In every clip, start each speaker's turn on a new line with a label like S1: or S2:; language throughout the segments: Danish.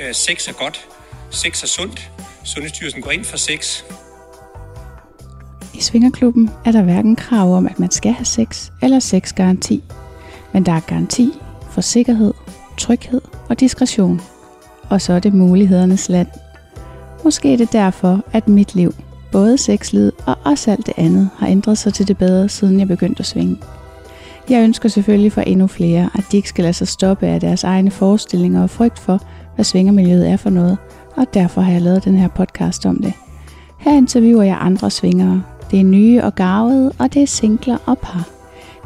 S1: øh, sex er godt, sex er sundt, Sundhedsstyrelsen går ind for sex.
S2: I Svingerklubben er der hverken krav om, at man skal have sex eller sexgaranti. Men der er garanti for sikkerhed, tryghed og diskretion. Og så er det mulighedernes land. Måske er det derfor, at mit liv, både sexlivet og også alt det andet, har ændret sig til det bedre, siden jeg begyndte at svinge. Jeg ønsker selvfølgelig for endnu flere, at de ikke skal lade sig stoppe af deres egne forestillinger og frygt for, hvad svingermiljøet er for noget, og derfor har jeg lavet den her podcast om det. Her interviewer jeg andre svingere. Det er nye og garvede, og det er singler og par.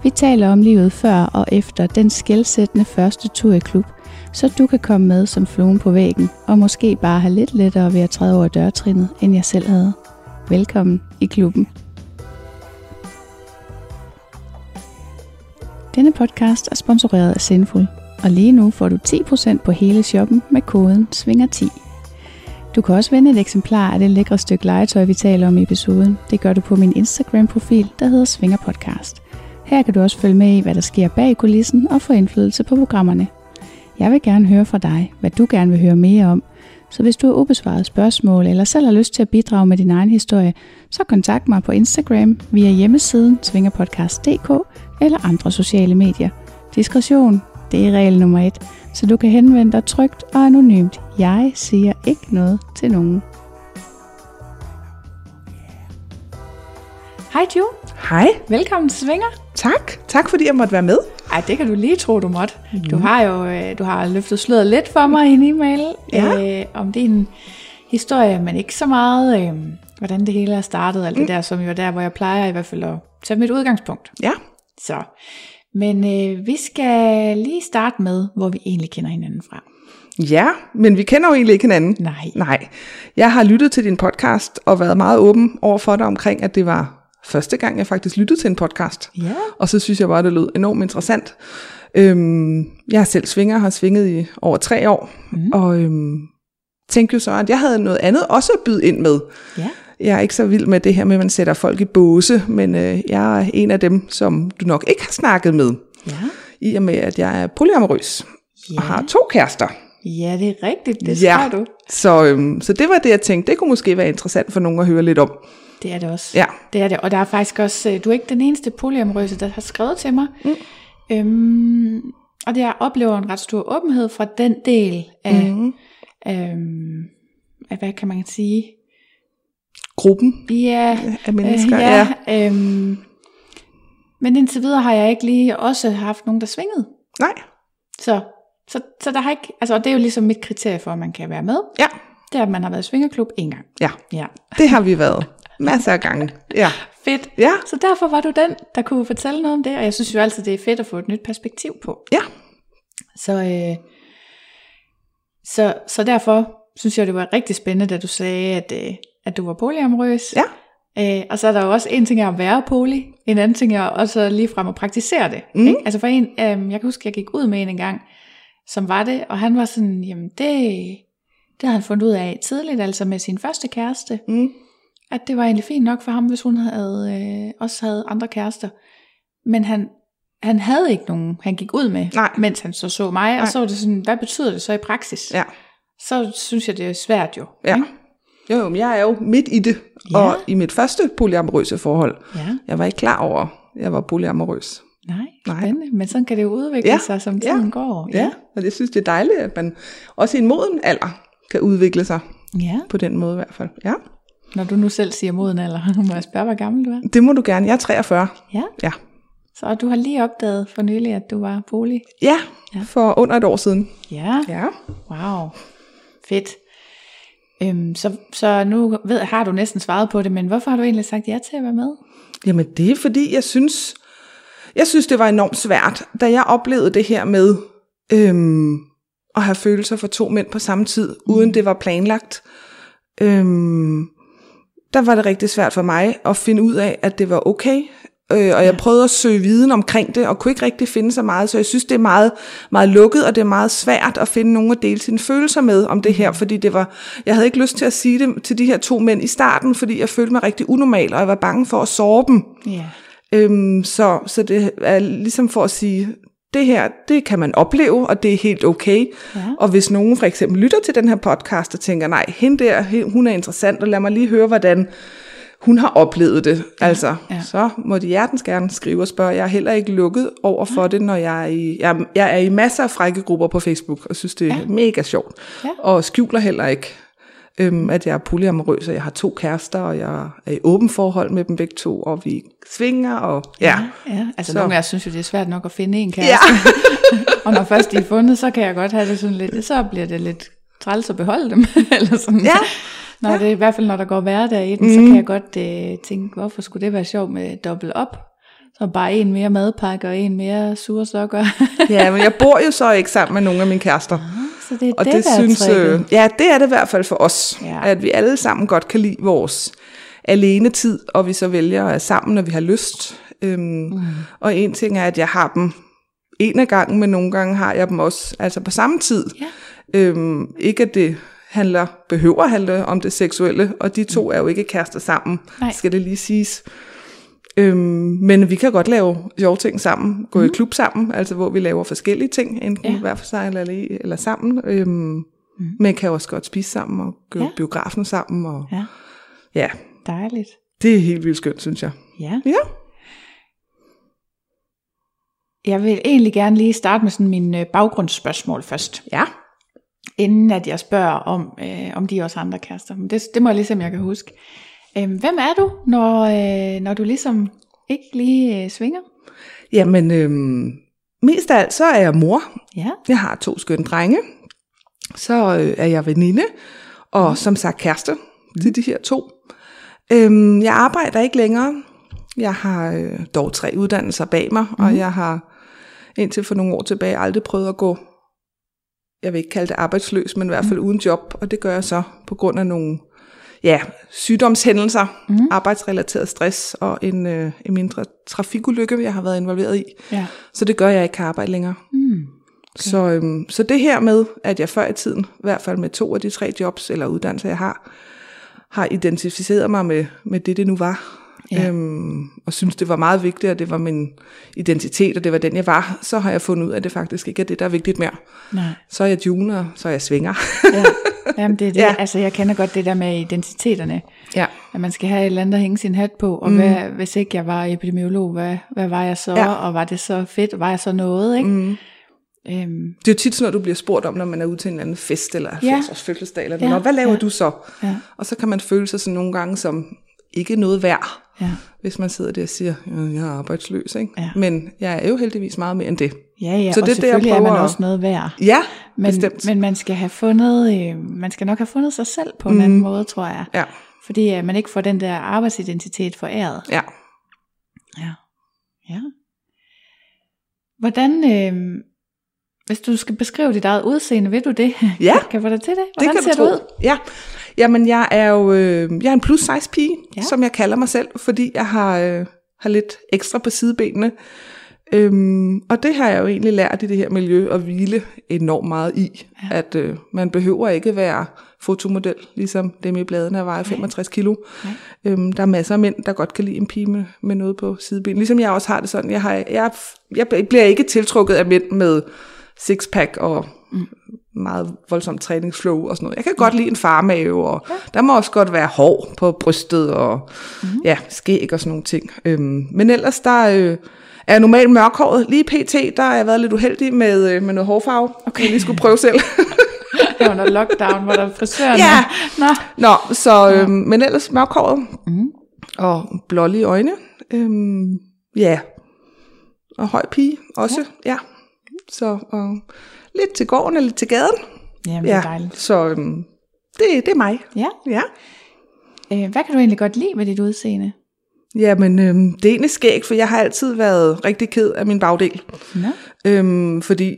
S2: Vi taler om livet før og efter den skældsættende første tur i klub, så du kan komme med som fluen på væggen, og måske bare have lidt lettere ved at træde over dørtrinnet, end jeg selv havde. Velkommen i klubben. Denne podcast er sponsoreret af Sendful, og lige nu får du 10% på hele shoppen med koden SVINGER10. Du kan også vinde et eksemplar af det lækre stykke legetøj, vi taler om i episoden. Det gør du på min Instagram-profil, der hedder Svinger Podcast. Her kan du også følge med i, hvad der sker bag kulissen og få indflydelse på programmerne. Jeg vil gerne høre fra dig, hvad du gerne vil høre mere om, så hvis du har ubesvaret spørgsmål eller selv har lyst til at bidrage med din egen historie, så kontakt mig på Instagram via hjemmesiden svingerpodcast.dk eller andre sociale medier. Diskretion, det er regel nummer et, så du kan henvende dig trygt og anonymt. Jeg siger ikke noget til nogen. Hej Ju,
S3: Hej,
S2: velkommen til Svinger.
S3: tak. Tak fordi jeg måtte være med.
S2: Ej, det kan du lige tro, du måtte. Du har jo øh, du har løftet sløret lidt for mig i en e-mail
S3: Ja.
S2: øh, om din historie, men ikke så meget, øh, hvordan det hele er startet, alt det der, som jo er der, hvor jeg plejer i hvert fald at tage mit udgangspunkt.
S3: Ja,
S2: Så. Men øh, vi skal lige starte med, hvor vi egentlig kender hinanden fra.
S3: ja men vi kender jo egentlig ikke hinanden.
S2: Nej.
S3: Nej. Jeg har lyttet til din podcast og været meget åben over for dig omkring, at det var første gang, jeg faktisk lyttede til en podcast.
S2: Ja.
S3: Og så synes jeg bare, det lød enormt interessant. Øhm, jeg er selv svinger, har svinget i over tre år. Mm. Og øhm, tænkte jo så, at jeg havde noget andet også at byde ind med.
S2: Ja.
S3: Jeg er ikke så vild med det her med, at man sætter folk i båse, men øh, jeg er en af dem, som du nok ikke har snakket med.
S2: Ja.
S3: i og med, at jeg er polyamorøs
S2: Ja.
S3: ja. og har to kærester.
S2: Ja, det er rigtigt, det
S3: Ja.
S2: ja. du.
S3: Så, øhm, så det var det, jeg tænkte, det kunne måske være interessant for nogen at høre lidt om.
S2: Det er det også.
S3: Ja.
S2: Det er det, og der er faktisk også, øh, du er ikke den eneste polyamorøse, der har skrevet til mig. Mm. Øhm, og det jeg oplever en ret stor åbenhed fra den del af, mm. øhm, af hvad kan man sige?
S3: Gruppen
S2: Ja,
S3: af mennesker.
S2: øh, ja, ja. Øhm, men indtil videre har jeg ikke lige også haft nogen, der svingede.
S3: Nej.
S2: Så, så, så der har ikke, altså, og det er jo ligesom mit kriterie for, at man kan være med.
S3: Ja.
S2: Det er, at man har været i svingerklub en gang.
S3: ja,
S2: Ja.
S3: det har vi været masser af gange. Ja,
S2: Fedt.
S3: ja,
S2: Så derfor var du den, der kunne fortælle noget om det, og jeg synes jo altid, det er fedt at få et nyt perspektiv på.
S3: ja.
S2: Så, øh, så, så derfor synes jeg, det var rigtig spændende, da du sagde, at, øh, at du var polyamorøs.
S3: Ja.
S2: Øh, og så er der jo også en ting er at være poly, en anden ting er også ligefrem at praktisere det.
S3: Mm.
S2: Ikke? Altså for en, øh, jeg kan huske, jeg gik ud med en engang, som var det, og han var sådan, jamen det, det havde han fundet ud af tidligt, altså med sin første kæreste
S3: Mm.
S2: at det var egentlig fint nok for ham, hvis hun havde, øh, også havde andre kærester. Men han, han havde ikke nogen, han gik ud med,
S3: Nej.
S2: mens han så så mig. Nej. Og
S3: Nej.
S2: så var det sådan, hvad betyder det så i praksis?
S3: ja,
S2: Så synes jeg, det er svært jo.
S3: ja.
S2: ikke?
S3: Jo, jo, men jeg er jo midt i det,
S2: Ja.
S3: og i mit første polyamorøse forhold.
S2: Ja,
S3: Jeg var ikke klar over, at jeg var polyamorøs.
S2: nej,
S3: Nej.
S2: spændende. Men sådan kan det jo udvikle
S3: Ja,
S2: sig, som
S3: ja,
S2: tiden går.
S3: Ja, og det synes jeg er dejligt, at man også i en moden alder kan udvikle sig
S2: ja.
S3: på den måde i hvert fald. Ja,
S2: Når du nu selv siger moden alder, må jeg spørge, hvor gammel du er?
S3: det må du gerne. Jeg er 43.
S2: Ja.
S3: Ja.
S2: Så og du har lige opdaget for nylig, at du var bolig.
S3: Ja,
S2: Ja.
S3: for under et år siden.
S2: Ja.
S3: Ja.
S2: Wow, fedt. Øhm, så, så nu ved, har du næsten svaret på det, men hvorfor har du egentlig sagt ja til at være med?
S3: Jamen det er fordi, jeg synes, jeg synes det var enormt svært, da jeg oplevede det her med øhm, at have følelser for to mænd på samme tid, mm. uden det var planlagt. Øhm, der var det rigtig svært for mig at finde ud af, at det var okay. Øh, og jeg prøvede at søge viden omkring det, og kunne ikke rigtig finde så meget. Så jeg synes, det er meget, meget lukket, og det er meget svært at finde nogen at dele sine følelser med om det her. Fordi det var, jeg havde ikke lyst til at sige det til de her to mænd i starten, fordi jeg følte mig rigtig unormal, og jeg var bange for at såre dem.
S2: Ja.
S3: Øhm, så, så det er ligesom for at sige, det her, det kan man opleve, og det er helt okay.
S2: Ja.
S3: Og hvis nogen for eksempel lytter til den her podcast og tænker, nej, hende der, he- hun er interessant, og lad mig lige høre, hvordan hun har oplevet det. Altså,
S2: ja.
S3: så må de hjertens gerne skrive og spørge. Jeg er heller ikke lukket over for det, når jeg er i, jeg, jeg er i masser af frække grupper på Facebook, og synes, det er ja. mega sjovt.
S2: Ja.
S3: Og skjuler heller ikke, øhm, at jeg er polyamorøs, og jeg har to kærester, og jeg er i åben forhold med dem begge to, og vi svinger, og ja.
S2: ja. Altså så.
S3: Så-
S2: nogle af os synes jo, det er svært nok at finde en
S3: Ja,
S2: kæreste. og når først de er fundet, så kan jeg godt have det sådan lidt, så bliver det lidt træls at beholde dem. eller sådan.
S3: Ja, Mhm.
S2: Når det, I hvert fald når der går hverdag i den, mm. så kan jeg godt øh, tænke, hvorfor skulle det være sjovt med dobbelt op? Så bare en mere madpakke og en mere sure sokker.
S3: ja, men jeg bor jo så ikke sammen med nogen af mine kærester.
S2: så det er
S3: Og
S2: det,
S3: det, det
S2: der
S3: synes
S2: er tricket.
S3: øh, ja, det er det i hvert fald for os,
S2: Ja.
S3: ja. at vi alle sammen godt kan lide vores alene tid, og vi så vælger at være sammen, når vi har lyst. Øhm, mm. Og en ting er, at jeg har dem en af gangen, men nogle gange har jeg dem også altså på samme tid.
S2: Ja.
S3: Øhm, ikke at det handler, behøver at handle om det seksuelle, og de to er jo ikke kærester sammen,
S2: Mm. Nej.
S3: skal det lige siges. Øhm, men vi kan godt lave sjove ting sammen, gå mm. i klub sammen, altså hvor vi laver forskellige ting, enten
S2: Ja.
S3: ja. hver for sig eller, alene- eller sammen. Øhm, mm. Men kan også godt spise sammen og gå
S2: Ja.
S3: ja. biografen sammen. Og, ja.
S2: Ja,
S3: ja,
S2: dejligt.
S3: det er helt vildt skønt, synes jeg.
S2: Ja.
S3: Ja,
S2: Jeg vil egentlig gerne lige starte med sådan min øh, baggrundsspørgsmål først,
S3: ja.
S2: inden at jeg spørger om, øh, om de også har andre kærester. Men det, det må jeg ligesom, jeg kan huske. Øhm, hvem er du, når, øh, når du ligesom ikke lige øh, svinger?
S3: Jamen, øhm, mest af alt så er jeg mor.
S2: Ja.
S3: Jeg har to skønne drenge. Så øh, er jeg veninde, og mm. som sagt kæreste til de her to. Øhm, jeg arbejder ikke længere. Jeg har øh, dog tre uddannelser bag mig, mm. og jeg har indtil for nogle år tilbage aldrig prøvet at gå, jeg vil ikke kalde det arbejdsløs, men i hvert fald uden job. Og det gør jeg så på grund af nogle ja, sygdomshændelser, mm. arbejdsrelateret stress og en, øh, en mindre trafikulykke, jeg har været involveret i.
S2: Ja.
S3: Så det gør, at jeg ikke kan arbejde længere.
S2: Mm.
S3: Okay. Så, øhm, så det her med, at jeg før i tiden, i hvert fald med to af de tre jobs eller uddannelser, jeg har, har identificeret mig med, med det, det nu var.
S2: Ja.
S3: Ja. Øhm, og synes det var meget vigtigt, og det var min identitet, og det var den, jeg var. Så har jeg fundet ud af, at det faktisk ikke er det, der er vigtigt mere.
S2: Nej.
S3: Så er jeg junior, og så er jeg svinger.
S2: Ja. Jamen, det er det. ja.
S3: Ja.
S2: Altså, jeg kender godt det der med identiteterne.
S3: ja.
S2: At man skal have et eller andet at hænge sin hat på, og mm. hvad, hvis ikke jeg var epidemiolog, hvad, hvad var jeg så, ja.
S3: Ja.
S2: og var det så fedt, var jeg så noget, ikke? Mm. Øhm,
S3: Det er jo tit sådan noget, du bliver spurgt om, når man er ude til en eller anden fest, eller
S2: Ja.
S3: 70 års fødselsdag, eller
S2: Ja,
S3: ja. noget. Hvad laver
S2: ja.
S3: ja. du så?
S2: Ja.
S3: Og så kan man føle sig sådan nogle gange som ikke noget værd.
S2: ja.
S3: hvis man sidder der og siger, "Øh, jeg er arbejdsløs, ikke?
S2: Ja.
S3: Men jeg er jo heldigvis meget mere end det.
S2: Ja, ja,
S3: Så
S2: så og
S3: det er
S2: det,
S3: det, jeg
S2: selvfølgelig det, er man
S3: prøver at-
S2: også noget værd.
S3: Ja, men,
S2: Men,
S3: bestemt. Men,
S2: men man skal have fundet, øh, man skal nok have fundet sig selv på en mm. anden måde, tror jeg.
S3: ja,
S2: Fordi øh, man ikke får den der arbejdsidentitet foræret.
S3: ja.
S2: Ja. ja. Hvordan, øh, hvis du skal beskrive dit eget udseende, ved du det?
S3: Ja.
S2: kan jeg få dig til det?
S3: Det
S2: Hvordan
S3: kan
S2: ser
S3: du tro.
S2: du ud?
S3: Ja. Jamen, jeg er jo øh, jeg er en plus size pige,
S2: Ja.
S3: ja. som jeg kalder mig selv, fordi jeg har, øh, har lidt ekstra på sidebenene. Øhm, og det har jeg jo egentlig lært i det her miljø at hvile enormt meget i. Ja. At øh, man behøver ikke være fotomodel, ligesom dem i bladene der vejer 65 kilo. Øhm, der er masser af mænd, der godt kan lide en pige med, med noget på sidebenen. Ligesom jeg også har det sådan. Jeg, har, jeg, jeg bliver ikke tiltrukket af mænd med sixpack og mm. meget voldsom træningsflow og sådan noget. Jeg kan godt lide en farmave, og ja. der må også godt være hår på brystet og mm. ja, skæg og sådan nogle ting. Øhm, men ellers der øh, er jeg normalt mørkhåret. Lige pt, der har jeg været lidt uheldig med, øh, med noget hårfarve. Okay. Jeg lige skulle prøve selv.
S2: Det var under lockdown, hvor der var frisøren.
S3: Ja.
S2: Nå.
S3: Nå, så, øhm, men ellers mørkhåret mm. og blålige øjne. Øhm, ja, og høj pige også, ja. ja. Så og lidt til gården og lidt til gaden.
S2: Jamen, det
S3: Ja,
S2: er dejligt.
S3: så øhm, det, det er mig.
S2: Ja.
S3: Ja.
S2: Øh, hvad kan du egentlig godt lide ved dit udseende?
S3: Jamen, øhm, det er egentlig skægt, for jeg har altid været rigtig ked af min bagdel.
S2: Nå.
S3: Øhm, fordi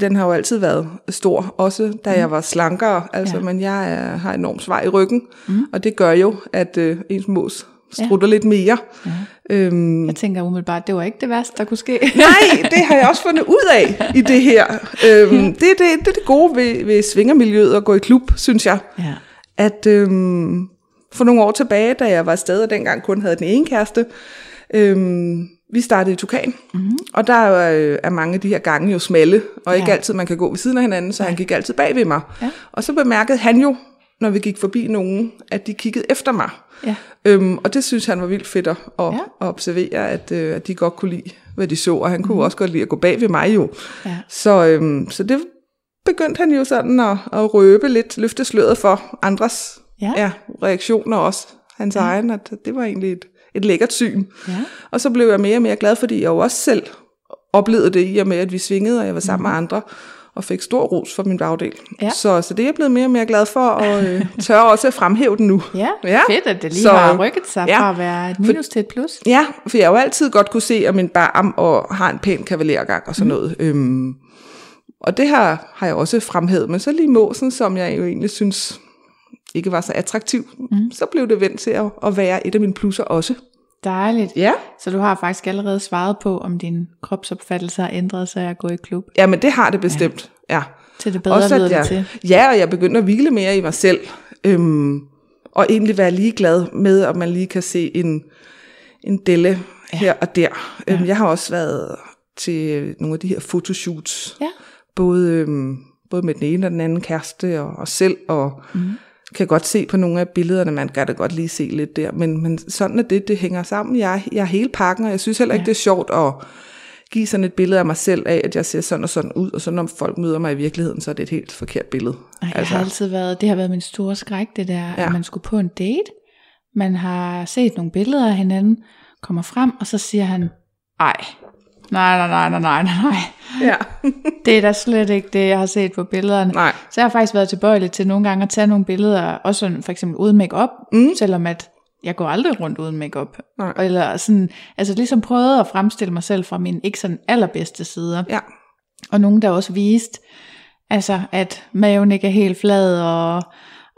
S3: den har jo altid været stor, også da jeg var slankere. Altså,
S2: Ja.
S3: ja. men jeg er, har enormt svær i ryggen, mm. og det gør jo, at øh, ens mås strutter ja. lidt mere. Ja. Øhm,
S2: Jeg tænker umiddelbart, det var ikke det værste, der kunne ske.
S3: nej, det har jeg også fundet ud af i det her. Øhm, det, det, det er det gode ved, ved svingermiljøet at gå i klub, synes jeg.
S2: ja.
S3: At øhm, for nogle år tilbage, da jeg var afsted og dengang kun havde den ene kæreste, øhm, Vi startede i Tukan, mm-hmm. og der er, øh, er mange af de her gange jo smalle, og ikke
S2: Mhm. Ja.
S3: altid man kan gå ved siden af hinanden, så han gik altid bag ved mig.
S2: Ja.
S3: Og så bemærkede han jo, når vi gik forbi nogen, at de kiggede efter mig.
S2: Ja.
S3: Øhm, og det synes han var vildt fedt at, at
S2: Ja.
S3: at observere, at, øh, at de godt kunne lide, hvad de så, og han kunne også godt lide at gå bag ved mig jo.
S2: Mhm. Ja.
S3: Så, øhm, så det begyndte han jo sådan at, at røbe lidt, løfte sløret for andres
S2: Ja.
S3: Ja, reaktioner også, hans ja. egen, at det var egentlig et, et lækkert syn.
S2: Ja.
S3: Og så blev jeg mere og mere glad, fordi jeg jo også selv oplevede det i og med, at vi svingede, og jeg var sammen med andre, og fik stor ros for min bagdel.
S2: Mhm. Ja.
S3: Så, så det er jeg blevet mere og mere glad for, og øh, tør også at fremhæve den nu.
S2: Ja, ja,
S3: Ja.
S2: fedt, at det lige
S3: Så-
S2: har rykket sig ja.
S3: ja.
S2: fra at være et minus til et plus.
S3: Ja, for jeg har jo altid godt kunne se, at min barm og har en pæn kavalergang og sådan
S2: Mm.
S3: noget. Øhm, og det har, har jeg også fremhævet, men så lige måsen, som jeg jo egentlig synes ikke var så attraktiv, mm. så blev det vendt til at, at være et af mine plusser også.
S2: Dejligt.
S3: Ja.
S2: Så du har faktisk allerede svaret på, om din kropsopfattelse har ændret sig af at gå i klub.
S3: Ja, men det har det bestemt. Ja.
S2: Til det bedre lyder det til.
S3: jeg, Ja, og jeg begynder at hvile mere i mig selv. Øhm, og egentlig være ligeglad med, om man lige kan se en, en delle ja. her og der. Øhm, Jeg har også været til nogle af de her fotoshoots.
S2: Ja.
S3: Både, øhm, både med den ene og den anden kæreste og os selv. Og
S2: Mhm.
S3: mm. kan godt se på nogle af billederne, man kan da godt lige se lidt der. Men, men sådan er det, det hænger sammen. Jeg, jeg er hele pakken, og jeg synes heller ikke, det er sjovt at give sådan et billede af mig selv af, at jeg ser sådan og sådan ud, og så når folk møder mig i virkeligheden, så er det et helt forkert billede.
S2: Ej, altså. jeg har altid været, det har været min store skræk, det der, ja.
S3: Ja.
S2: at man skulle på en date. Man har set nogle billeder af hinanden, kommer frem, og så siger han, ej, nej, nej, nej, nej, nej, nej, nej.
S3: Ja.
S2: Det er da slet ikke det, jeg har set på billederne.
S3: Nej.
S2: Så jeg har faktisk været tilbøjelig til nogle gange at tage nogle billeder, også sådan for eksempel uden makeup, mm. selvom at jeg går aldrig rundt uden makeup.
S3: Nej.
S2: Eller sådan, altså ligesom prøvede at fremstille mig selv fra mine ikke sådan allerbedste sider.
S3: ja.
S2: Og nogen, der også viste, altså at maven ikke er helt flad, og,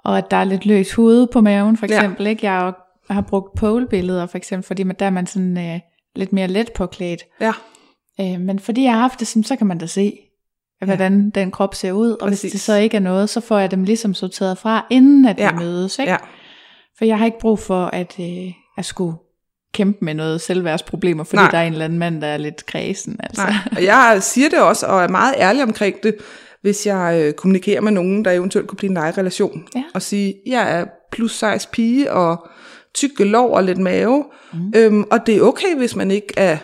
S2: og at der er lidt løs hoved på maven, for
S3: Ja.
S2: eksempel. Ja. Ikke? Jeg har jo- har brugt pole-billeder, for eksempel, fordi man, der er man sådan øh, lidt mere let påklædt.
S3: Ja.
S2: Øh, men fordi jeg har haft det sådan, så kan man da se, hvordan ja. den krop ser ud. Og Præcis. hvis
S3: Præcis.
S2: det så ikke er noget, så får jeg dem ligesom sorteret fra, inden at ja.
S3: Ja.
S2: vi mødes. Ikke?
S3: Ja.
S2: For jeg har ikke brug for at, øh, at skulle kæmpe med noget selvværdsproblemer, fordi Nej.
S3: Nej.
S2: der er en eller anden mand, der er lidt kredsen. Altså.
S3: Nej. Og jeg siger det også, og er meget ærlig omkring det, hvis jeg øh, kommunikerer med nogen, der eventuelt kunne blive en lejerelation,
S2: Ja.
S3: og sige, jeg er plus size pige, og tykke lov og lidt mave, mm. øhm, og det er okay, hvis man ikke er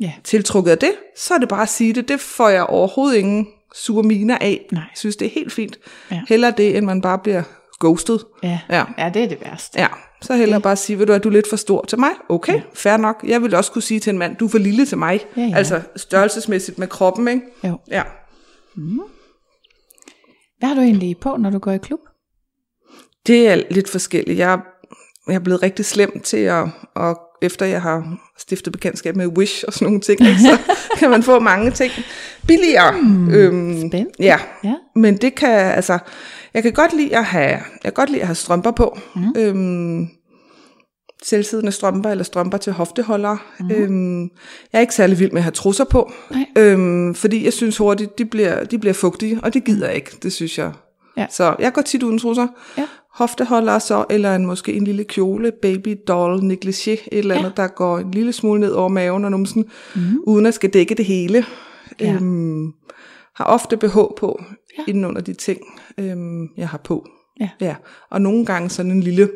S2: Ja.
S3: tiltrukket af det, så er det bare at sige det. Det får jeg overhovedet ingen sure miner af.
S2: Nej.
S3: Jeg synes, det er helt fint.
S2: Ja.
S3: Hellere det, end man bare bliver ghostet.
S2: Ja.
S3: Ja.
S2: ja, det er det værste.
S3: Ja, så hellere bare sige, ved du, at du er lidt for stor til mig. Okay, ja. fair nok. Jeg vil også kunne sige til en mand, du er for lille til mig.
S2: Ja, ja.
S3: Altså størrelsesmæssigt med kroppen, ikke?
S2: Jo.
S3: Ja.
S2: Hvad har du egentlig på, når du går i klub?
S3: Det er lidt forskelligt. Jeg, jeg er blevet rigtig slem til at, og efter jeg har stiftet bekendtskab med Wish og sådan nogle ting, ikke, så kan man få mange ting billigere. Mm, øhm,
S2: Hmm, spændende.
S3: Ja.
S2: Ja.
S3: Men det kan, altså, jeg kan godt lide at have, jeg kan godt lide at have strømper på. Mm. Øhm, selvsidende strømper eller strømper til hofteholdere. Mm. Øhm, jeg er ikke særlig vild med at have trusser på,
S2: Nej.
S3: øhm, fordi jeg synes hurtigt, de bliver, de bliver fugtige, og det gider jeg ikke, det synes jeg.
S2: Ja.
S3: Så jeg går tit uden trusser.
S2: Ja.
S3: Hofteholdere så, eller en, måske en lille kjole, baby doll, negligé, et eller
S2: Ja.
S3: andet, der går en lille smule ned over maven og numsen, mm. uden at skal dække det hele.
S2: Ja.
S3: Øhm, har ofte BH på,
S2: Ja.
S3: ja. inden under de ting, øhm, jeg har på.
S2: Ja.
S3: ja. Og nogle gange sådan en lille,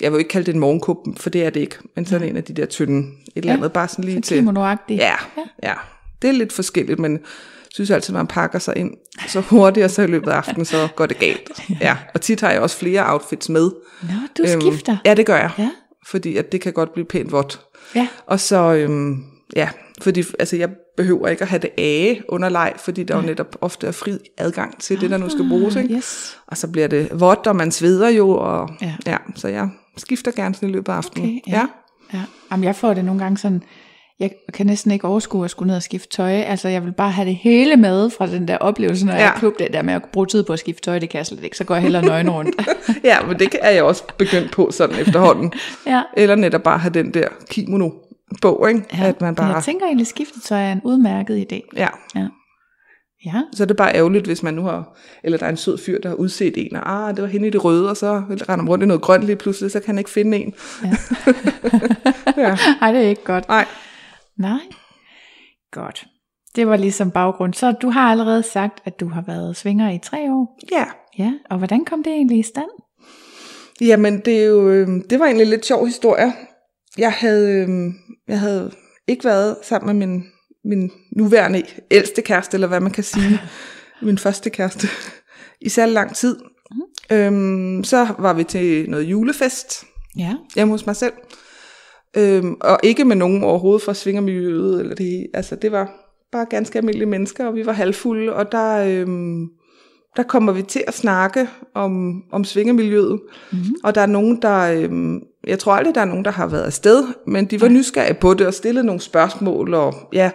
S3: jeg vil jo ikke kalde det en morgenkup, for det er det ikke, men sådan ja. en af de der tynde, et eller
S2: Ja.
S3: andet, bare sådan lige
S2: Så
S3: til.
S2: kimonoagtigt.
S3: Ja, ja. Det er lidt forskelligt, men jeg synes altid, man pakker sig ind så hurtigt, og så i løbet af aftenen, så går det galt. Ja. Og tit har jeg også flere outfits med.
S2: Nå, du øhm, skifter.
S3: Ja, det gør jeg.
S2: Ja.
S3: Fordi at det kan godt blive pænt vådt.
S2: ja.
S3: Og så, øhm, ja, fordi altså, jeg behøver ikke at have det age under leg, fordi der jo netop ofte er fri adgang til det, der nu skal bruges. Ikke?
S2: Ah, Yes.
S3: Og så bliver det vådt, og man sveder jo, og
S2: Ja.
S3: ja. Ja, så jeg skifter gerne sådan i løbet af aftenen.
S2: Okay, Mm, ja. ja. Jamen, jeg får det nogle gange sådan, jeg kan næsten ikke overskue at skulle ned og skifte tøj. Altså, jeg vil bare have det hele med fra den der oplevelse, når ja. jeg er
S3: Ja.
S2: i klub, det der med at bruge tid på at skifte tøj, det kan jeg slet ikke. Så går jeg hellere nøgen rundt.
S3: ja, men det er jeg også begyndt på sådan efterhånden.
S2: ja.
S3: Eller netop bare have den der kimono på, ikke?
S2: ja.
S3: at man
S2: Men
S3: bare...
S2: Jeg tænker egentlig, at skiftetøj er en udmærket idé.
S3: Ja,
S2: Ja. Ja,
S3: så er det bare ærgerligt, hvis man nu har... Eller der er en sød fyr, der har udset en, og ah, det var hende i det røde, og så render man rundt i noget grønt lige pludselig, så kan han ikke finde en.
S2: Ej, det er ikke godt.
S3: Nej,
S4: Nej. Godt. Det var ligesom baggrund. Så du har allerede sagt, at du har været svinger i tre år.
S3: Ja,
S4: Ja, og hvordan kom det egentlig i stand?
S3: Jamen, det, er jo, øh, det var egentlig en lidt sjov historie. Jeg havde, øh, jeg havde ikke været sammen med min, min nuværende ældste kæreste, eller hvad man kan sige, min første kæreste, i særlig lang tid. Mm. Øhm, så var vi til noget julefest
S4: Ja.
S3: hjemme hos mig selv. Øhm, og ikke med nogen overhovedet fra svingermiljøet. Eller det, altså, det var bare ganske almindelige mennesker, og vi var halvfulde. Og der, øhm, der kommer vi til at snakke om, om svingermiljøet. Mm-hmm. Og der er nogen, der... Øhm, jeg tror aldrig, der er nogen, der har været afsted, men de var nysgerrige på det og stillede nogle spørgsmål. Og, ja.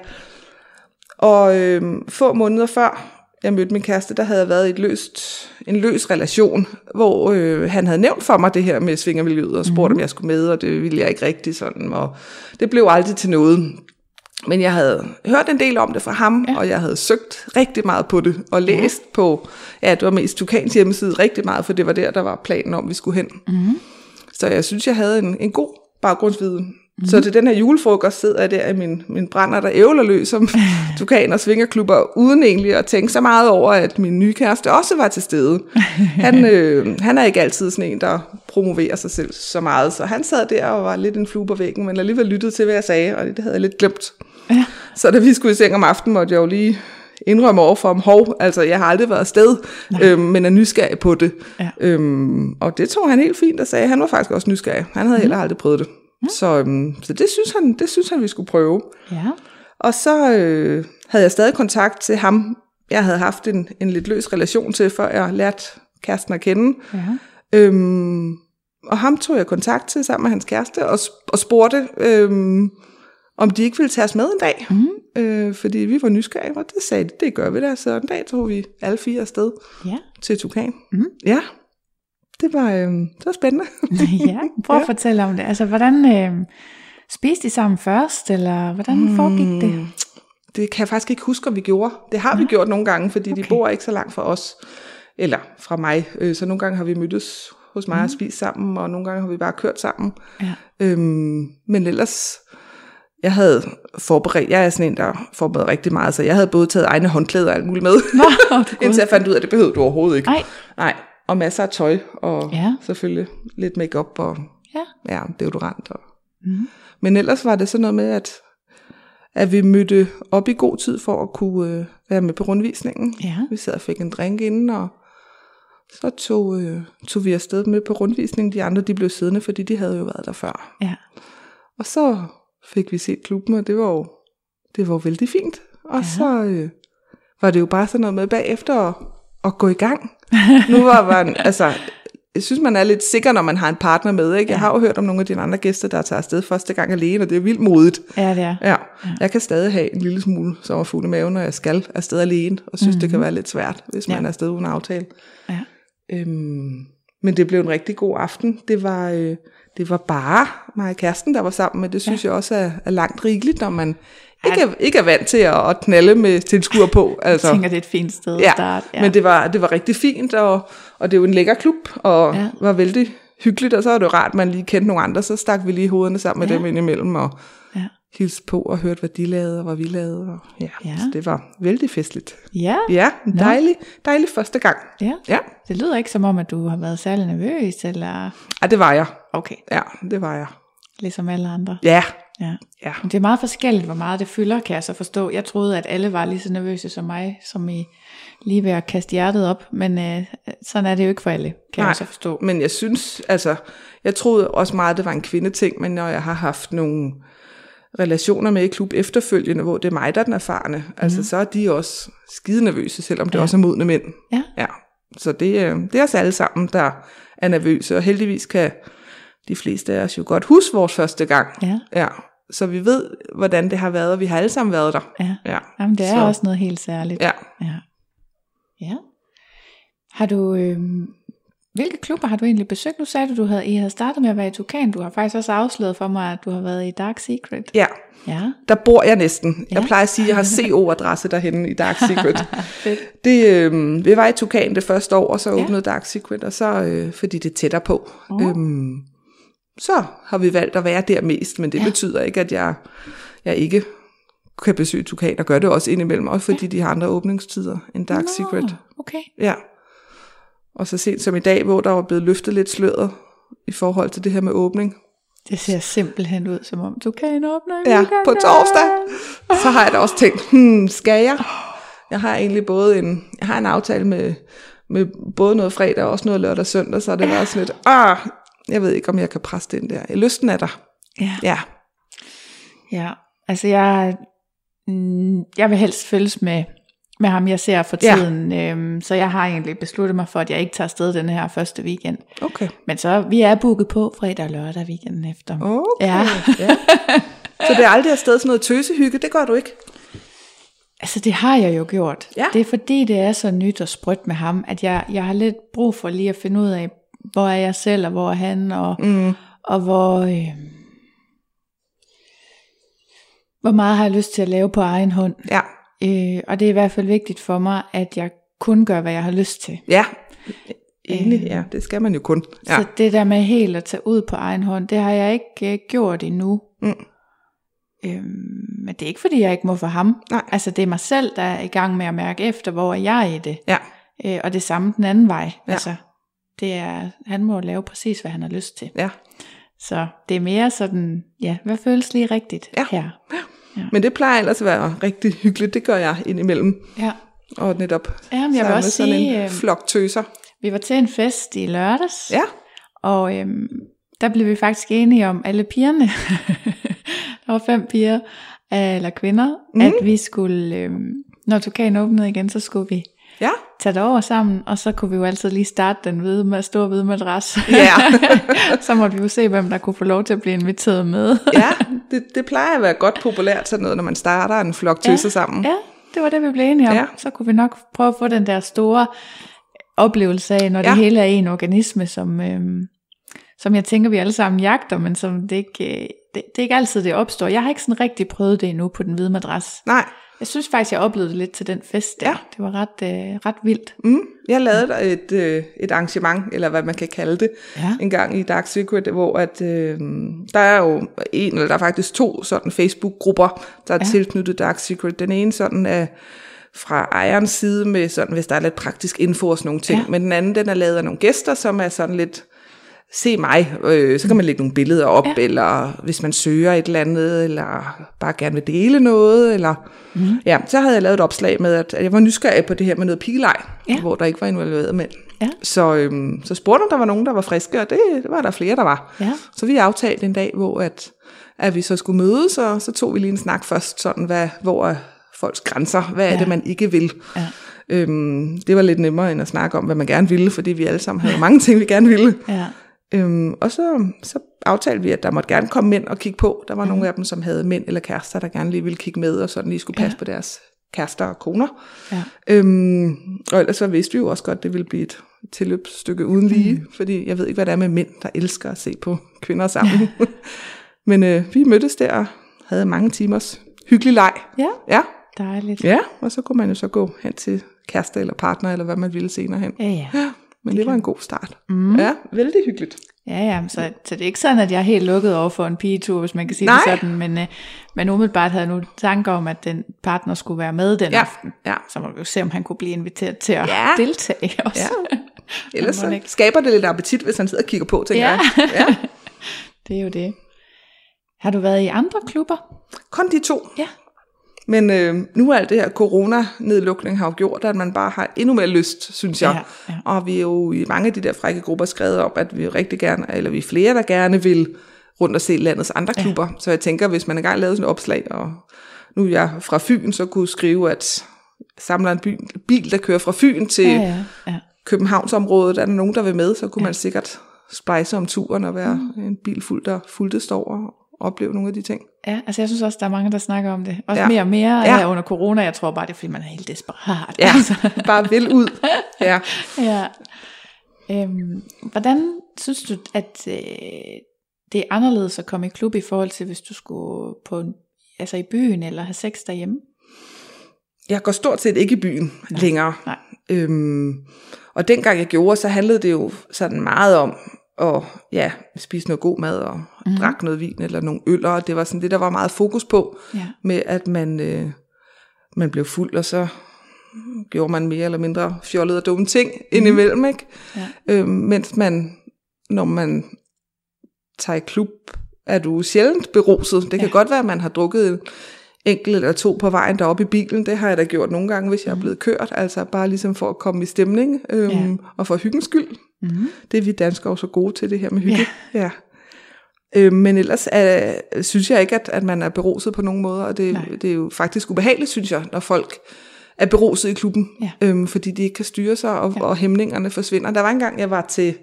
S3: og øhm, få måneder før jeg mødte min kæreste, der havde jeg været i et løst, en løs relation, hvor øh, han havde nævnt for mig det her med svingermiljøet og spurgt, mm-hmm. om jeg skulle med, og det ville jeg ikke rigtig sådan. Og det blev aldrig til noget. Men jeg havde hørt en del om det fra ham, ja. og jeg havde søgt rigtig meget på det, og læst ja. på, ja, det var mest Tukans hjemmeside rigtig meget, for det var der, der var planen om, vi skulle hen. Mm-hmm. Så jeg synes, jeg havde en, en god baggrundsviden. Mm-hmm. Så til den her julefrokost sidder jeg der i min, min brænder, der ævler løs om Tukan og svingerklubber, uden egentlig at tænke så meget over, at min nye kæreste også var til stede. Han, øh, han er ikke altid sådan en, der promoverer sig selv så meget, så han sad der og var lidt en flue på væggen, men alligevel lyttede til, hvad jeg sagde, og det, det havde jeg lidt glemt.
S4: Ja.
S3: Så da vi skulle i seng om aftenen, måtte jeg jo lige indrømme over for ham, hov, altså jeg har aldrig været afsted, øhm, men er nysgerrig på det.
S4: Ja.
S3: Øhm, og det tog han helt fint og sagde, han var faktisk også nysgerrig. Han
S4: Mhm.
S3: havde heller aldrig prøvet det. Så, øhm, så det, synes han, det synes han, vi skulle prøve.
S4: Ja.
S3: Og så øh, havde jeg stadig kontakt til ham. Jeg havde haft en, en lidt løs relation til, før jeg lærte kæresten at kende.
S4: Ja.
S3: Øhm, og ham tog jeg kontakt til sammen med hans kæreste og, sp- og spurgte, øhm, om de ikke ville tage os med en dag. Mm. Øh, fordi vi var nysgerrige, og det sagde de, det gør vi da. Så en dag tog vi alle fire afsted
S4: Ja.
S3: til Tukan.
S4: Mm.
S3: Ja, det var, øhm, det var spændende.
S4: ja. Prøv at fortælle om det. Altså, hvordan øh, spiste I sammen først, eller hvordan
S3: Hmm.
S4: foregik det?
S3: Det kan jeg faktisk ikke huske, om vi gjorde. Det har vi gjort nogle gange, fordi okay. de
S4: Okay.
S3: bor ikke så langt fra os. Eller fra mig. Øh, Så nogle gange har vi mødtes hos mig og spist sammen, og nogle gange har vi bare kørt sammen.
S4: Ja.
S3: Øhm, men ellers, jeg havde forberedt, jeg er sådan en, der forbereder rigtig meget, så jeg havde både taget egne håndklæder og alt muligt med,
S4: Nå, du
S3: indtil jeg fandt ud af, at det behøvede du overhovedet ikke.
S4: Nej.
S3: Nej, og masser af tøj, og
S4: Ja.
S3: ja. selvfølgelig lidt makeup og
S4: Ja.
S3: ja, deodorant. Og. Mm. Men ellers var det sådan noget med, at, at vi mødte op i god tid for at kunne øh, være med på rundvisningen.
S4: Ja.
S3: Vi sad og fik en drink inden, og så tog, øh, tog vi afsted med på rundvisningen. De andre de blev siddende, fordi de havde jo været der før.
S4: Ja.
S3: Og så fik vi set klubben, og det var jo, det var jo vældig fint. Og ja. så øh, var det jo bare sådan noget med bagefter at, at gå i gang. Nu var man, altså, jeg synes, man er lidt sikker, når man har en partner med. Ikke? Jeg har jo hørt om nogle af dine andre gæster, der tager afsted første gang alene, og det er vildt modigt.
S4: Ja, det er.
S3: Ja, jeg kan stadig have en lille smule sommerfugl i maven, når jeg skal afsted alene, og synes, mm-hmm. det kan være lidt svært, hvis man
S4: Ja.
S3: er afsted uden aftale.
S4: Ja.
S3: Øhm, men det blev en rigtig god aften. Det var, øh, det var bare mig og kæresten, der var sammen, men det synes ja. jeg også er, er langt rigeligt, når man ikke er, ikke er vant til at, at knalde med tilskuer på. Altså.
S4: Jeg tænker, det er et fint sted at starte.
S3: Ja. Men det var, det var rigtig fint, og, og det er jo en lækker klub, og
S4: Ja.
S3: ja. var vældig hyggeligt, og så var det jo rart, at man lige kendte nogle andre, så stak vi lige hovederne sammen med
S4: Ja.
S3: dem indimellem, og
S4: ja.
S3: hilste på og hørte, hvad de lavede og hvad vi lavede. Og, ja,
S4: Ja.
S3: ja. Så det var vældig festligt.
S4: Ja.
S3: Ja, en dejlig, dejlig første gang.
S4: ja.
S3: Ja,
S4: Det lyder ikke som om, at du har været særlig nervøs, eller...
S3: ja det var jeg.
S4: Okay,
S3: Ja, det var jeg.
S4: ligesom alle andre.
S3: Ja,
S4: Ja.
S3: ja.
S4: Men Det er meget forskelligt, hvor meget det fylder, kan jeg så forstå. Jeg troede, at alle var lige så nervøse som mig, som i lige ved at kaste hjertet op, men øh, sådan er det jo ikke for alle, kan Nej. jeg så forstå.
S3: Men jeg synes, altså, jeg troede også meget, det var en kvindeting, men når jeg har haft nogle relationer med i klub efterfølgende, hvor det er mig, der er den erfarne, mm.
S4: Mhm.
S3: altså så er de også skide nervøse, selvom det ja. også er modne mænd.
S4: Ja.
S3: Ja, så det, øh, det er os alle sammen, der er nervøse, og heldigvis kan de fleste af os jo godt huske vores første gang.
S4: Ja.
S3: ja. Så vi ved, hvordan det har været, og vi har alle sammen været der.
S4: Ja.
S3: ja.
S4: Jamen, det er
S3: så,
S4: også noget helt særligt.
S3: Ja.
S4: Ja. ja. Har du... Øh, hvilke klubber har du egentlig besøgt? Nu sagde du, du havde, I havde startet med at være i Tukan. Du har faktisk også afsløret for mig, at du har været i Dark Secret.
S3: ja,
S4: Ja.
S3: der bor jeg næsten. Ja.
S4: Ja.
S3: Jeg plejer at sige, at jeg har CO-adresse derhenne i Dark Secret.
S4: Fedt.
S3: Det, øh, vi var i Tukan det første år, og så
S4: Ja.
S3: åbnede Dark Secret, og så, øh, fordi det er tættere på, øhm, så har vi valgt at være der mest, men det ja. betyder ikke, at jeg, jeg ikke kan besøge Tukat, og gør det også indimellem, også fordi ja. de har andre åbningstider end Dark Nå. Secret.
S4: Ah, Okay.
S3: Ja. Og så sent som i dag, hvor der var blevet løftet lidt sløret i forhold til det her med åbning.
S2: Det ser simpelthen ud, som om du kan åbne i
S3: Ja,
S2: weekenden.
S3: på torsdag, så har jeg da også tænkt, hmm, skal jeg? Jeg har egentlig både en, jeg har en aftale med, med både noget fredag og også noget lørdag og søndag, så det var også lidt, ah, jeg ved ikke, om jeg kan presse den der. Øh, Lysten er der.
S2: Ja.
S3: Ja,
S2: ja. Altså jeg, mm, jeg vil helst følges med, med ham, jeg ser for
S3: Ja.
S2: tiden. Ja. Øhm, så jeg har egentlig besluttet mig for, at jeg ikke tager afsted den her første weekend.
S3: okay.
S2: Men så, vi er booket på fredag og lørdag weekenden efter.
S3: Okay.
S2: Ja.
S3: ja. Så det er aldrig afsted sådan noget tøsehygge, det gør du ikke.
S2: Altså det har jeg jo gjort.
S3: Ja.
S2: Det er fordi, det er så nyt og sprødt med ham, at jeg, jeg har lidt brug for lige at finde ud af, hvor er jeg selv, og hvor er han, og, mm. og hvor, øh, hvor meget har jeg lyst til at lave på egen hånd.
S3: Ja,
S2: Øh, og det er i hvert fald vigtigt for mig, at jeg kun gør, hvad jeg har lyst til.
S3: ja. Enig, ja, det skal man jo kun.
S2: Ja.
S3: Ja.
S2: Øh. Så det der med helt at tage ud på egen hånd, det har jeg ikke øh, gjort endnu.
S3: Mm.
S2: Øhm, men det er ikke fordi, jeg ikke må for ham.
S3: Nej.
S2: Altså det er mig selv, der er i gang med at mærke efter, hvor er jeg i det.
S3: Ja,
S2: Øh, og det samme den anden vej.
S3: Ja.
S2: Ja. Altså, det er, han må lave præcis, hvad han har lyst til.
S3: ja.
S2: Så det er mere sådan, ja, hvad føles lige rigtigt
S3: Ja.
S2: her?
S3: Men det plejer ellers at være rigtig hyggeligt, det gør jeg indimellem.
S2: Ja.
S3: Og netop
S2: Ja, men jeg vil
S3: samle
S2: også
S3: sådan
S2: sige,
S3: en
S2: øh,
S3: flok tøser.
S2: Vi var til en fest i lørdags,
S3: Ja,
S2: og øhm, der blev vi faktisk enige om alle pigerne. der var fem piger, øh, eller kvinder, mm. at vi skulle, øhm, når Tukan åbnede igen, så skulle vi
S3: ja,
S2: tage det over sammen, og så kunne vi jo altid lige starte den hvide, ma- store hvide madras.
S3: Ja.
S2: så måtte vi jo se, hvem der kunne få lov til at blive inviteret med.
S3: ja. Det, det plejer at være godt populært sådan noget, når man starter en flok tøser sammen.
S2: Ja, det var det, vi blev enige om.
S3: Ja.
S2: Ja. Så kunne vi nok prøve at få den der store oplevelse af, når ja.
S3: Ja.
S2: det hele er en organisme, som, øhm, som jeg tænker, vi alle sammen jagter, men som det ikke, øh, det, det er ikke altid, det opstår. Jeg har ikke sådan rigtig prøvet det endnu på den hvide madras.
S3: Nej,
S2: Jeg synes faktisk, jeg oplevede det lidt til den fest der.
S3: Ja.
S2: Ja. Det var ret, øh, ret vildt.
S3: Mm. Jeg lavede der et, øh, et arrangement, eller hvad man kan kalde det,
S2: Ja.
S3: en gang i Dark Secret, hvor at, øh, der er jo en, eller der er faktisk to sådan Facebook-grupper, der er ja. tilknyttet Dark Secret. Den ene sådan er fra ejerens side med sådan, hvis der er lidt praktisk info og sådan nogle ting, ja.
S2: Ja.
S3: men den anden den er lavet af nogle gæster, som er sådan lidt se mig, øh, så kan man lægge nogle billeder op, ja. eller hvis man søger et eller andet, eller bare gerne vil dele noget, eller mm.
S2: Mhm.
S3: ja, så havde jeg lavet et opslag med, at at jeg var nysgerrig på det her med noget pigelej, ja.
S2: Ja.
S3: hvor der ikke var involveret mænd.
S2: Ja.
S3: Så, øhm, så spurgte om der var nogen, der var friske, og det, det var der flere, der var.
S2: Ja.
S3: Så vi aftalte en dag, hvor at, at vi så skulle mødes, og så tog vi lige en snak først, sådan, hvad, hvor er folks grænser, hvad er ja.
S2: Ja.
S3: det, man ikke vil.
S2: Ja.
S3: Øhm, det var lidt nemmere end at snakke om, hvad man gerne ville, fordi vi alle sammen havde mange ting, vi gerne ville.
S2: Ja.
S3: Øhm, og så, så aftalte vi, at der måtte gerne komme mænd og kigge på. Der var mm. nogle af dem, som havde mænd eller kærester, der gerne lige ville kigge med, og sådan lige skulle passe ja. på deres kærester og koner.
S2: Ja.
S3: Øhm, og ellers så vidste vi jo også godt, at det ville blive et tilløbsstykke uden lige, mm. fordi jeg ved ikke, hvad det er med mænd, der elsker at se på kvinder sammen. Men øh, vi mødtes der og havde mange timers hyggelig leg.
S2: ja,
S3: Ja.
S2: dejligt.
S3: ja, og så kunne man jo så gå hen til kærester eller partner, eller hvad man ville senere hen.
S2: Ja, ja.
S3: Men det var en god start. Mm. Ja, vældig hyggeligt.
S2: Ja, ja, men så, så det er ikke sådan, at jeg er helt lukket over for en pigetur, hvis man kan sige
S3: Nej.
S2: det sådan, men, øh, men umiddelbart havde jeg nu tanker om, at den partner skulle være med den
S3: Ja,
S2: aften.
S3: ja.
S2: Så må vi jo se, om han kunne blive inviteret til at
S3: Ja.
S2: ja. deltage også.
S3: Ja. Ellers
S2: Han må
S3: så
S2: ikke.
S3: skaber det lidt appetit, hvis han sidder og kigger på, tænker
S2: Ja.
S3: jeg. Ja.
S2: Det er jo det. Har du været i andre klubber?
S3: Kun de to.
S2: Ja.
S3: Men øh, nu er alt det her corona-nedlukning har jo gjort, at man bare har endnu mere lyst, synes jeg.
S2: Ja, ja.
S3: Og vi er jo i mange af de der frække grupper skrevet om, at vi jo rigtig gerne, eller vi er flere, der gerne vil rundt og se landets andre klubber. Så jeg tænker, hvis man engang lavede sådan et opslag, og nu er jeg fra Fyn, så kunne skrive, at samler en by, bil, der kører fra Fyn til ja, ja.
S2: ja, ja.
S3: Københavnsområdet, er der nogen, der vil med, så kunne man sikkert splice om turen og være mm. en bil fuld, der fulgte står og opleve nogle af de ting.
S2: Ja, altså jeg synes også, der er mange, der snakker om det. Også
S3: Ja.
S2: ja. mere og mere
S3: Ja.
S2: ja. under corona. Jeg tror bare, det er, fordi man er helt desperat.
S3: Ja,
S2: Altså,
S3: bare vil ud. Ja.
S2: ja. Øhm, hvordan synes du, at øh, det er anderledes at komme i klub i forhold til, hvis du skulle på en, altså i byen eller have sex derhjemme?
S3: Jeg går stort set ikke i byen nej, længere.
S2: nej.
S3: Øhm, og dengang jeg gjorde, så handlede det jo sådan meget om og ja, spiste noget god mad og mm. drak noget vin eller nogle øller, og det var sådan det, der var meget fokus på,
S2: Ja.
S3: med at man, øh, man blev fuld, og så gjorde man mere eller mindre fjollede og dumme ting indimellem, ikke?
S2: Mhm. Ja.
S3: Øh, mens man, når man tager i klub, er du sjældent beruset. Det kan
S2: Ja.
S3: godt være, at man har drukket en enkelt eller to på vejen deroppe i bilen. Det har jeg da gjort nogle gange, hvis jeg er blevet kørt. Altså bare ligesom for at komme i stemning øhm,
S2: Mhm. Ja.
S3: og for hyggens skyld.
S2: Mm-hmm.
S3: Det er vi danskere jo så gode til, det her med hygge. Ja. ja. Øh, men ellers øh, synes jeg ikke, at, at man er beruset på nogen måder, og det,
S2: Nej.
S3: det er jo faktisk ubehageligt, synes jeg, når folk er beruset i klubben,
S2: Ja.
S3: øhm, fordi de ikke kan styre sig, og, ja. og hæmningerne forsvinder. Der var engang, jeg var til,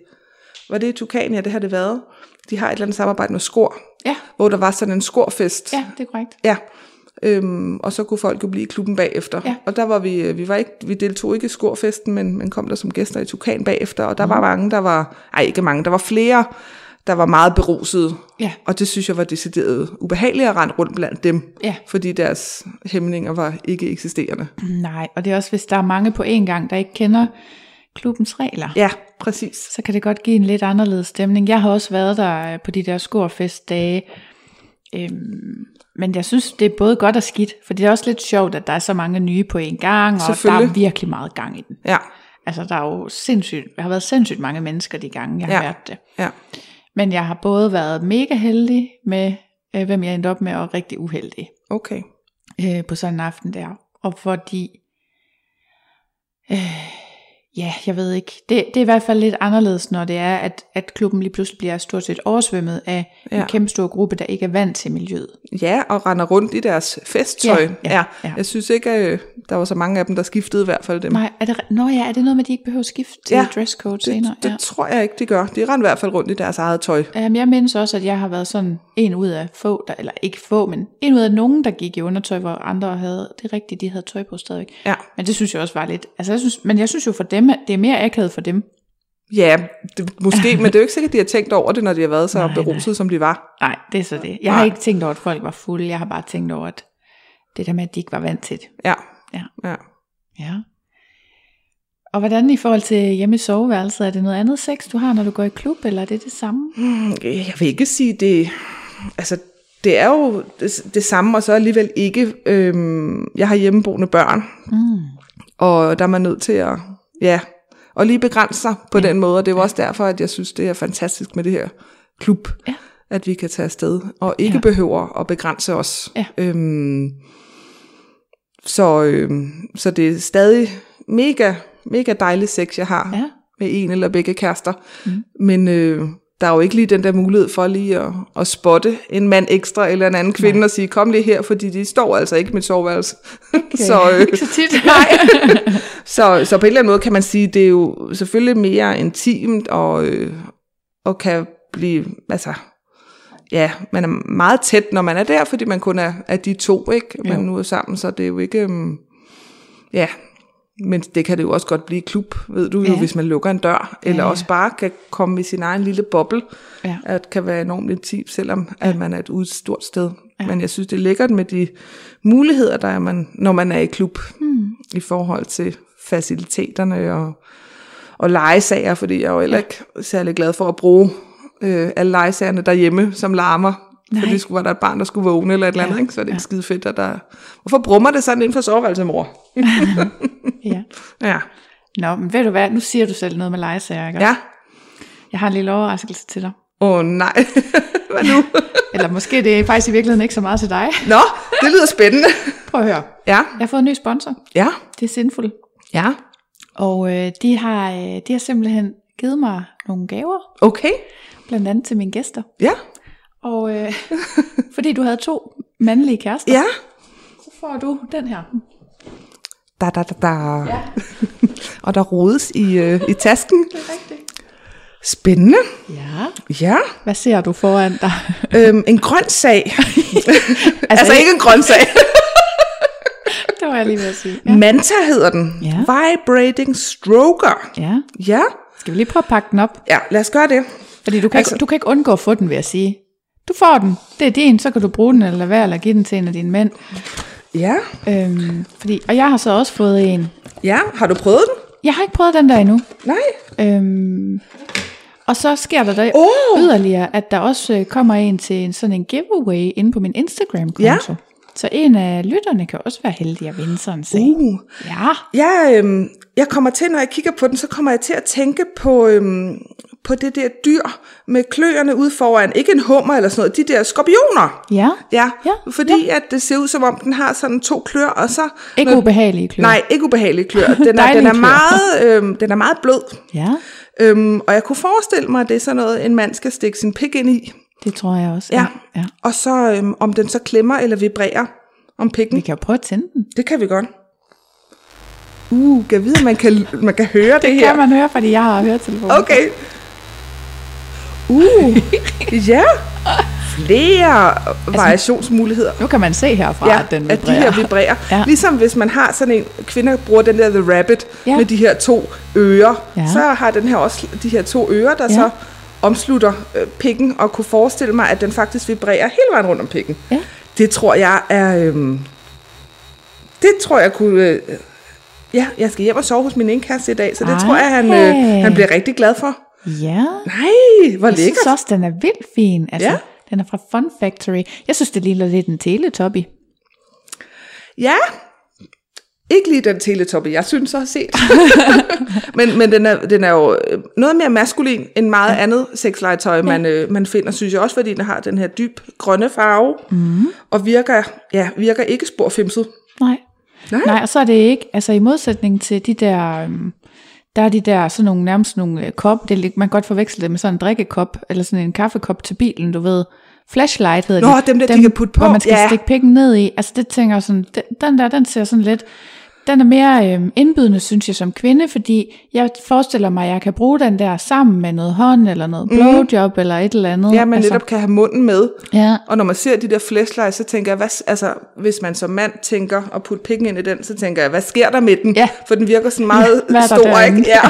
S3: var det i Tukania, det har det været, de har et eller andet samarbejde med Skor,
S2: ja,
S3: hvor der var sådan en Skorfest.
S2: ja, det er korrekt.
S3: Ja. Øhm, og så kunne folk jo blive i klubben bagefter.
S2: Ja.
S3: Og der var vi, øh, vi var ikke, vi deltog ikke i skorfesten, men, men kom der som gæster i Tukan bagefter,
S2: Mhm.
S3: og der mm. var mange, der var, ej ikke mange, der var flere, der var meget berusede.
S2: Ja.
S3: Og det synes jeg var decideret ubehageligt at rende rundt blandt dem,
S2: Ja.
S3: fordi deres hæmninger var ikke eksisterende.
S2: Nej, og det er også, hvis der er mange på én gang, der ikke kender klubbens regler.
S3: Ja, præcis.
S2: så kan det godt give en lidt anderledes stemning. Jeg har også været der øh, på de der skorfestdage, øhm, men jeg synes, det er både godt og skidt, for det er også lidt sjovt, at der er så mange nye på en gang, og der er
S3: Selvfølgelig.
S2: virkelig meget gang i den.
S3: Ja,
S2: Altså, der er jo sindssygt, der har været sindssygt mange mennesker de gange, jeg har
S3: Ja.
S2: ja. været det.
S3: ja,
S2: Men jeg har både været mega heldig med, øh, hvem jeg endte op med, og rigtig uheldig
S3: okay.
S2: øh, på sådan en aften der. Og fordi, øh, ja, jeg ved ikke, det, det er i hvert fald lidt anderledes, når det er, at, at klubben lige pludselig bliver stort set oversvømmet af ja.
S3: Ja. Mm.
S2: en kæmpe stor gruppe, der ikke er vant til miljøet.
S3: Ja, og render rundt i deres festtøj.
S2: Ja, ja, ja.
S3: Jeg synes ikke, at der var så mange af dem, der skiftede i hvert fald dem.
S2: Nej, er det, re- nå ja, er det noget med, at de ikke behøver at skifte til
S3: Ja,
S2: ja, dresscode det, senere?
S3: Det, det
S2: ja.
S3: tror jeg ikke, de gør. De render i hvert fald rundt i deres eget tøj.
S2: Jamen, Øhm, jeg mindes også, at jeg har været sådan en ud af få, der, eller ikke få, men en ud af nogen, der gik i undertøj, hvor andre havde, det er rigtigt, de havde tøj på stadigvæk.
S3: Ja.
S2: Men det synes jeg også var lidt, altså jeg synes, men jeg synes jo for dem, at det er mere akavet for dem.
S3: Ja, det, måske, men det er jo ikke sikkert, at de har tænkt over det, når de har været så
S2: Nej, nej.
S3: beruset, som de var.
S2: Nej, det er så det. Jeg har
S3: Nej.
S2: ikke tænkt over, at folk var fulde. Jeg har bare tænkt over, at det der med, at de ikke var vant til det.
S3: Ja.
S2: Ja.
S3: ja.
S2: Ja. Og hvordan i forhold til hjemme i soveværelset, er det noget andet sex, du har, når du går i klub, eller er det det samme?
S3: Hmm, Jeg vil ikke sige det... Altså, det er jo det, det samme, og så alligevel ikke... Øhm, jeg har hjemmeboende børn,
S2: Mm.
S3: og der er man nødt til at... Ja, og lige begrænse sig på ja. den måde, og det er jo også derfor, at jeg synes, det er fantastisk med det her klub,
S2: Ja.
S3: at vi kan tage afsted, og ikke
S2: Ja.
S3: ja. behøver at begrænse os.
S2: Ja.
S3: Øhm, så, øhm, så det er stadig mega, mega dejlig sex, jeg har
S2: Ja.
S3: med en eller begge kærester,
S2: Mm.
S3: men øh, der er jo ikke lige den der mulighed for lige at, at spotte en mand ekstra eller en anden kvinde og sige, kom lige her, fordi de står altså ikke i mit soveværelse. Okay. så, øh,
S2: Ikke så tit. Nej.
S3: så, så på en eller anden måde kan man sige, det er jo selvfølgelig mere intimt og, øh, og kan blive, altså, ja, man er meget tæt, når man er der, fordi man kun er, er de to, ikke? Man
S2: Jo.
S3: nu er sammen, så det er jo ikke, um, ja, men det kan det jo også godt blive i klub, ved du jo,
S2: Ja.
S3: hvis man lukker en dør, eller
S2: ja.
S3: også bare kan komme i sin egen lille boble,
S2: Ja.
S3: at kan være enormt intimt, selvom at man er et ude stort sted. Ja. Men jeg synes, det er lækkert med de muligheder, der er, man, når man er i klub, mm. i forhold til faciliteterne og, og legesager, fordi jeg er jo heller ikke særlig glad for at bruge øh, alle legesagerne derhjemme, som larmer.
S2: Nej.
S3: Fordi skulle var der et barn, der skulle vågne eller et eller
S2: Ja,
S3: andet, ikke? så er det ikke skide fedt, at der... Hvorfor brummer det sådan inden for soveværelset, mor?
S2: ja.
S3: Ja.
S2: Nå, men ved du hvad, nu siger du selv noget med legesager, ikke?
S3: Ja.
S2: Jeg har en lille overraskelse til dig.
S3: Åh oh, nej. Hvad nu?
S2: Eller måske det er faktisk i virkeligheden ikke så meget til dig.
S3: Nå, det lyder spændende.
S2: Prøv at høre.
S3: Ja.
S2: Jeg har fået en ny sponsor.
S3: Ja.
S2: Det er Sinful.
S3: Ja.
S2: Og øh, de, har, øh, de har simpelthen givet mig nogle gaver,
S3: Okay.
S2: blandt andet til mine gæster.
S3: Ja.
S2: Og øh, fordi du havde to mandlige kærester,
S3: Ja.
S2: så får du den her.
S3: Da, da, da, da. Ja. og der rodes i, øh, i tasken.
S2: Rigtigt.
S3: Spændende.
S2: Ja.
S3: Ja.
S2: Hvad ser du foran dig?
S3: Øhm, en grøntsag.
S2: Altså,
S3: altså ikke en grøntsag.
S2: det var jeg lige ved at sige. Ja.
S3: Manta hedder den.
S2: Ja.
S3: Vibrating stroker.
S2: ja.
S3: Ja.
S2: Skal vi lige prøve at pakke den op?
S3: Ja, lad os gøre det.
S2: Fordi du kan, altså,
S3: Altså-
S2: ikke, du kan ikke undgå at få den, vil jeg sige. Du får den. Det er din, så kan du bruge den eller lade være, eller give den til en af dine mænd.
S3: Ja.
S2: Øhm, fordi, og jeg har så også fået en.
S3: Ja, har du prøvet den?
S2: Jeg har ikke prøvet den der endnu.
S3: Nej.
S2: Øhm, Og så sker der der
S3: Åh!
S2: oh! yderligere, at der også øh, kommer en til en sådan en giveaway inde på min Instagram-konto.
S3: Ja.
S2: Så en af lytterne kan også være heldig at vinde sådan en sag.
S3: Uh.
S2: Ja,
S3: Jeg, øhm, jeg kommer til, når jeg kigger på den, så kommer jeg til at tænke på, øhm, på det der dyr med kløerne ude foran. Ikke en hummer eller sådan noget, de der skorpioner.
S2: ja.
S3: Ja,
S2: Ja,
S3: fordi ja. at det ser ud som om, den har sådan to klør, og så...
S2: Ikke
S3: når-
S2: ubehagelige klør.
S3: Nej, ikke ubehagelige klør. Den er, den
S2: Dejlige
S3: er,
S2: klør.
S3: meget, øhm, den er meget blød.
S2: Ja,
S3: Øhm, og jeg kunne forestille mig, at det er sådan noget, en mand skal stikke sin pik ind i.
S2: det tror jeg også.
S3: Ja.
S2: ja.
S3: Og så øhm, om den så klemmer eller vibrerer om pikken.
S2: Vi kan jo prøve at tænde den.
S3: Det kan vi godt. Uh, kan jeg vide, om man kan, man kan høre det, det her?
S2: Kan man høre, fordi jeg har høretelefoner.
S3: Okay. Uh, ja. Flere
S2: Altså-
S3: variationsmuligheder.
S2: Nu kan man se herfra,
S3: Ja,
S2: at den
S3: at de
S2: vibrerer.
S3: her vibrerer.
S2: Ja.
S3: Ligesom hvis man har sådan en, kvinder bruger den der The Rabbit
S2: Ja.
S3: med de her to ører,
S2: Ja.
S3: så har den her også de her to ører, der
S2: Ja.
S3: så omslutter øh, pikken, og kunne forestille mig, at den faktisk vibrerer hele vejen rundt om pikken.
S2: Ja.
S3: Det tror jeg er... Øhm, det tror jeg kunne... Øh, ja, jeg skal hjem og sove hos min indkæreste i dag, så det Ej.
S2: Ej.
S3: tror jeg, han, øh, han bliver rigtig glad for.
S2: Ja.
S3: Nej, hvor
S2: Jeg synes
S3: lækkert.
S2: også, den er vildt fin. Altså,
S3: Ja.
S2: Den er fra Fun Factory. Jeg synes, det ligner lidt en teletubby.
S3: Ja, ikke lige den teletoppe, jeg synes jeg har set. men men den, er, den er jo øh, noget mere maskulin end meget ja. andet sexlegetøj, man, øh, man finder, synes jeg også, fordi den har den her dyb grønne farve,
S2: Mhm.
S3: mm. og virker, ja, virker ikke spor femset.
S2: Nej.
S3: Nej.
S2: Nej, og så er det ikke, altså i modsætning til de der, øhm, der er de der sådan nogle, nærmest nogle øh, kop, det, er lidt- man kan godt forveksle det med sådan en drikkekop, eller sådan en kaffekop til bilen, du ved. Flashlight hedder
S3: Nå,
S2: de.
S3: dem der, de kan putte på.
S2: Hvor man skal
S3: Ja.
S2: stikke pikken ned i. Altså det tænker jeg sådan, den, den der, den ser sådan lidt, den er mere øhm, indbydende, synes jeg, som kvinde, fordi jeg forestiller mig, at jeg kan bruge den der sammen med noget hånd, eller noget blowjob, mm. eller et eller andet.
S3: Mhm. Ja, man altså. netop kan have munden med.
S2: Ja.
S3: Og når man ser de der flashlights, så tænker jeg, hvad, s- altså, hvis man som mand tænker at putte pikken ind i den, så tænker jeg, hvad sker der med den?
S2: Ja.
S3: For den virker sådan meget
S2: hvad er der
S3: stor,
S2: derinde?
S3: ikke? Ja.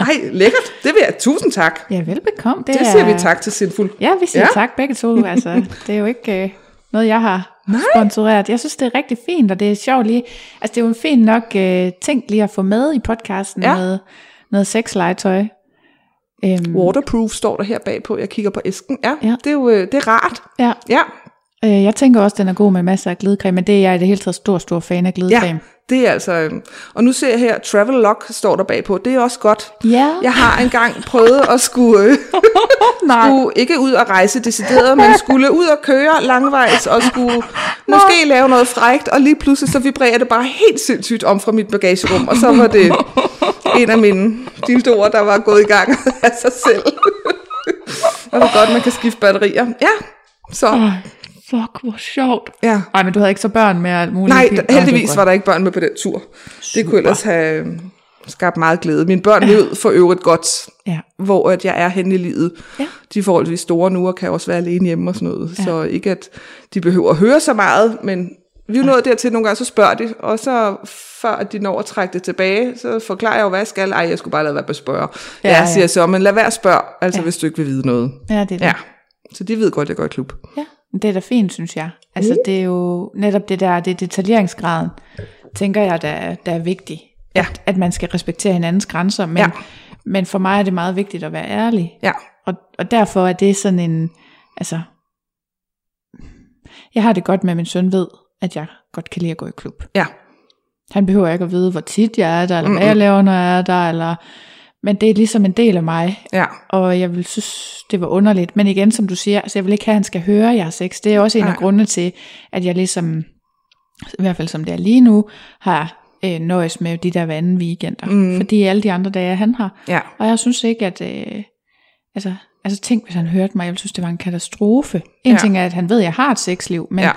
S3: Ej, lækkert. Det vil jeg. Tusind tak.
S2: Ja, velbekomme. Det,
S3: Det
S2: er-
S3: siger vi tak til Sindfuld.
S2: Ja, vi siger
S3: Ja.
S2: ja. tak begge to. Altså, det er jo ikke øh, noget, jeg har Nej. sponsoreret. Jeg synes, det er rigtig fint, og det er sjovt lige. Altså, det er jo en fin nok øh, ting lige at få med i podcasten
S3: Ja.
S2: ja. med noget sexlegetøj. Øhm,
S3: Waterproof står der her bagpå. Jeg kigger på æsken. Ja, ja.
S2: Ja.
S3: det er jo øh, det er rart.
S2: ja.
S3: Ja,
S2: øh, jeg tænker også, den er god med masser af glidecreme, men det er jeg i det hele taget stor, stor fan af
S3: ja.
S2: glidecreme.
S3: Det er altså... øh, Og nu ser jeg her, Travel Lock står der bagpå. Det er også godt.
S2: Ja.
S3: Jeg har engang prøvet at skulle, øh, skulle ikke ud og rejse decideret, men skulle ud og køre langvejs og skulle måske lave noget frægt, og lige pludselig så vibrerer det bare helt sindssygt om fra mit bagagerum, og så var det en af mine dildoer, der var gået i gang af sig selv. og det er godt, man kan skifte batterier. Ja, så
S2: Ej, fuck, hvor sjovt.
S3: ja.
S2: Ej, men du havde ikke så børn med alt muligt.
S3: Nej,
S2: Fint.
S3: d- heldigvis
S2: Nå,
S3: var der ikke børn med på den tur. Det kunne ellers have øh, skabt meget glæde. Mine børn levede for øvrigt godt
S2: Ja.
S3: hvor at jeg er henne i livet.
S2: Ja.
S3: De er forholdsvis store nu, og kan også være alene hjemme og sådan noget. Ja. Så ikke at de behøver at høre så meget, men vi er jo nået dertil, nogle gange så spørger de, og så før at de når at trække det tilbage, så forklarer jeg jo, hvad jeg skal. Ej, jeg skulle bare lade være med at spørge. Ja,
S2: Ja,
S3: ja,
S2: ja.
S3: siger jeg så, men lad være at spørge, altså ja.
S2: Ja.
S3: hvis du ikke vil vide noget.
S2: Ja, det er det.
S3: Ja, så de ved godt, at jeg går i klub.
S2: Ja, men det er da fint, synes jeg. Altså, mm. det er jo netop det der, det er detaljeringsgraden, tænker jeg, der, er- der er vigtig.
S3: Ja.
S2: At, at man skal respektere hinandens grænser, men,
S3: Ja.
S2: ja. men for mig er det meget vigtigt at være ærlig.
S3: Ja,
S2: Og, og derfor er det sådan en, altså, jeg har det godt med, at min søn ved, at jeg godt kan lide at gå i klub.
S3: ja,
S2: Han behøver ikke at vide, hvor tit jeg er der, eller hvad jeg laver, når jeg er der, eller, men det er ligesom en del af mig,
S3: ja.
S2: og jeg vil synes, det var underligt. Men igen, som du siger, altså jeg vil ikke have, at han skal høre, at jeg har sex. Det er også en
S3: Nej.
S2: af grundene til, at jeg ligesom, i hvert fald som det er lige nu, har øh, nøjes med de der hver anden weekender.
S3: Mm.
S2: Mm. Fordi alle de andre dage, han har.
S3: Ja.
S2: Og jeg synes ikke, at... Øh, altså, altså tænk, hvis han hørte mig. Jeg ville synes, det var en katastrofe. En
S3: Ja.
S2: ja. ting er, at han ved, at jeg har et sexliv. Men,
S3: Ja.
S2: ja.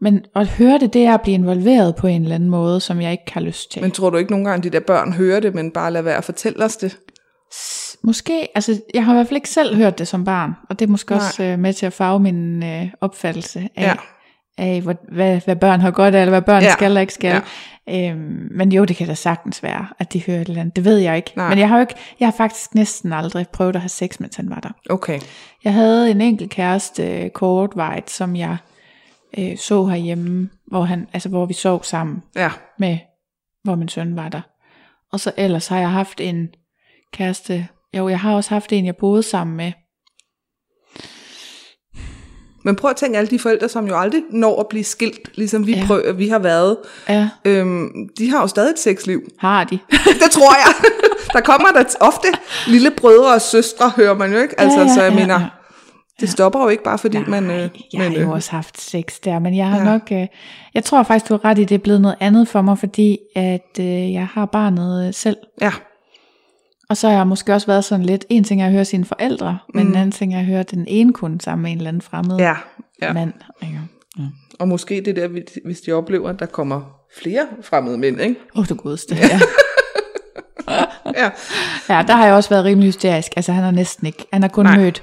S2: men at høre det, det er at blive involveret på en eller anden måde, som jeg ikke har lyst til.
S3: Men tror du ikke nogle gange, de der børn hører det, men bare lad være at fortælle os det?
S2: Måske, altså jeg har i hvert fald ikke selv hørt det som barn, og det er måske
S3: Nej.
S2: Nej. også øh, med til at farve min øh, opfattelse af,
S3: Ja.
S2: ja. af hvor, hvad, hvad børn har godt af, eller hvad børn
S3: Ja.
S2: ja. skal og ikke skal. Ja. Øhm, men jo, det kan da sagtens være, at de hører et eller andet. Det ved jeg ikke.
S3: Nej.
S2: Men jeg har jo ikke, jeg har faktisk næsten aldrig prøvet at have sex, mens han var der.
S3: Okay.
S2: Jeg havde en enkelt kæreste, øh, Kort White, som jeg øh, så herhjemme, hvor, han, altså, hvor vi sov sammen
S3: Ja,
S2: med, hvor min søn var der. Og så ellers har jeg haft en kæreste, Jo, jeg har også haft en, jeg boede sammen med.
S3: Men prøv at tænke alle de forældre, som jo aldrig når at blive skilt, ligesom vi, ja.
S2: Ja.
S3: prøver, vi har været.
S2: Ja,
S3: Øhm, de har jo stadig et sexliv.
S2: har de.
S3: Det tror jeg. Der kommer der ofte lille brødre og søstre, hører man jo ikke. Altså,
S2: Ja, ja,
S3: så jeg
S2: ja,
S3: mener,
S2: ja.
S3: det stopper jo ikke bare fordi man... Øh,
S2: Jeg har
S3: men,
S2: jo
S3: øh,
S2: også haft sex der, men jeg har
S3: Ja.
S2: ja. nok... Øh, jeg tror faktisk, du har ret i, det er blevet noget andet for mig, fordi at øh, jeg har barnet øh, selv.
S3: ja,
S2: Og så har jeg måske også været sådan lidt... En ting er at høre sine forældre, men en anden ting er at høre den ene kunde sammen med en eller anden fremmed
S3: Mm. ja, ja.
S2: mand. ikke?
S3: Og måske det der, hvis- hvis de oplever, at der kommer flere fremmede mænd, ikke?
S2: Åh, oh, du godeste. Ja.
S3: Ja.
S2: ja, der har jeg også været rimelig hysterisk. Altså, han har næsten ikke... Han har kun
S3: Nej.
S2: Nej. mødt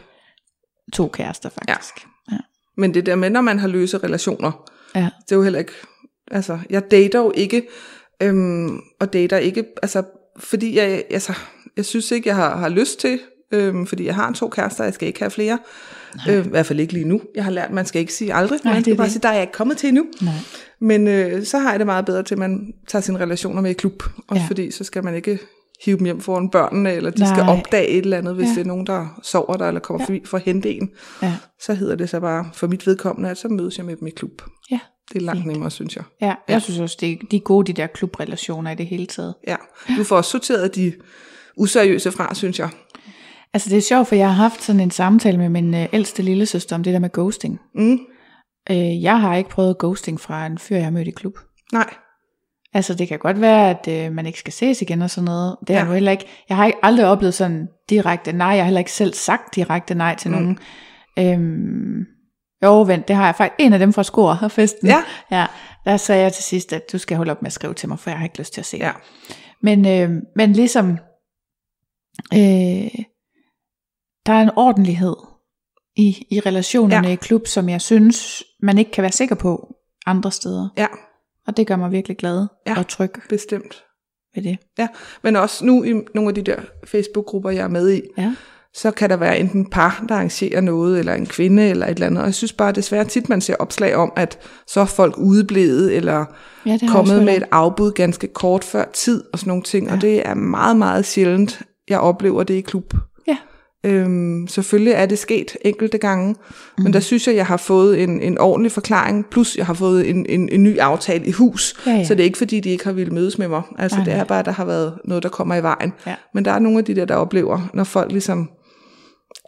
S2: to kærester, faktisk. Ja.
S3: Men det der med, når man har løse relationer,
S2: ja.
S3: det er jo heller ikke, altså, jeg dater jo ikke, øhm, og dater ikke, altså, fordi jeg, altså, jeg synes ikke, jeg har, har lyst til, øhm, fordi jeg har to kærester, jeg skal ikke have flere, øh, i hvert fald ikke lige nu, jeg har lært, man skal ikke sige aldrig,
S2: Nej,
S3: man
S2: det
S3: skal
S2: er
S3: bare
S2: det.
S3: sige, der er jeg ikke kommet til endnu,
S2: Nej.
S3: men øh, så har jeg det meget bedre til, at man tager sine relationer med i klub, også
S2: Ja.
S3: fordi så skal man ikke hive dem hjem foran børnene, eller de Nej. skal
S2: Nej.
S3: opdage et eller andet, hvis ja.
S2: Ja.
S3: det er nogen, der sover der, eller kommer ja. forbi for at hente en,
S2: Ja.
S3: så hedder det så bare, for mit vedkommende, at så mødes jeg med dem i klub.
S2: Ja.
S3: Det er langt nemmere, synes jeg.
S2: Ja, jeg synes også, det er, de er gode, de der klubrelationer i det hele taget.
S3: Ja, du får også sorteret de useriøse fra, synes jeg.
S2: Altså det er sjovt, for jeg har haft sådan en samtale med min øh, ældste lille søster om det der med ghosting.
S3: Mm.
S2: Øh, jeg har ikke prøvet ghosting fra en fyr, jeg har mødt i klub.
S3: Nej,
S2: Altså det kan godt være, at øh, man ikke skal ses igen og sådan noget. Det har
S3: Ja.
S2: jeg nu heller ikke. Jeg har ikke aldrig oplevet sådan direkte nej. Jeg har heller ikke selv sagt direkte nej til
S3: Mm.
S2: mm. nogen. Øhm, jo, vent, det har jeg faktisk. En af dem fra Skor og festen.
S3: Ja.
S2: ja. Der sagde jeg til sidst, at du skal holde op med at skrive til mig, for jeg har ikke lyst til at se
S3: ja.
S2: dig. Men, øh, men ligesom, øh, der er en ordentlighed i, i relationerne
S3: Ja.
S2: ja. i klub, som jeg synes, man ikke kan være sikker på andre steder.
S3: Ja,
S2: Og det gør mig virkelig glad
S3: Ja.
S2: ja. og tryg
S3: bestemt.
S2: ved det.
S3: Ja, men også nu i nogle af de der Facebook-grupper, jeg er med i,
S2: Ja.
S3: så kan der være enten par, der arrangerer noget, eller en kvinde, eller et eller andet. Og jeg synes bare desværre tit, man ser opslag om, at så er folk udeblevet, eller
S2: Ja, det har jeg også
S3: kommet
S2: hørt
S3: med
S2: om.
S3: et afbud ganske kort før tid, og sådan nogle ting. Ja. Og det er meget, meget sjældent, jeg oplever det i klub.
S2: Ja.
S3: Øhm, selvfølgelig er det sket enkelte gange, mm.
S2: Mhm.
S3: men der synes jeg, jeg har fået en, en ordentlig forklaring, plus jeg har fået en, en, en ny aftale i hus,
S2: Ja, ja.
S3: så det er ikke fordi, de ikke har ville mødes med mig. Altså
S2: Nej,
S3: det er
S2: nej.
S3: bare, der har været noget, der kommer i vejen.
S2: Ja.
S3: Men der er nogle af de der, der oplever, når folk ligesom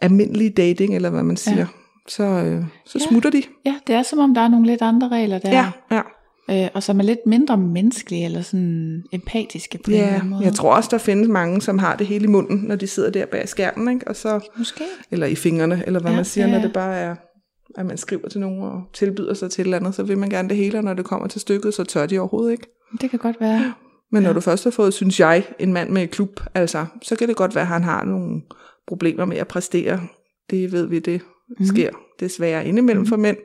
S3: almindelig dating, eller hvad man siger, ja. så, øh, så
S2: Ja.
S3: smutter de.
S2: ja, det er som om, der er nogle lidt andre regler der.
S3: Ja, ja.
S2: Øh, og som er lidt mindre menneskelige eller sådan empatiske på en eller
S3: ja.
S2: anden måde.
S3: Jeg tror også, der findes mange, som har det hele i munden, når de sidder der bag skærmen, ikke? Og så,
S2: Måske.
S3: eller i fingrene, eller hvad ja,
S2: Ja,
S3: man siger,
S2: ja,
S3: når
S2: ja.
S3: det bare er, at man skriver til nogen og tilbyder sig til et eller andet, så vil man gerne det hele, og når det kommer til stykket, så tør de overhovedet ikke.
S2: Det kan godt være.
S3: Men ja. når du først har fået, synes jeg, en mand med et klub, altså, så kan det godt være, at han har nogle problemer med at præstere. Det ved vi, det mm. sker desværre indimellem mm. for mænd.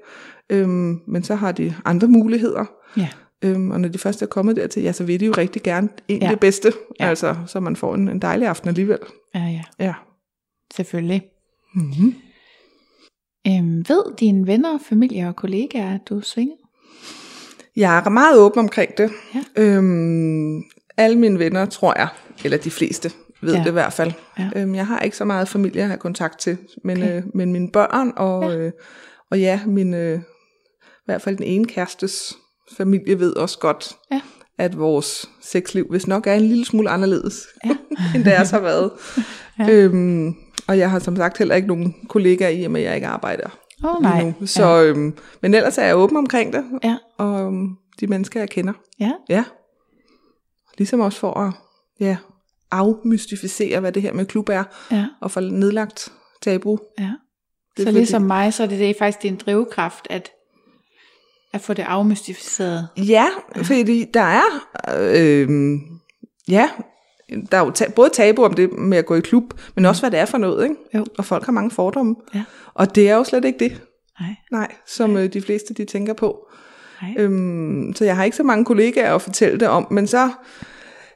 S3: Øhm, men så har de andre muligheder.
S2: Ja.
S3: Øhm, og når de først er kommet dertil, ja, så vil de jo rigtig gerne en ja.
S2: Ja.
S3: det bedste. Ja.
S2: Ja.
S3: Altså, så man får en, en dejlig aften alligevel.
S2: Ja, ja.
S3: Ja.
S2: Selvfølgelig.
S3: Mm-hmm.
S2: Øhm, ved dine venner, familie og kollegaer, at du svinger?
S3: Jeg er meget åben omkring det.
S2: Ja.
S3: Øhm, alle mine venner, tror jeg, eller de fleste, ved ja.
S2: Ja.
S3: det i hvert fald.
S2: Ja.
S3: Øhm, jeg har ikke så meget familie at have kontakt til, men, okay.
S2: Okay.
S3: øh, men mine børn og ja, øh, og ja min, øh, i hvert fald den ene kærestes familie ved også godt,
S2: Ja.
S3: at vores sexliv, hvis nok er en lille smule anderledes, ja. end deres har været. ja. øhm, og jeg har som sagt heller ikke nogen kollegaer i, og med at jeg ikke arbejder
S2: Åh oh,
S3: lige
S2: nej.
S3: nu. Så, ja. øhm, men ellers er jeg åben omkring det,
S2: Ja.
S3: og øhm, de mennesker, jeg kender.
S2: Ja.
S3: Ja. Ligesom også for at ja, afmystificere, hvad det her med klub er,
S2: Ja.
S3: og få nedlagt tabu.
S2: ja.
S3: Det er
S2: Så
S3: fordi-
S2: ligesom mig, så er det, det er faktisk din drivkraft, at, at få det afmystificeret.
S3: Ja, fordi der er, øh, ja, der er jo ta- både tabu om det med at gå i klub, men også hvad det er for noget, ikke?
S2: Jo.
S3: Og folk har mange fordomme.
S2: Ja.
S3: Og det er jo slet ikke det,
S2: Nej,
S3: nej, som øh, de fleste de tænker på.
S2: nej.
S3: Øhm, så jeg har ikke så mange kollegaer at fortælle det om, men så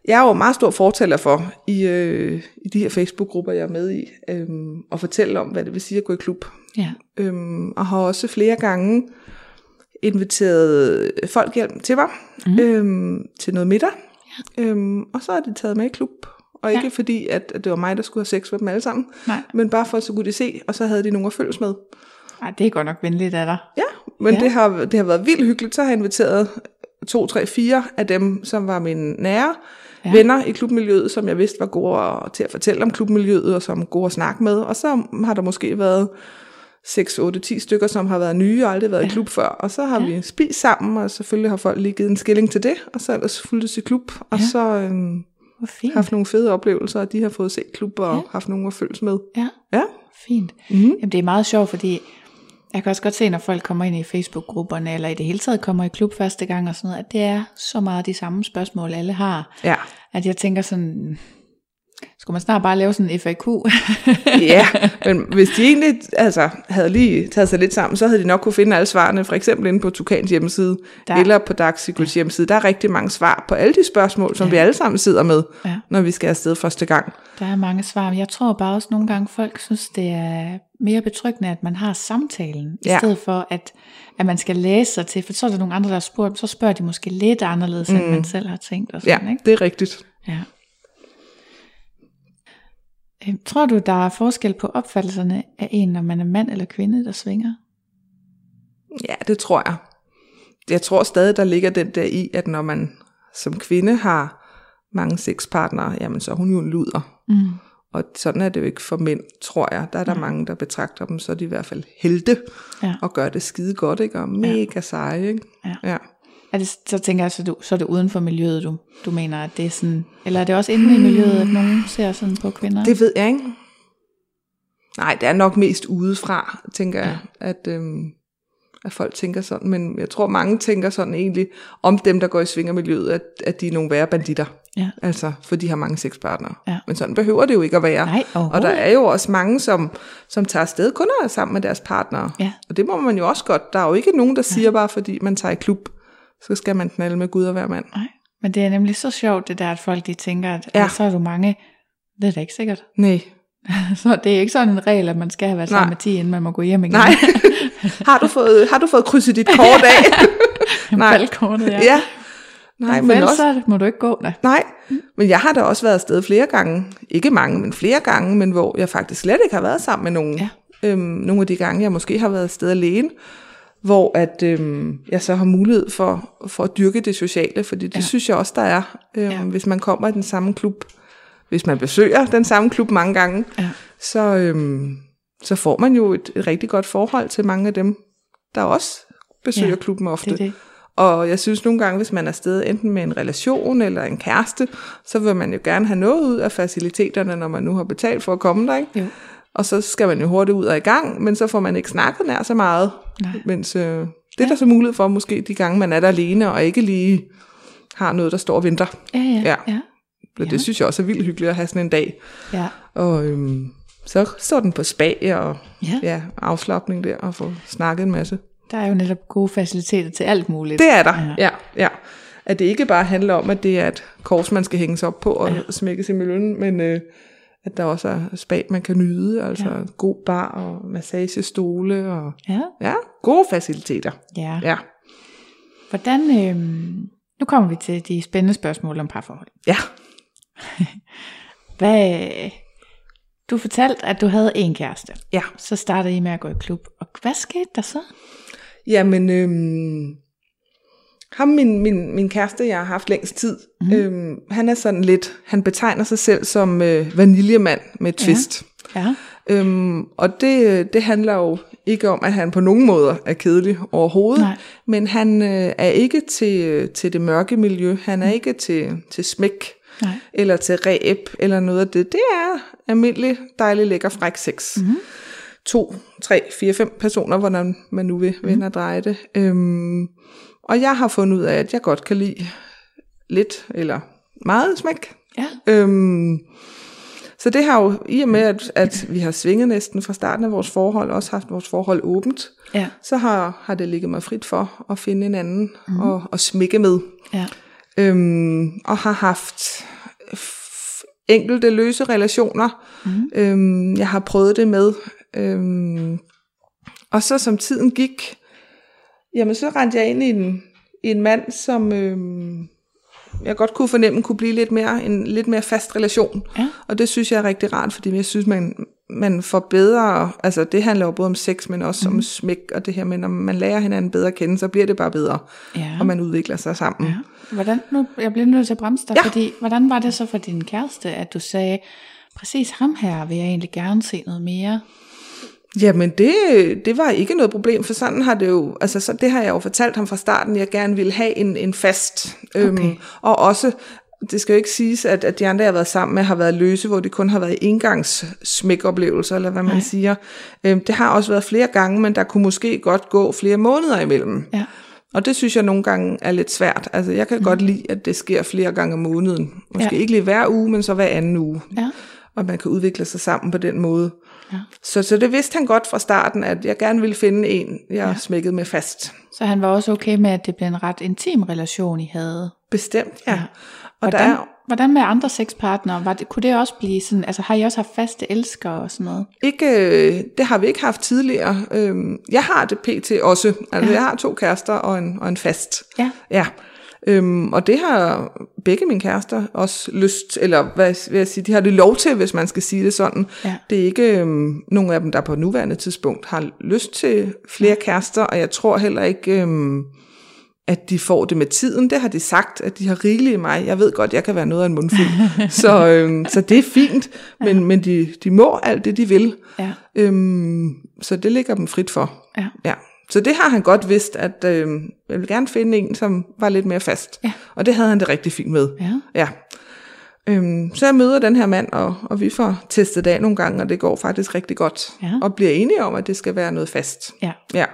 S3: jeg er jo meget stor fortæller for i, øh, i de her Facebook-grupper, jeg er med i, øhm, at fortælle om, hvad det vil sige at gå i klub.
S2: Ja.
S3: Øhm, og har også flere gange inviteret folk hjem til mig, mm. øhm, til noget middag. Ja. Øhm, og så er de taget med i klub, og ikke ja. fordi, at, at det var mig, der skulle have sex med dem alle sammen,
S2: Nej.
S3: men bare for, at så kunne de se, og så havde de nogen at følges med.
S2: Ej, det er godt nok venligt af dig.
S3: Ja, men
S2: Ja.
S3: ja. Det, har, det har været vildt hyggeligt. Så har jeg inviteret to, tre, fire af dem, som var mine nære
S2: Ja.
S3: ja. venner i klubmiljøet, som jeg vidste var gode at- til at fortælle om klubmiljøet, og som gode at snakke med. Og så har der måske været 6, 8, 10 stykker, som har været nye og aldrig været ja. i klub før. Og så har ja. vi spist sammen, og selvfølgelig har folk lige givet en skilling til det, og så ellers fulgtes i klub, og
S2: Ja.
S3: ja. så øhm,
S2: Hvor fint.
S3: haft nogle fede oplevelser, og de har fået set klub og
S2: Ja.
S3: ja. haft nogen at følges med.
S2: Ja,
S3: Ja,
S2: fint.
S3: Mhm.
S2: Jamen, det er meget sjovt, fordi jeg kan også godt se, når folk kommer ind i Facebook-grupperne, eller i det hele taget kommer i klub første gang og sådan noget, at det er så meget de samme spørgsmål, alle har.
S3: ja.
S2: At jeg tænker sådan, skulle man snart bare lave sådan en FAQ?
S3: Ja, men hvis de egentlig altså, havde lige taget sig lidt sammen, så havde de nok kunne finde alle svarene, for eksempel inde på Tukans hjemmeside,
S2: Der-
S3: der. eller på Daxicles hjemmeside. Der er rigtig mange svar på alle de spørgsmål, som ja. vi alle sammen sidder med,
S2: Ja.
S3: ja. når vi skal afsted første gang.
S2: Der er mange svar, men jeg tror bare også nogle gange, folk synes, det er mere betryggende, at man har samtalen, ja. i
S3: Ja.
S2: stedet for, at, at man skal læse sig til, for så er der nogle andre, der har spurgt, så spørger de måske lidt anderledes, mm. end man selv har tænkt. Og
S3: Ja,
S2: sådan, ikke?
S3: det er rigtigt.
S2: Ja. Øhm, Tror du, der er forskel på opfattelserne af en, når man er mand eller kvinde, der svinger?
S3: Ja, det tror jeg. Jeg tror stadig, der ligger den der i, at når man som kvinde har mange sexpartnere, jamen så er hun jo en luder.
S2: Mm.
S3: Og sådan er det jo ikke for mænd, tror jeg. Der er der mm. mange, der betragter dem, så er de i hvert fald helte,
S2: Ja.
S3: og gør det skide godt, ikke? Og mega seje, ikke?
S2: Ja.
S3: ja.
S2: Er det, så tænker jeg, så, du, så er det uden for miljøet, du, du mener, at det er sådan... Eller er det også inde i miljøet, at nogen ser sådan på kvinder?
S3: Det ved jeg ikke. Nej, det er nok mest udefra, tænker jeg, at, øhm, at folk tænker sådan. Men jeg tror, mange tænker sådan egentlig om dem, der går i svingermiljøet, at, at de er nogle værre banditter.
S2: Ja.
S3: Altså, for de har mange sexpartnere.
S2: Ja.
S3: Men sådan behøver det jo ikke at være.
S2: Nej,
S3: og der
S2: overhovedet
S3: er jo også mange, som, som tager afsted kun er sammen med deres partnere.
S2: Ja.
S3: Og det må man jo også godt. Der er jo ikke nogen, der siger bare, fordi man tager i klub, så skal man knalde med Gud og hver mand.
S2: Nej. Men det er nemlig så sjovt, det der, at folk de tænker, at ja.
S3: Ja.
S2: så er du mange... Det er da ikke sikkert.
S3: Nej.
S2: Så det er ikke sådan en regel, at man skal have været sammen
S3: Nej.
S2: med 10, inden man må gå hjem igen.
S3: Nej. har, du fået, har du fået krydset dit kort af?
S2: Nej.
S3: Nej.
S2: Faldkortet, ja.
S3: ja. ja. Nej, men
S2: Ellers
S3: også,
S2: så må du ikke gå, da.
S3: nej, men jeg har da også været afsted flere gange. Ikke mange, men flere gange, men hvor jeg faktisk slet ikke har været sammen med nogen.
S2: Ja.
S3: Øhm, nogle af de gange, jeg måske har været afsted alene, hvor at, øhm, jeg så har mulighed for, for at dyrke det sociale, fordi det ja. synes jeg også, der er, øhm,
S2: Ja.
S3: ja. hvis man kommer i den samme klub. Hvis man besøger den samme klub mange gange,
S2: Ja.
S3: så, øhm, så får man jo et, et rigtig godt forhold til mange af dem, der også besøger
S2: Ja,
S3: ja, klubben ofte.
S2: det.
S3: Og jeg synes nogle gange, hvis man er afsted enten med en relation eller en kæreste, så vil man jo gerne have noget ud af faciliteterne, når man nu har betalt for at komme der. Ikke?
S2: Jo.
S3: Og så skal man jo hurtigt ud og i gang, men så får man ikke snakket nær så meget.
S2: Nej.
S3: Mens, øh, det er der så mulighed for, måske de gange, man er der alene og ikke lige har noget, der står og venter.
S2: Ja, ja, ja.
S3: Ja.
S2: ja.
S3: Men
S2: Ja.
S3: det synes jeg også er vildt hyggeligt at have sådan en dag.
S2: ja.
S3: Og øhm, så står den på spag og
S2: Ja.
S3: ja. Ja, afslappning der og få snakket en masse.
S2: Der er jo netop gode faciliteter til alt muligt.
S3: Det er der,
S2: Ja.
S3: ja. ja, ja. At det ikke bare handler om, at det er et kors, man skal hænges op på og ja. smækkes i møllen, men øh, at der også er spa, man kan nyde, altså ja. god bar og massagestole og
S2: Ja.
S3: ja, gode faciliteter.
S2: ja.
S3: Ja,
S2: Hvordan, øhm, nu kommer vi til de spændende spørgsmål om parforhold.
S3: ja.
S2: Hvad, øh, du fortalte, at du havde en kæreste.
S3: ja.
S2: Så startede I med at gå i klub. Og hvad skete der så?
S3: Jamen, øhm, ham, min, min, min kæreste, jeg har haft længst tid,
S2: Mhm.
S3: mm. øhm, han er sådan lidt, han betegner sig selv som øh, vaniljemand med et
S2: Ja.
S3: twist.
S2: Ja.
S3: Øhm, og det, øh, det handler jo ikke om, at han på nogen måder er kedelig overhovedet,
S2: Nej.
S3: men han øh, er ikke til, øh, til det mørke miljø, han er ikke til, til smæk,
S2: Mm. Nej.
S3: eller til ræb, eller noget af det. Det er almindelig, dejlig, lækker, fræk sex. Mm-hmm. To, tre, fire, fem personer, hvordan man nu vil
S2: Mm-hmm.
S3: vende og dreje det. Øhm, og jeg har fundet ud af, at jeg godt kan lide lidt eller meget smæk.
S2: Ja.
S3: Øhm, så det har jo, i og med at, at vi har svinget næsten fra starten af vores forhold, også haft vores forhold åbent,
S2: Ja.
S3: så har, har det ligget mig frit for at finde en anden mm. og, og smække med.
S2: Ja.
S3: Øhm, og har haft f- enkelte løse relationer.
S2: Mhm.
S3: Mm. Øhm, jeg har prøvet det med. Øhm, og så som tiden gik, jamen så rendte jeg ind i en, i en mand, som, øhm, jeg godt kunne fornemme, kunne blive lidt mere, en lidt mere fast relation.
S2: Ja.
S3: Og det synes jeg er rigtig rart, fordi jeg synes, man, man får bedre, altså det handler jo både om sex, men også
S2: Mhm.
S3: mm. om smæk og det her, men når man lærer hinanden bedre at kende, så bliver det bare bedre,
S2: Ja.
S3: og man udvikler sig sammen. Ja.
S2: Hvordan, nu, jeg bliver nødt til at bremse dig,
S3: Ja.
S2: ja. fordi hvordan var det så for din kæreste, at du sagde, præcis ham her vil jeg egentlig gerne se noget mere?
S3: Jamen det, det var ikke noget problem, for sådan har det jo, altså så, det har jeg jo fortalt ham fra starten, jeg gerne ville have en, en fast. Øhm,
S2: Okay.
S3: Og også, det skal jo ikke siges, at, at de andre, jeg har været sammen med, har været løse, hvor det kun har været engangssmækoplevelser, eller hvad man Nej. siger. Øhm, det har også været flere gange, men der kunne måske godt gå flere måneder imellem.
S2: Ja. Mhm.
S3: Og det synes jeg nogle gange er lidt svært. Altså jeg kan mm. godt lide, at det sker flere gange om måneden. Måske
S2: Ja.
S3: ikke lige hver uge, men så hver anden uge
S2: Ja.
S3: og man kan udvikle sig sammen på den måde.
S2: Ja.
S3: Så, så det vidste han godt fra starten, at jeg gerne ville finde en, jeg ja. smækkede med fast.
S2: Så han var også okay med, at det blev en ret intim relation, I havde?
S3: Bestemt, ja. ja. Og
S2: Hvordan,
S3: der er
S2: hvordan med andre sexpartnere? Var det, kunne det også blive sådan, altså har I også haft faste elskere og sådan noget?
S3: ikke, øh, det har vi ikke haft tidligere. Øhm, jeg har det pt. også. Altså, ja.
S2: Ja.
S3: Jeg har to kærester og en, og en fast.
S2: Ja.
S3: Ja. Øhm, og det har begge mine kærester også lyst, eller hvad vil jeg sige, de har det lov til, hvis man skal sige det sådan.
S2: Ja.
S3: Det er ikke øhm, nogen af dem, der på nuværende tidspunkt har lyst til flere kærester, og jeg tror heller ikke, øhm, at de får det med tiden. Det har de sagt, at de har rigeligt i mig. Jeg ved godt, jeg kan være noget af en mundfuld. så, øhm, så det er fint, men, ja. men de, de må alt det, de vil.
S2: Ja.
S3: Øhm, så det ligger dem frit for.
S2: Ja.
S3: Ja. Så det har han godt vidst, at øh, jeg vil gerne finde en, som var lidt mere fast.
S2: Ja.
S3: Og det havde han det rigtig fint med.
S2: Ja.
S3: ja. Øhm, så jeg møder den her mand, og, og vi får testet det af nogle gange, og det går faktisk rigtig godt.
S2: Ja.
S3: Og bliver enige om, at det skal være noget fast.
S2: Ja.
S3: Ja.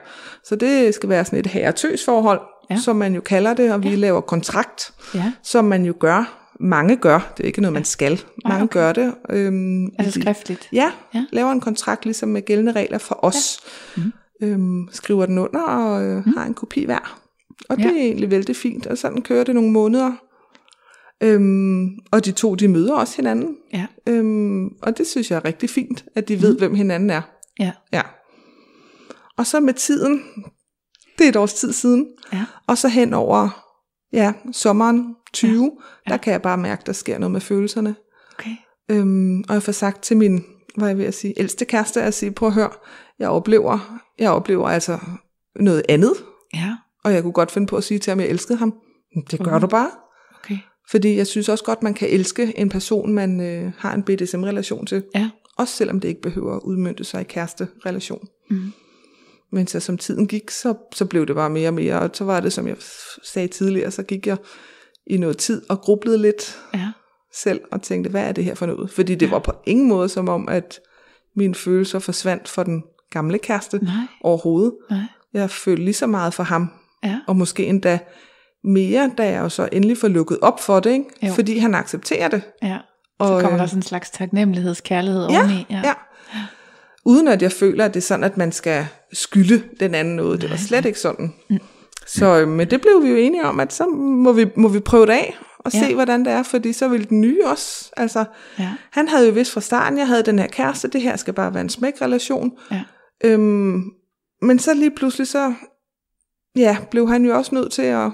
S3: Så det skal være sådan et herretøs forhold, ja.
S2: Ja.
S3: som man jo kalder det, og vi ja. laver kontrakt,
S2: Ja.
S3: som man jo gør. Mange gør. Det er ikke noget, man skal. Mange okay. gør det. Øhm, i
S2: Altså
S3: de-
S2: skriftligt?
S3: Ja, ja,
S2: Ja.
S3: laver en kontrakt ligesom med gældende regler for os. Ja. Mm. Øhm, skriver den under og øh, mm. har en kopi hver. Og det
S2: Mm-hmm. Ja.
S3: er egentlig vældig fint, og sådan kører det nogle måneder. Øhm, og de to, de møder også hinanden.
S2: Ja.
S3: Øhm, og det synes jeg er rigtig fint, at de ved,
S2: Mm-hmm.
S3: mm. hvem hinanden er.
S2: Ja.
S3: Ja. Og så med tiden, det er et års tid siden,
S2: Ja.
S3: og så hen over ja, sommeren 20, ja. Ja. der kan jeg bare mærke, der sker noget med følelserne.
S2: Okay.
S3: Øhm, og jeg får sagt til min, hvad jeg vil sige, ældste kæreste, at sige, prøv at høre, jeg oplever, jeg oplever altså noget andet,
S2: Ja.
S3: og jeg kunne godt finde på at sige til ham, at jeg elskede ham. "Men Det gør du bare.
S2: Okay.
S3: Fordi jeg synes også godt, man kan elske en person, man øh, har en BDSM-relation til.
S2: Ja.
S3: Også selvom det ikke behøver at udmyndte sig i kæresterelation.
S2: Mm.
S3: Men så som tiden gik, så, så blev det bare mere og mere, og så var det, som jeg f- sagde tidligere, så gik jeg i noget tid og grublede lidt,
S2: Ja.
S3: selv og tænkte, hvad er det her for noget? Fordi det var på ingen måde som om, at mine følelser forsvandt for den gamle kæreste
S2: Nej.
S3: overhovedet.
S2: Nej.
S3: Jeg følte lige så meget for ham,
S2: Ja.
S3: og måske endda mere, da jeg jo så endelig får lukket op for det, ikke?
S2: Jo.
S3: fordi han accepterer det.
S2: Ja.
S3: Og,
S2: Så kommer der
S3: øh,
S2: sådan en slags taknemmelighedskærlighed
S3: ja,
S2: oveni.
S3: ja. Uden at jeg føler, at det er sådan, at man skal skylde den anden noget. Det var slet ikke sådan. Så øh, men det blev vi jo enige om, at så må vi, må vi prøve det af og ja.
S2: Ja.
S3: se, hvordan det er, fordi så ville den nye også. Altså,
S2: Ja.
S3: Han havde jo vidst fra starten, jeg havde den her kæreste, det her skal bare være en smækrelation.
S2: Ja.
S3: Øhm, men så lige pludselig, så ja, blev han jo også nødt til at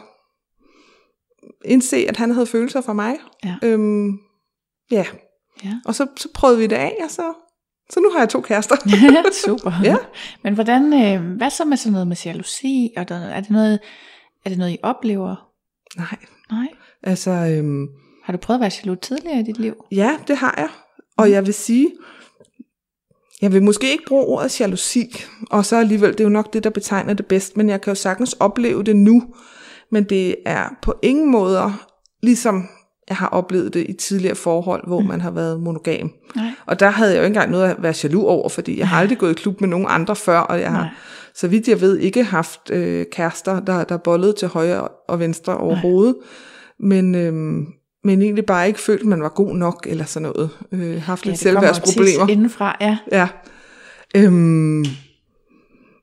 S3: indse, at han havde følelser for mig.
S2: Ja.
S3: Øhm, ja.
S2: Ja.
S3: Og så, så prøvede vi det af, og så, så nu har jeg to kærester.
S2: Super.
S3: Ja.
S2: Men hvordan, øh, hvad så med sådan noget med jalousi? Og der, er, det noget, er det noget, I oplever?
S3: Nej,
S2: Nej.
S3: altså, øhm,
S2: Har du prøvet at være jaloux tidligere i dit liv?
S3: ja, det har jeg.
S2: Mhm.
S3: Og jeg vil sige, jeg vil måske ikke bruge ordet jalousi, og så alligevel, det er jo nok det, der betegner det bedst, men jeg kan jo sagtens opleve det nu, men det er på ingen måder, ligesom jeg har oplevet det i tidligere forhold, hvor man har været monogam.
S2: Mm. Nej.
S3: Og der havde jeg jo ikke engang noget at være jaloux over, fordi jeg har aldrig gået i klub med nogen andre før, og jeg har,
S2: Nej.
S3: så vidt jeg ved, ikke haft øh, kærester, der, der bollede til højre og venstre overhovedet. Men, øhm, men egentlig bare ikke følt, at man var god nok, eller sådan noget. Øh, haft lidt selvværdsproblemer.
S2: tit indenfra, ja.
S3: Ja. Øhm,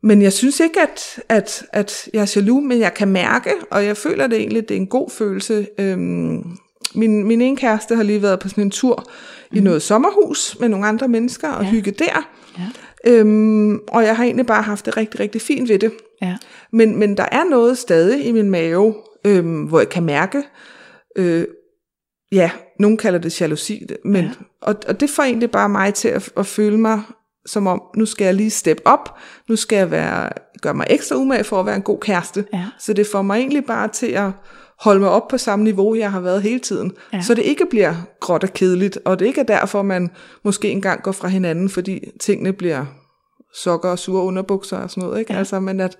S3: men jeg synes ikke, at, at, at jeg er jaloux, men jeg kan mærke, og jeg føler det egentlig, det er en god følelse. Øhm, min, min ene kæreste har lige været på sådan en tur mm. i noget sommerhus med nogle andre mennesker og ja. hygge der.
S2: Ja.
S3: Øhm, og jeg har egentlig bare haft det rigtig, rigtig fint ved det.
S2: Ja.
S3: Men, men der er noget stadig i min mave, øhm, hvor jeg kan mærke, Øh, ja, nogen kalder det jalousi, det- men, ja. og, og det får egentlig bare mig til at, at føle mig som om, nu skal jeg lige steppe op, nu skal jeg være, gøre mig ekstra umage for at være en god kæreste.
S2: Ja.
S3: Så det får mig egentlig bare til at holde mig op på samme niveau, jeg har været hele tiden.
S2: Ja.
S3: Så det ikke bliver gråt og kedeligt, og det ikke er derfor, man måske engang går fra hinanden, fordi tingene bliver sokker og sure underbukser og sådan noget. Ikke? Ja. Altså, men at,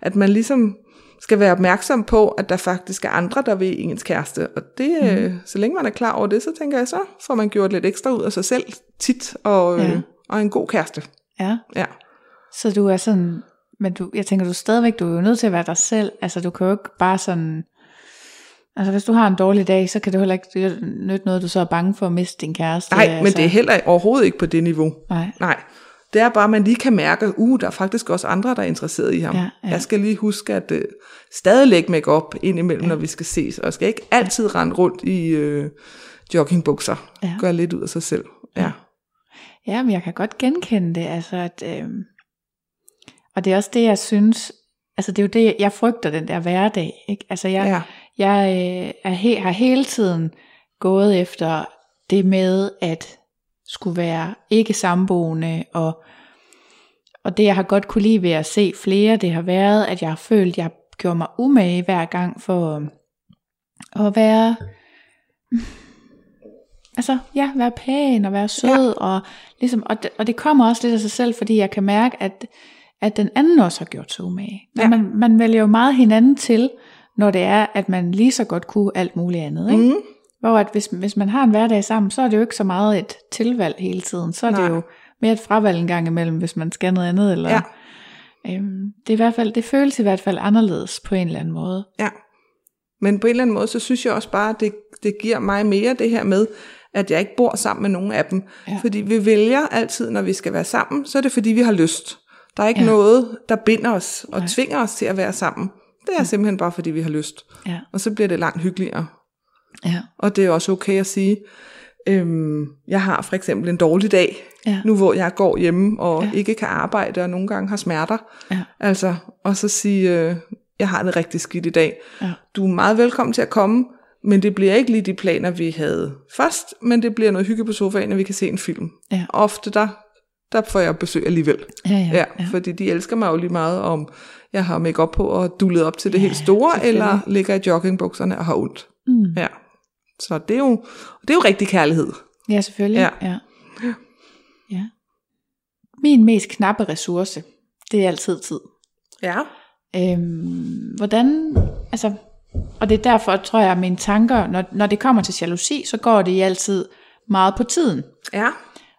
S3: at man ligesom skal være opmærksom på, at der faktisk er andre, der vil ens kæreste. Og det, mm. øh, så længe man er klar over det, så tænker jeg, så får man gjort lidt ekstra ud af sig selv tit, og, ja.
S2: Ja.
S3: øh, og en god kæreste.
S2: Ja.
S3: Ja.
S2: Så du er sådan, men du, jeg tænker, du er stadigvæk, du er jo nødt til at være dig selv. Altså, du kan jo ikke bare sådan, altså hvis du har en dårlig dag, så kan det heller ikke nytte noget, du så er bange for at miste din kæreste.
S3: Nej,
S2: altså.
S3: men det er heller overhovedet ikke på det niveau.
S2: Nej.
S3: Nej. Det er bare, at man lige kan mærke, uh, der er faktisk også andre, der er interesseret i ham.
S2: Ja, ja.
S3: Jeg skal lige huske at øh, stadig lægge make op indimellem, ja. når vi skal ses. Og jeg skal ikke altid rende rundt i øh, joggingbukser.
S2: Ja.
S3: Ja. Gør lidt ud af sig selv. Ja.
S2: Ja, men jeg kan godt genkende det, altså at, øhm, og det er også det, jeg synes, altså det er jo det, jeg frygter den der hverdag, ikke? Altså jeg,
S3: Ja.
S2: jeg øh, er he, har hele tiden gået efter det med at skulle være ikke samboende, og, og det jeg har godt kunne lide ved at se flere, det har været, at jeg har følt, jeg gjorde mig umage hver gang for øh, at være, altså ja, være pæn og være sød, ja. og, ligesom, og, det, og det kommer også lidt af sig selv, fordi jeg kan mærke, at, at den anden også har gjort sig umage. Men
S3: Ja.
S2: ja. man, man vælger jo meget hinanden til, når det er, at man lige så godt kunne alt muligt andet. Ikke?
S3: Mm.
S2: Hvor at hvis, hvis man har en hverdag sammen, så er det jo ikke så meget et tilvalg hele tiden. Så er Nej.
S3: Nej.
S2: det jo mere et fravalg en gang imellem, hvis man skal noget andet. Eller,
S3: Ja.
S2: øhm, det, er i hvert fald, det føles i hvert fald anderledes på en eller anden måde.
S3: Ja. Men på en eller anden måde, så synes jeg også bare, at det, det giver mig mere det her med, at jeg ikke bor sammen med nogen af dem.
S2: Ja.
S3: Ja. Fordi vi vælger altid, når vi skal være sammen, så er det fordi, vi har lyst. Der er ikke
S2: Ja.
S3: ja. noget, der binder os og
S2: Nej.
S3: Nej. Mm. tvinger os til at være sammen. Det er simpelthen bare fordi, vi har lyst.
S2: Ja.
S3: Og så bliver det langt hyggeligere.
S2: Ja.
S3: Og det er også okay at sige, øhm, jeg har for eksempel en dårlig dag,
S2: Ja.
S3: nu hvor jeg går hjemme og ja. ikke kan arbejde og nogle gange har smerter.
S2: Ja.
S3: Altså, og så sige, øh, jeg har det rigtig skidt i dag.
S2: Ja.
S3: Du er meget velkommen til at komme, men det bliver ikke lige de planer, vi havde først, men det bliver noget hygge på sofaen, og vi kan se en film.
S2: Ja.
S3: Ofte der, der får jeg besøg alligevel.
S2: Ja, ja,
S3: Ja,
S2: ja.
S3: fordi de elsker mig jo lige meget, om jeg har make op på og dullet op til det helt store, eller ligger i joggingbukserne og har ondt.
S2: Mm.
S3: Ja. Så det er jo, det er jo rigtig kærlighed.
S2: Ja, selvfølgelig.
S3: Ja.
S2: Ja. ja. Min mest knappe ressource, det er altid tid.
S3: Ja.
S2: Øhm, hvordan, altså, og det er derfor, tror jeg, at mine tanker, når, når det kommer til jalousi, så går det i altid meget på tiden.
S3: Ja.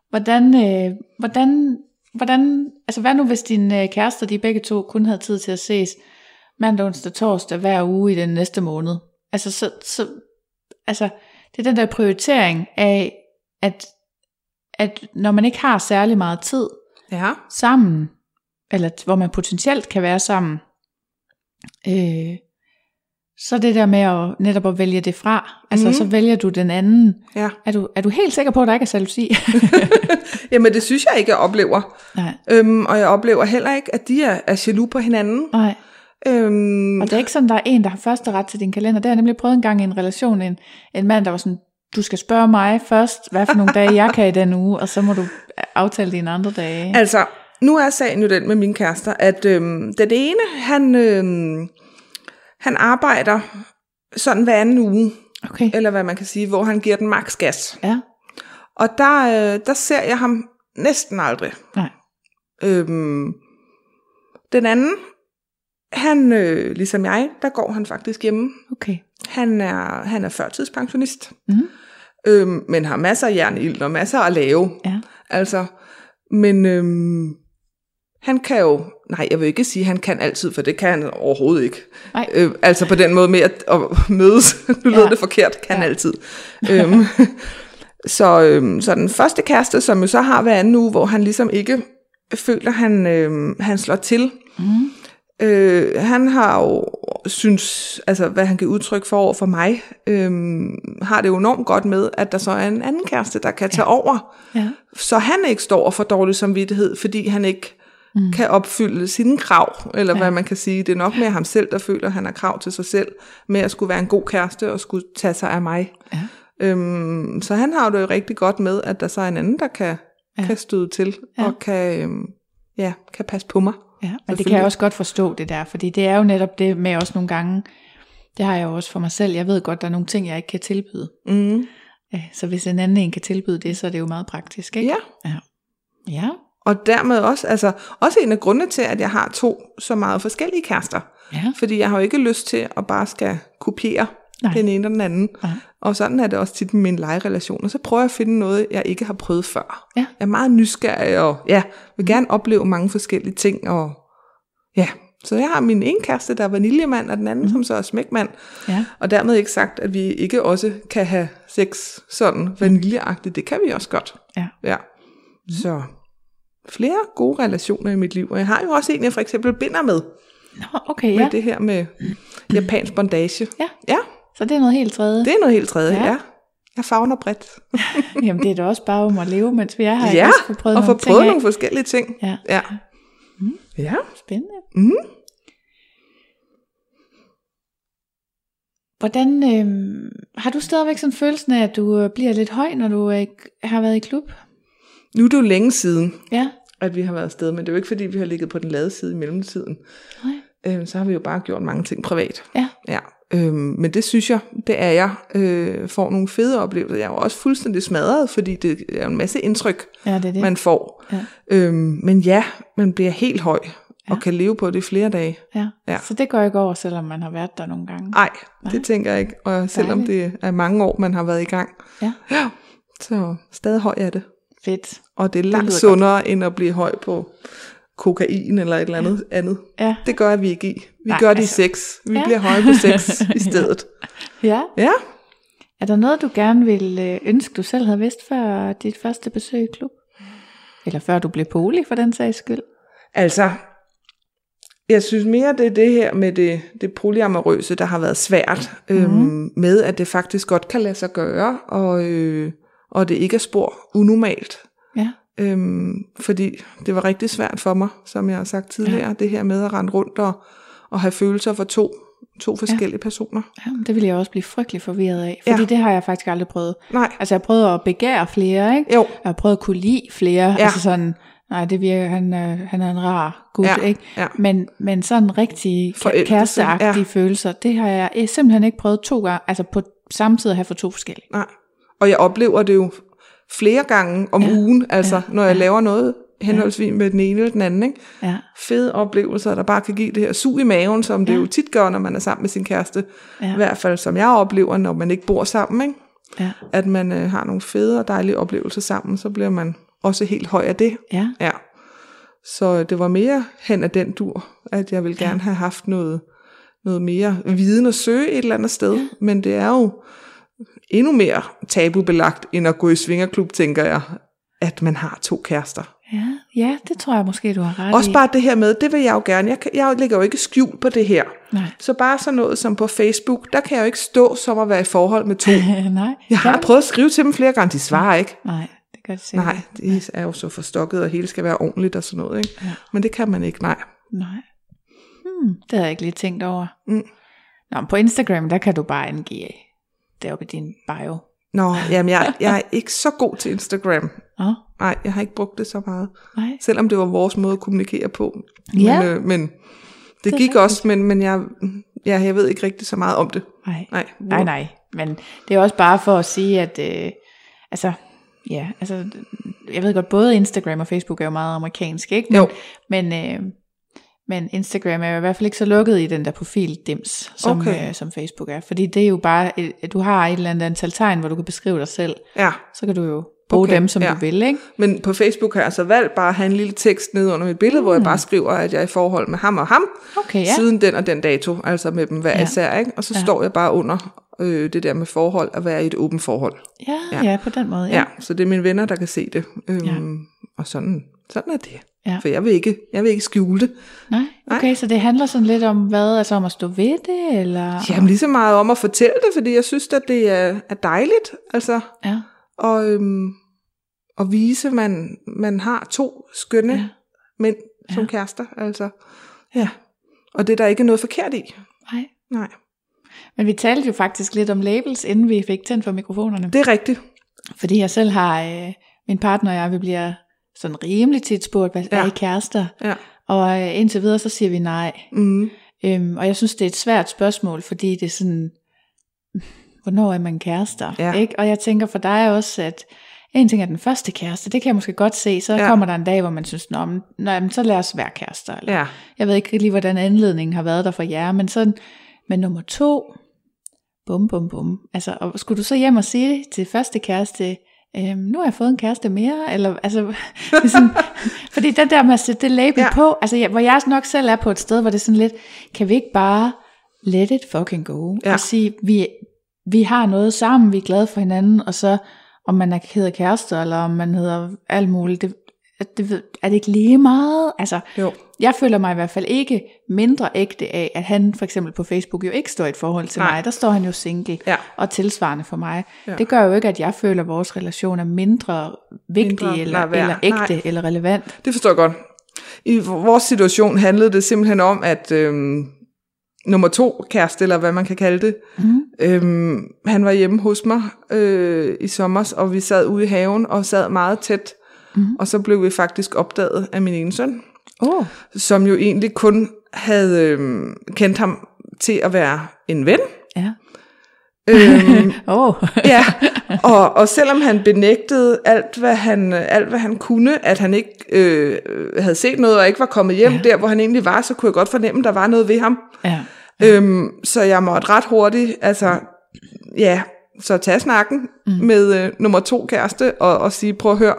S2: Hvordan, øh, hvordan, hvordan, altså hvad nu hvis dine øh, kærester, de begge to kun havde tid til at ses mandag, onsdag, torsdag hver uge i den næste måned? Altså, så, så, altså det er den der prioritering af, at, at når man ikke har særlig meget tid,
S3: Ja.
S2: sammen, eller t- hvor man potentielt kan være sammen, øh, så det der med at, netop at vælge det fra, altså mm.
S3: Mhm.
S2: så vælger du den anden.
S3: Ja.
S2: Er du, er du helt sikker på, at der ikke er jalousi?
S3: Jamen det synes jeg ikke, jeg oplever.
S2: nej,
S3: Øhm, og jeg oplever heller ikke, at de er, er jaloux på hinanden.
S2: nej.
S3: Øhm,
S2: Og det er ikke sådan, der er en, der har første ret til din kalender. Det har jeg nemlig prøvet en gang i en relation, en, en mand, der var sådan, du skal spørge mig først, hvad for nogle dage jeg kan i den uge, og så må du øh, aftale dine andre dage.
S3: Altså, nu er sagen jo den med mine kærester, at øhm, den ene, han, øhm, han arbejder sådan hver anden uge,
S2: Okay.
S3: eller hvad man kan sige, hvor han giver den maks gas.
S2: Ja,
S3: Og der, øh, der ser jeg ham næsten aldrig.
S2: nej.
S3: Øhm, den anden, han, øh, ligesom jeg, der går han faktisk hjemme.
S2: Okay.
S3: Han er, han er førtidspensionist,
S2: Mhm.
S3: øhm, men har masser af jernild og masser at lave.
S2: Ja.
S3: Altså, men øhm, han kan jo, nej, jeg vil ikke sige, at han kan altid, for det kan han overhovedet ikke.
S2: Nej.
S3: Øh, altså på den måde med at, at mødes, nu lød
S2: Ja.
S3: det forkert, kan
S2: Ja.
S3: ja. altid. Øhm, så, øhm, så den første kæreste, som jo så har hver anden uge, hvor han ligesom ikke føler, han, øhm, han slår til,
S2: Mm.
S3: Øh, han har jo synes, altså hvad han giver udtryk for over for mig, øh, har det jo enormt godt med, at der så er en anden kæreste, der kan tage over.
S2: Ja.
S3: Så han ikke står for dårlig samvittighed, fordi han ikke mm. kan opfylde sine krav, eller ja. hvad man kan sige. Det er nok mere ham selv, der føler, at han har krav til sig selv, med at skulle være en god kæreste og skulle tage sig af mig.
S2: Ja.
S3: Øhm, så han har det jo rigtig godt med, at der så er en anden, der kan, ja. kan støde til, ja. og kan, øhm, ja, kan passe på mig.
S2: Ja, og det kan
S3: Selvfølgelig.
S2: jeg også godt forstå det der, fordi det er jo netop det med også nogle gange, det har jeg jo også for mig selv, jeg ved godt, der er nogle ting, jeg ikke kan tilbyde.
S3: Mm.
S2: Øh, Så hvis en anden en kan tilbyde det, så er det jo meget praktisk, ikke?
S3: Ja.
S2: Ja. ja.
S3: Og dermed også, altså, også en af grundene til, at jeg har to så meget forskellige kærester.
S2: ja.
S3: Fordi jeg har jo ikke lyst til at bare skal kopiere
S2: Nej.
S3: Nej. den ene og den anden.
S2: Nej.
S3: Og sådan er det også tit med mine legerelationer. Så prøver jeg at finde noget, jeg ikke har prøvet før.
S2: Ja.
S3: Jeg er meget nysgerrig og ja, vil gerne opleve mange forskellige ting. Og, ja. Så jeg har min ene kæreste, der er vaniljemand, og den
S2: Mhm.
S3: anden, mm. som så er smækmand.
S2: Ja.
S3: Og dermed ikke sagt, at vi ikke også kan have sex sådan
S2: Mhm.
S3: vaniljeagtigt. Det kan vi også godt.
S2: Ja.
S3: ja.
S2: Mhm.
S3: Så flere gode relationer i mit liv. Og jeg har jo også en, jeg for eksempel binder med.
S2: Nå, okay,
S3: Med
S2: ja.
S3: det her med japansk bondage.
S2: Ja.
S3: ja.
S2: Så det er noget helt tredje.
S3: Det er noget helt tredje,
S2: Ja.
S3: ja. ja. Jeg fagner bredt.
S2: Jamen, det er da også bare om at leve, mens vi er her. ikke?
S3: ja,
S2: Også få prøvet
S3: og få
S2: nogle ting
S3: prøvet
S2: af.
S3: nogle forskellige ting.
S2: Ja,
S3: Ja. Ja.
S2: spændende.
S3: Mhm.
S2: Hvordan, øh, har du stadigvæk sådan følelsen af, at du øh, bliver lidt høj, når du øh, har været i klub?
S3: Nu er det jo længe siden,
S2: Ja,
S3: at vi har været afsted, men det er jo ikke, fordi vi har ligget på den lade side i mellemtiden.
S2: Nej.
S3: Øhm, så har vi jo bare gjort mange ting privat.
S2: Ja.
S3: ja. Øhm, men det synes jeg, det er jeg. Øh, får nogle fede oplevelser. Jeg er jo også fuldstændig smadret, fordi det er jo en masse indtryk,
S2: ja det er det.
S3: man får.
S2: Ja.
S3: Øhm, men ja, man bliver helt høj og kan leve på det i flere dage.
S2: ja.
S3: ja. Ah.
S2: Så det går ikke over, selvom man har været der nogle gange.
S3: Nej, det tænker jeg ikke. Og selvom det er mange år, man har været i gang,
S2: Ja.
S3: ja, så stadig høj er det.
S2: Fedt.
S3: Og det er langt
S2: lyder
S3: sundere, godt. end at blive høj på kokain eller et eller andet andet.
S2: Ja.
S3: Det gør vi ikke i. Vi
S2: Nej,
S3: Nej, gør det
S2: altså.
S3: i sex. Vi
S2: Ja.
S3: ja. bliver høje på sex i stedet.
S2: ja.
S3: Ja.
S2: Er der noget, du gerne vil øh, ønske, du selv havde vidst før dit første besøg i klub? Eller før du blev poli, for den sags skyld?
S3: Altså, jeg synes mere, det er det her med det, det polyamorøse, der har været svært.
S2: Mhm.
S3: Mm. Øhm, med at det faktisk godt kan lade sig gøre, og, øh, og det ikke er spor unormalt.
S2: Ja.
S3: Øhm, fordi det var rigtig svært for mig, som jeg har sagt tidligere, ja. det her med at rende rundt og, og have følelser for to, to forskellige ja. personer.
S2: ja men Mm, det ville jeg også blive frygtelig forvirret af, fordi
S3: Ja.
S2: det har jeg faktisk aldrig prøvet.
S3: Nej,
S2: Altså, jeg har prøvet at begære flere, ikke?
S3: Jo.
S2: Jeg har prøvet at kunne lide flere.
S3: Ja.
S2: Altså sådan, nej, det virker, han, øh, han er en rar gut,
S3: Ja,
S2: ikke?
S3: ja.
S2: Men, men sådan rigtig ka-
S3: Forelskelse,
S2: kæresteagtige
S3: ja.
S2: følelser, det har jeg øh, simpelthen ikke prøvet to gange, altså på samme tid at have for to forskellige.
S3: nej. Og jeg oplever det jo flere gange om ja. ugen, altså ja. når jeg ja. laver noget henholdsvis med den ene eller den anden. Ikke?
S2: Ja.
S3: Fede oplevelser, der bare kan give det her sug i maven, som ja. det jo tit gør, når man er sammen med sin kæreste.
S2: Ja.
S3: Ja. I hvert fald som jeg oplever, når man ikke bor sammen. Ikke?
S2: Ja.
S3: At man øh, har nogle fede og dejlige oplevelser sammen, så bliver man også helt høj af det.
S2: Ja.
S3: Ja. Så det var mere hen af den dur, at jeg ville gerne have haft noget, noget mere viden at søge et eller andet sted. Ja. Men det er jo endnu mere tabubelagt, end at gå i svingerklub, tænker jeg, at man har to kærester.
S2: Ja, ja, det tror jeg måske, du har ret i.
S3: Også bare det her med, det vil jeg jo gerne. Jeg, kan- jeg lægger jo ikke skjul på det her.
S2: Nej.
S3: Så bare sådan noget som på Facebook, der kan jeg jo ikke stå som at være i forhold med to.
S2: Nej.
S3: Jeg har
S2: Kan du?
S3: prøvet at skrive til dem flere gange, de svarer ikke.
S2: Nej, det gør det sikkert.
S3: Nej, de er jo så forstokket, og hele skal være ordentligt og sådan noget. Ikke?
S2: Ja.
S3: Men det kan man ikke, nej.
S2: Nej. Hmm, det havde jeg ikke lige tænkt over.
S3: Mm.
S2: Nå, men på Instagram, der kan du bare angive deroppe i din bio.
S3: Nå, jamen jeg, jeg er ikke så god til Instagram.
S2: Nå,
S3: Nej, jeg har ikke brugt det så meget.
S2: nej.
S3: Selvom det var vores måde at kommunikere på.
S2: Ja.
S3: Men, øh, men det,
S2: Det er
S3: det gik også, men, men jeg, ja, jeg ved ikke rigtig så meget om det.
S2: Nej.
S3: Nej, hvor-
S2: nej, nej. Men det er også bare for at sige, at øh, altså, ja, altså, jeg ved godt, både Instagram og Facebook er jo meget amerikansk, ikke? Men,
S3: Jo.
S2: Men, øh, men Instagram er jo i hvert fald ikke så lukket i den der profildims, som,
S3: Okay.
S2: øh, som Facebook er. Fordi det er jo bare, et, du har et eller andet antal tegn, hvor du kan beskrive dig selv.
S3: Ja,
S2: Så kan du jo bruge
S3: Okay,
S2: dem, som
S3: ja.
S2: du vil, ikke?
S3: men på Facebook har jeg så valgt bare at have en lille tekst nede under mit billede, mm. hvor jeg bare skriver, at jeg er i forhold med ham og ham,
S2: Hmm. Okay, ja.
S3: siden den og den dato, altså med dem hver
S2: Ja.
S3: ja. især. Ikke? Og så
S2: Ja.
S3: ja. står jeg bare under øh, det der med forhold, at være i et åbent forhold.
S2: Ja, ja,
S3: Ja.
S2: ja, på den måde. Ja.
S3: Ja, så det er mine venner, der kan se det. Øhm,
S2: Ja.
S3: ja. Og sådan, sådan er det.
S2: Ja.
S3: For jeg vil, ikke, jeg vil ikke skjule det.
S2: Nej, okay, så det handler sådan lidt om hvad? Altså om at stå ved det, eller?
S3: Jamen lige så meget om at fortælle det, fordi jeg synes, at det er, er dejligt. Altså,
S2: Ja,
S3: og, øhm, at vise, man, man har to skønne
S2: Ja.
S3: ja. mænd, ja. som kærester. Altså. Ja. Og det er der ikke noget forkert i.
S2: Nej.
S3: Nej,
S2: Men vi talte jo faktisk lidt om labels, inden vi fik tændt for mikrofonerne.
S3: det er rigtigt.
S2: Fordi jeg selv har, øh, min partner og jeg, vi bliver sådan rimelig tit spurgt, hvad ja. er
S3: Ja.
S2: I kærester?
S3: Ja.
S2: Og øh, indtil videre, så siger vi nej.
S3: Mm.
S2: Øhm, og jeg synes, det er et svært spørgsmål, fordi det er sådan, hvornår er man kærester?
S3: Ja.
S2: Ikke? Og jeg tænker for dig også, at en ting er den første kæreste, det kan jeg måske godt se, så ja.
S3: Ja.
S2: kommer der en dag, hvor man synes, Nå, men, nej, men så lad os være kærester. Eller,
S3: Ja.
S2: Jeg ved ikke lige, hvordan anledningen har været der for jer, men sådan, men nummer to, bum bum bum, altså, og skulle du så hjem og sige til første kæreste, Øhm, nu har jeg fået en kæreste mere, eller altså, det er sådan, fordi den der med at sætte det label ja.
S3: Ja.
S2: på, altså jeg, hvor jeg nok selv er på et sted, hvor det er sådan lidt, kan vi ikke bare let it fucking go, ja.
S3: Ja.
S2: og sige, vi, vi har noget sammen, vi er glade for hinanden, og så om man er, hedder kærester, eller om man hedder alt muligt, det, det, ved- er det ikke lige meget? Altså,
S3: Jo.
S2: jeg føler mig i hvert fald ikke mindre ægte af, at han for eksempel på Facebook jo ikke står i et forhold til Nej.
S3: Nej.
S2: mig. Der står han jo single
S3: Ja.
S2: og tilsvarende for mig. Ja.
S3: Ja.
S2: Det gør jo ikke, at jeg føler, at vores relation er mindre vigtig
S3: Mindre,
S2: mindre, eller,
S3: nej, værd.
S2: eller ægte
S3: Nej.
S2: eller relevant.
S3: Det forstår jeg godt. I vores situation handlede det simpelthen om, at øhm, nummer to kæreste, eller hvad man kan kalde det, mm. øhm, han var hjemme hos mig øh, i sommer, og vi sad ude i haven og sad meget tæt. Mm. Og så blev vi faktisk opdaget af min ene søn,
S2: Åh, oh,
S3: som jo egentlig kun havde øhm, kendt ham til at være en ven.
S2: ja.
S3: Øhm,
S2: Åh, oh.
S3: Ja, og, og selvom han benægtede alt hvad han, alt, hvad han kunne, at han ikke øh, havde set noget og ikke var kommet hjem ja. der, hvor han egentlig var, så kunne jeg godt fornemme, at der var noget ved ham.
S2: ja.
S3: Øhm, så jeg måtte ret hurtigt, altså, ja, så tage snakken mm. med øh, nummer to kæreste og, og sige, prøv at høre,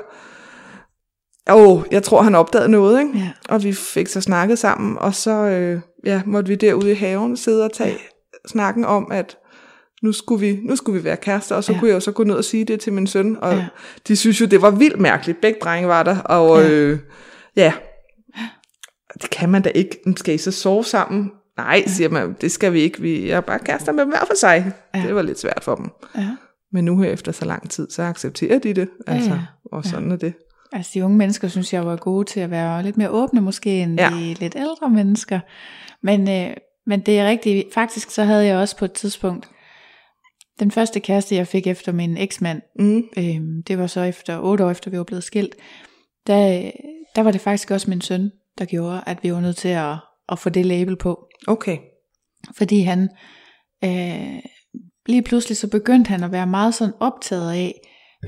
S3: åh, jeg tror, han opdagede noget, ikke?
S2: Ja.
S3: Og vi fik så snakket sammen, og så øh, ja, måtte vi derude i haven sidde og tage snakken om, at nu skulle vi, nu skulle vi være kærester, og så
S2: Ja.
S3: ja. kunne jeg jo så gå ned og sige det til min søn, og
S2: Ja.
S3: ja. de synes jo, det var vildt mærkeligt. Begge drenge var der, og
S2: Ja.
S3: ja. Øh, ja, det kan man da ikke. Men Skal I så sove sammen? Nej, siger man, det skal vi ikke. Vi er bare kærester med dem hver for sig.
S2: Ja.
S3: Ja. Det var lidt svært for dem.
S2: ja.
S3: Men nu her efter så lang tid, så accepterer de det.
S2: Ja,
S3: Altså,
S2: ja.
S3: Og sådan er det.
S2: Altså de unge mennesker synes jeg var gode til at være lidt mere åbne måske end ja.
S3: Ja.
S2: de lidt ældre mennesker. Men, øh, men det er rigtigt. Faktisk så havde jeg også på et tidspunkt, den første kæreste jeg fik efter min eksmand,
S3: Mm.
S2: øh, det var så efter otte år efter vi var blevet skilt, der, øh, der var det faktisk også min søn, der gjorde, at vi var nødt til at, at få det label på.
S3: Okay.
S2: Fordi han øh, lige pludselig så begyndte han at være meget sådan optaget af,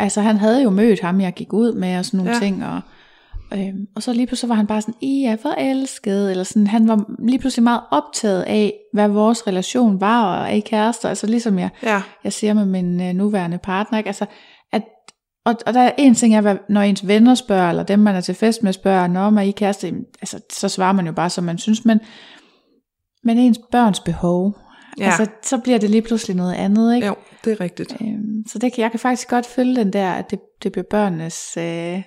S2: altså han havde jo mødt ham, jeg gik ud med og sådan nogle ja.
S3: Ja.
S2: ting, og, øh, og så lige pludselig var han bare sådan, I er forelsket, eller sådan, han var lige pludselig meget optaget af, hvad vores relation var, og er I kærester, altså ligesom jeg,
S3: Ja,
S2: jeg siger med min øh, nuværende partner, ikke? altså at og, og der er en ting, er, hvad, når ens venner spørger, eller dem, man er til fest med, spørger, når man er I kæreste, Jamen, altså, så svarer man jo bare, som man synes, men, men ens børns behov, ja.
S3: Ja.
S2: altså, så bliver det lige pludselig noget andet, ikke?
S3: jo, det er rigtigt.
S2: Øhm, så det, kan- jeg kan faktisk godt følge den der, at det, det bliver børnenes øh,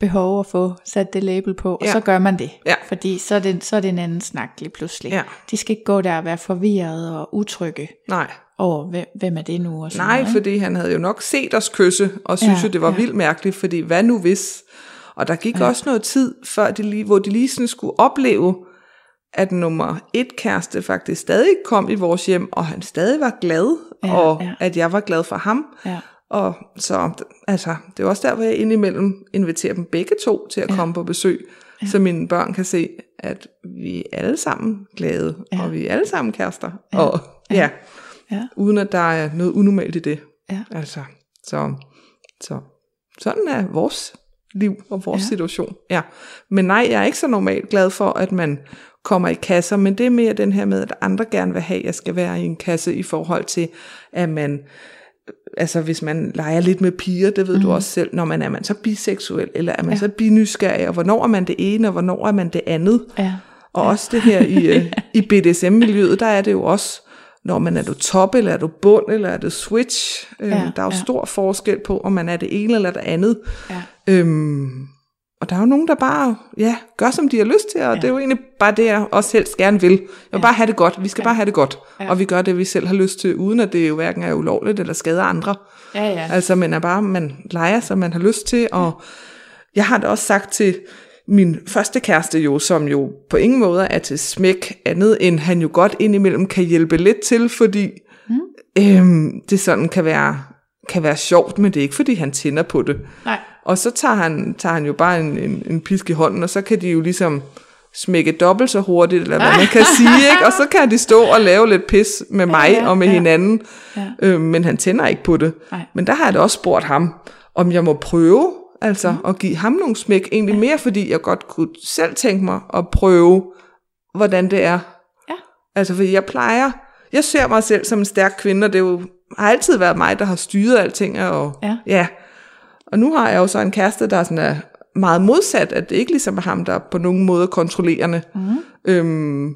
S2: behov at få sat det label på, og ja.
S3: Ja.
S2: så gør man det.
S3: Ja.
S2: Fordi så er, det, så er det en anden snak lige pludselig.
S3: Ja.
S2: De skal ikke gå der og være forvirrede og utrygge
S3: Nej,
S2: over, hvem, hvem er det nu? Og sådan
S3: nej,
S2: noget, ikke?
S3: fordi han havde jo nok set os kysse, og synes
S2: Ja,
S3: ja, jo, det var
S2: ja.
S3: ja. vildt mærkeligt, fordi hvad nu hvis? Og der gik ja. også noget tid, før de lige, hvor de lige sådan skulle opleve, at nummer et kæreste faktisk stadig kom i vores hjem, og han stadig var glad,
S2: Ja,
S3: ja, og
S2: ja.
S3: ja. at jeg var glad for ham.
S2: Ja.
S3: Og så, altså, det er også der, hvor jeg indimellem inviterer dem begge to til at komme på besøg, ja. så mine børn kan se, at vi er alle sammen glade, ja. og vi er alle sammen kærester. Ja. Og ja,
S2: Ja.
S3: uden at der er noget unormalt i det.
S2: Ja.
S3: Altså, så, så sådan er vores liv og vores
S2: Ja.
S3: ja. situation. Ja. Men nej, jeg er ikke så normalt glad for, at man kommer i kasser, men det er mere den her med, at andre gerne vil have, at jeg skal være i en kasse i forhold til, at man altså hvis man leger lidt med piger, det ved mm. du også selv, når man er man så biseksuel, eller er man
S2: Mhm. Ja.
S3: ja. så binysgerrig, og hvornår er man det ene, og hvornår er man det andet.
S2: Ja.
S3: Og også det her i, øh, i BDSM-miljøet, der er det jo også, når man er du top, eller er du bund, eller er du switch. Øhm,
S2: Ja,
S3: ja, der er jo
S2: ja.
S3: ja. stor forskel på, om man er det ene eller det andet.
S2: Ja.
S3: Øhm, og der er jo nogen, der bare ja, gør, som de har lyst til, og ja. det er jo egentlig bare det, jeg også helst gerne vil. Jeg vil ja. bare have det godt. Vi skal ja. bare have det godt.
S2: Ja.
S3: Ja. Og vi gør det, vi selv har lyst til, uden at det jo hverken er ulovligt eller skader andre.
S2: Ja, ja.
S3: Altså, man er bare, man leger, som man har lyst til, og jeg har da også sagt til min første kæreste jo, som jo på ingen måde er til smæk andet, end han jo godt indimellem kan hjælpe lidt til, fordi mm. øhm, det sådan kan være, kan være sjovt, men det er ikke, fordi han tænder på det.
S2: Nej.
S3: Og så tager han, tager han jo bare en, en, en pisk i hånden, og så kan de jo ligesom smække dobbelt så hurtigt, eller hvad man kan sige, ikke? og så kan de stå og lave lidt pis med mig ja,
S2: ja,
S3: ja, og med
S2: ja.
S3: ja. hinanden,
S2: Ja.
S3: ja. Øh, men han tænder ikke på det.
S2: Nej.
S3: Men der har jeg da også spurgt ham, om jeg må prøve, altså mm. at give ham nogle smæk, egentlig ja. mere fordi jeg godt kunne selv tænke mig at prøve, hvordan det er.
S2: Ja.
S3: Altså fordi jeg plejer, jeg ser mig selv som en stærk kvinde, og det er jo, har altid været mig, der har styret alting, og
S2: Ja.
S3: ja. Og nu har jeg jo så en kæreste, der sådan er meget modsat, at det ikke ligesom er ham, der er på nogen måde kontrollerende.
S2: Mhm.
S3: Øhm,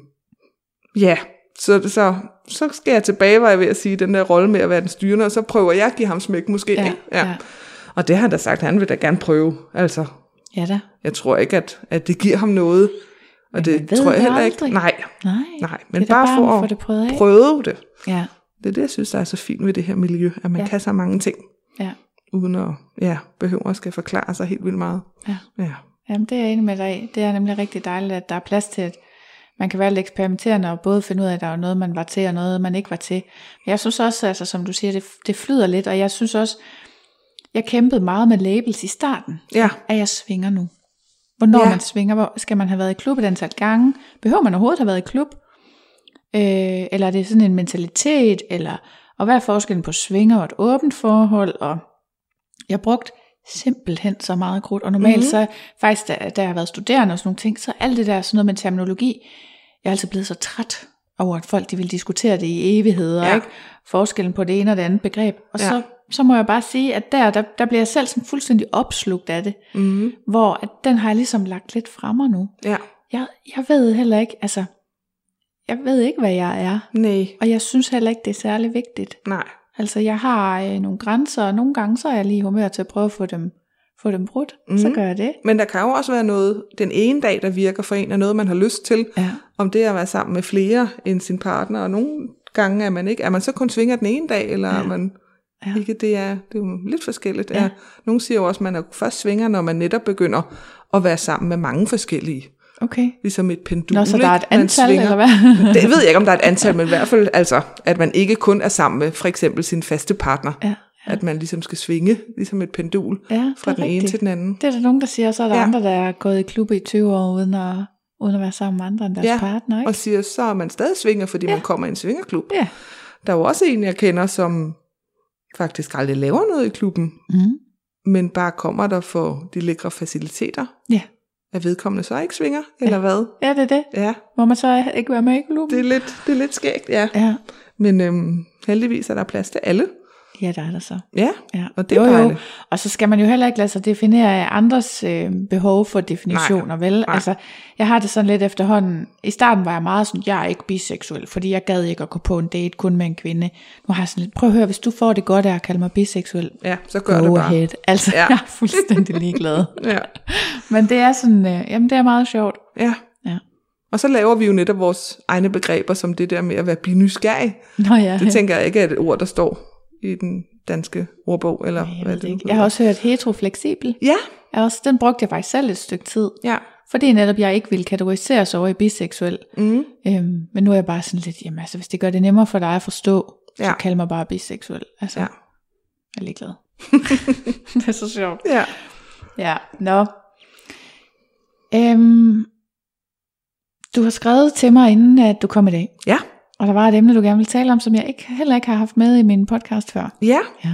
S3: ja, så, så, så skal jeg tilbage, var jeg ved at sige, den der rolle med at være den styrende, og så prøver jeg at give ham smæk måske.
S2: Ja,
S3: ikke?
S2: ja.
S3: Og det har han da sagt, han vil da gerne prøve. Altså,
S2: Ja da.
S3: jeg tror ikke, at, at det giver ham noget. Og
S2: Men man
S3: det
S2: ved
S3: tror jeg
S2: det
S3: heller
S2: aldrig.
S3: ikke. Nej,
S2: Nej.
S3: nej. Men
S2: det er da
S3: bare, for
S2: at
S3: at
S2: få det prøvet af.
S3: prøve det.
S2: Ja.
S3: Det er det, jeg synes, der er så fint ved det her miljø, at man
S2: Ja.
S3: ja. kan så mange ting,
S2: ja.
S3: uden at ja, behøver at skal forklare sig helt vildt meget.
S2: Ja.
S3: ja.
S2: Jamen, det er jeg enig med dig i. Det er nemlig rigtig dejligt, at der er plads til, at man kan være lidt eksperimenterende og både finde ud af, at der er noget, man var til, og noget, man ikke var til. Men jeg synes også, altså, som du siger, det, det flyder lidt, og jeg synes også, jeg kæmpede meget med labels i starten,
S3: Ja,
S2: at jeg svinger nu. Hvornår ja.
S3: Ja.
S2: man svinger, hvor skal man have været i klub et antal gange? Behøver man overhovedet have været i klub? Øh, eller er det sådan en mentalitet? Eller, og hvad er forskellen på svinger og et åbent forhold? Og jeg har brugt simpelthen så meget krudt. Og normalt mm-hmm. så, faktisk da, da jeg har været studerende og sådan nogle ting, så alt det der sådan noget med terminologi, jeg er altid blevet så træt over, at folk de vil diskutere det i evigheder, ja.
S3: Ja.
S2: ikke? Forskellen på det ene og det andet begreb. Og ja.
S3: Ja.
S2: så, så må jeg bare sige, at der, der, der bliver jeg selv sådan fuldstændig opslugt af det.
S3: mm-hmm.
S2: Hvor at den har jeg ligesom lagt lidt fremme nu.
S3: ja.
S2: Jeg, jeg ved heller ikke, altså, jeg ved ikke, hvad jeg er.
S3: nej,
S2: Og jeg synes heller ikke, det er særlig vigtigt.
S3: nej.
S2: Altså, jeg har øh, nogle grænser, og nogle gange så er jeg lige i humør til at prøve at få dem, få dem brudt. Mm. Så
S3: Mhm.
S2: gør jeg det.
S3: Men der kan jo også være noget, den ene dag, der virker for en, og noget, man har lyst til.
S2: Ja.
S3: Om det er at være sammen med flere end sin partner, og nogle gange er man ikke, er man så kun svinger den ene dag, eller
S2: Ja.
S3: ja. er man
S2: Ja.
S3: ja. ikke, det er, det er jo lidt forskelligt.
S2: Ja.
S3: Ja. Nogle siger jo også, at man er først svinger, når man netop begynder at være sammen med mange forskellige.
S2: Okay.
S3: Ligesom et pendul,
S2: Nå, så der er
S3: ikke?
S2: et
S3: Man
S2: antal,
S3: svinger.
S2: eller hvad?
S3: Det ved jeg ikke, om der er et antal, men i hvert fald, altså, at man ikke kun er sammen med for eksempel sin faste partner.
S2: Ja.
S3: At man ligesom skal svinge, ligesom et pendul,
S2: Ja,
S3: fra
S2: det er
S3: den ene
S2: rigtigt.
S3: til den anden.
S2: Det er der nogen, der siger, og så er der ja.
S3: Ja.
S2: andre, der er gået i klub i 20 år, uden at, uden at være sammen med andre end deres ja. partner, ikke?
S3: og siger, så er man stadig svinger, fordi ja. man kommer i en svingerklub.
S2: Ja.
S3: Der er jo også en, jeg kender, som faktisk aldrig laver noget i klubben,
S2: Mm.
S3: men bare kommer der for de lækre faciliteter.
S2: Ja.
S3: Er vedkommende så ikke svinger, eller hvad?
S2: ja, det er det.
S3: Ja,
S2: Må man så ikke være med i klubben?
S3: det er lidt, det er lidt skægt, ja.
S2: Ja,
S3: Men øhm, heldigvis er der plads til alle.
S2: ja der er der så.
S3: Ja,
S2: Ja.
S3: og det er dejligt.
S2: Og så skal man jo heller ikke lade sig definere af andres øh, behov for definitioner, Nej. vel? Nej. Altså, jeg har det sådan lidt efterhånden. I starten var jeg meget sådan, jeg er ikke biseksuel, fordi jeg gad ikke at gå på en date kun med en kvinde. Nu har jeg sådan lidt, prøv at høre, hvis du får det godt af at kalde mig biseksuel,
S3: Ja, så gør
S2: go
S3: det bare.
S2: ahead. Altså, ja.
S3: Ja.
S2: jeg er fuldstændig ligeglad.
S3: Ja,
S2: Men det er sådan, øh, jamen det er meget sjovt.
S3: ja.
S2: Ja.
S3: Og så laver vi jo netop vores egne begreber, som det der med at være binysgerrig.
S2: Nå ja,
S3: Det tænker jeg ikke er et ord, der står i den danske ordbog. Eller
S2: jeg,
S3: hvad
S2: ved det ikke.
S3: nu
S2: jeg har
S3: hedder.
S2: også hørt heterofleksibel.
S3: Ja,
S2: Jeg også, den brugte jeg faktisk selv et stykke tid.
S3: ja.
S2: Fordi netop jeg ikke ville kategoriseres over i biseksuel.
S3: Mm.
S2: Øhm, men nu er jeg bare sådan lidt, jamen altså, hvis det gør det nemmere for dig at forstå, ja. så
S3: Ja.
S2: kald mig bare biseksuel. Altså, ja.
S3: Ja.
S2: jeg er ligeglad. det er så sjovt.
S3: Ja.
S2: Ja, nå. Øhm, du har skrevet til mig, inden at du kom i dag.
S3: Ja.
S2: Og der var et emne, du gerne ville tale om, som jeg ikke, heller ikke har haft med i min podcast før.
S3: Ja,
S2: Ja.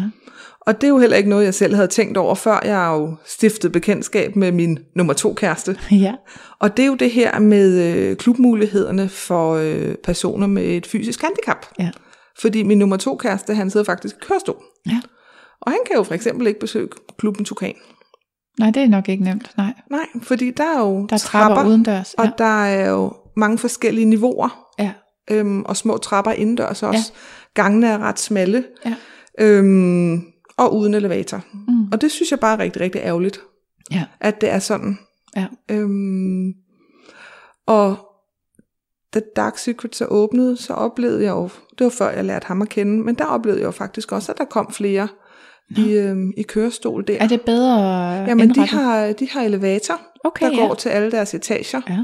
S3: og det er jo heller ikke noget, jeg selv havde tænkt over, før jeg har jo stiftet bekendtskab med min nummer to kæreste.
S2: ja.
S3: Og det er jo det her med øh, klubmulighederne for øh, personer med et fysisk handicap.
S2: Ja.
S3: Fordi min nummer to kæreste, han sidder faktisk i kørestol.
S2: Ja.
S3: Og han kan jo for eksempel ikke besøge klubben Tukan.
S2: Nej, det er nok ikke nemt. Nej.
S3: Nej, fordi der er jo
S2: Der er trapper, trapper udendørs.
S3: og
S2: Ja.
S3: der er jo mange forskellige niveauer,
S2: ja.
S3: øhm, og små trapper indendørs også. Ja. Gangene er ret smalle.
S2: Ja.
S3: Øhm, og uden elevator.
S2: Mm.
S3: Og det synes jeg bare er rigtig, rigtig ærgerligt,
S2: Ja.
S3: at det er sådan.
S2: Ja.
S3: Øhm, og da Dark Secret så åbnede, så oplevede jeg jo, det var før jeg lærte ham at kende, men der oplevede jeg jo faktisk også, at der kom flere i, øhm, i kørestol der.
S2: Er det bedre
S3: Jamen, de
S2: indrettet?
S3: har, de har elevator,
S2: Okay,
S3: der
S2: ja.
S3: går til alle deres etager.
S2: Ja.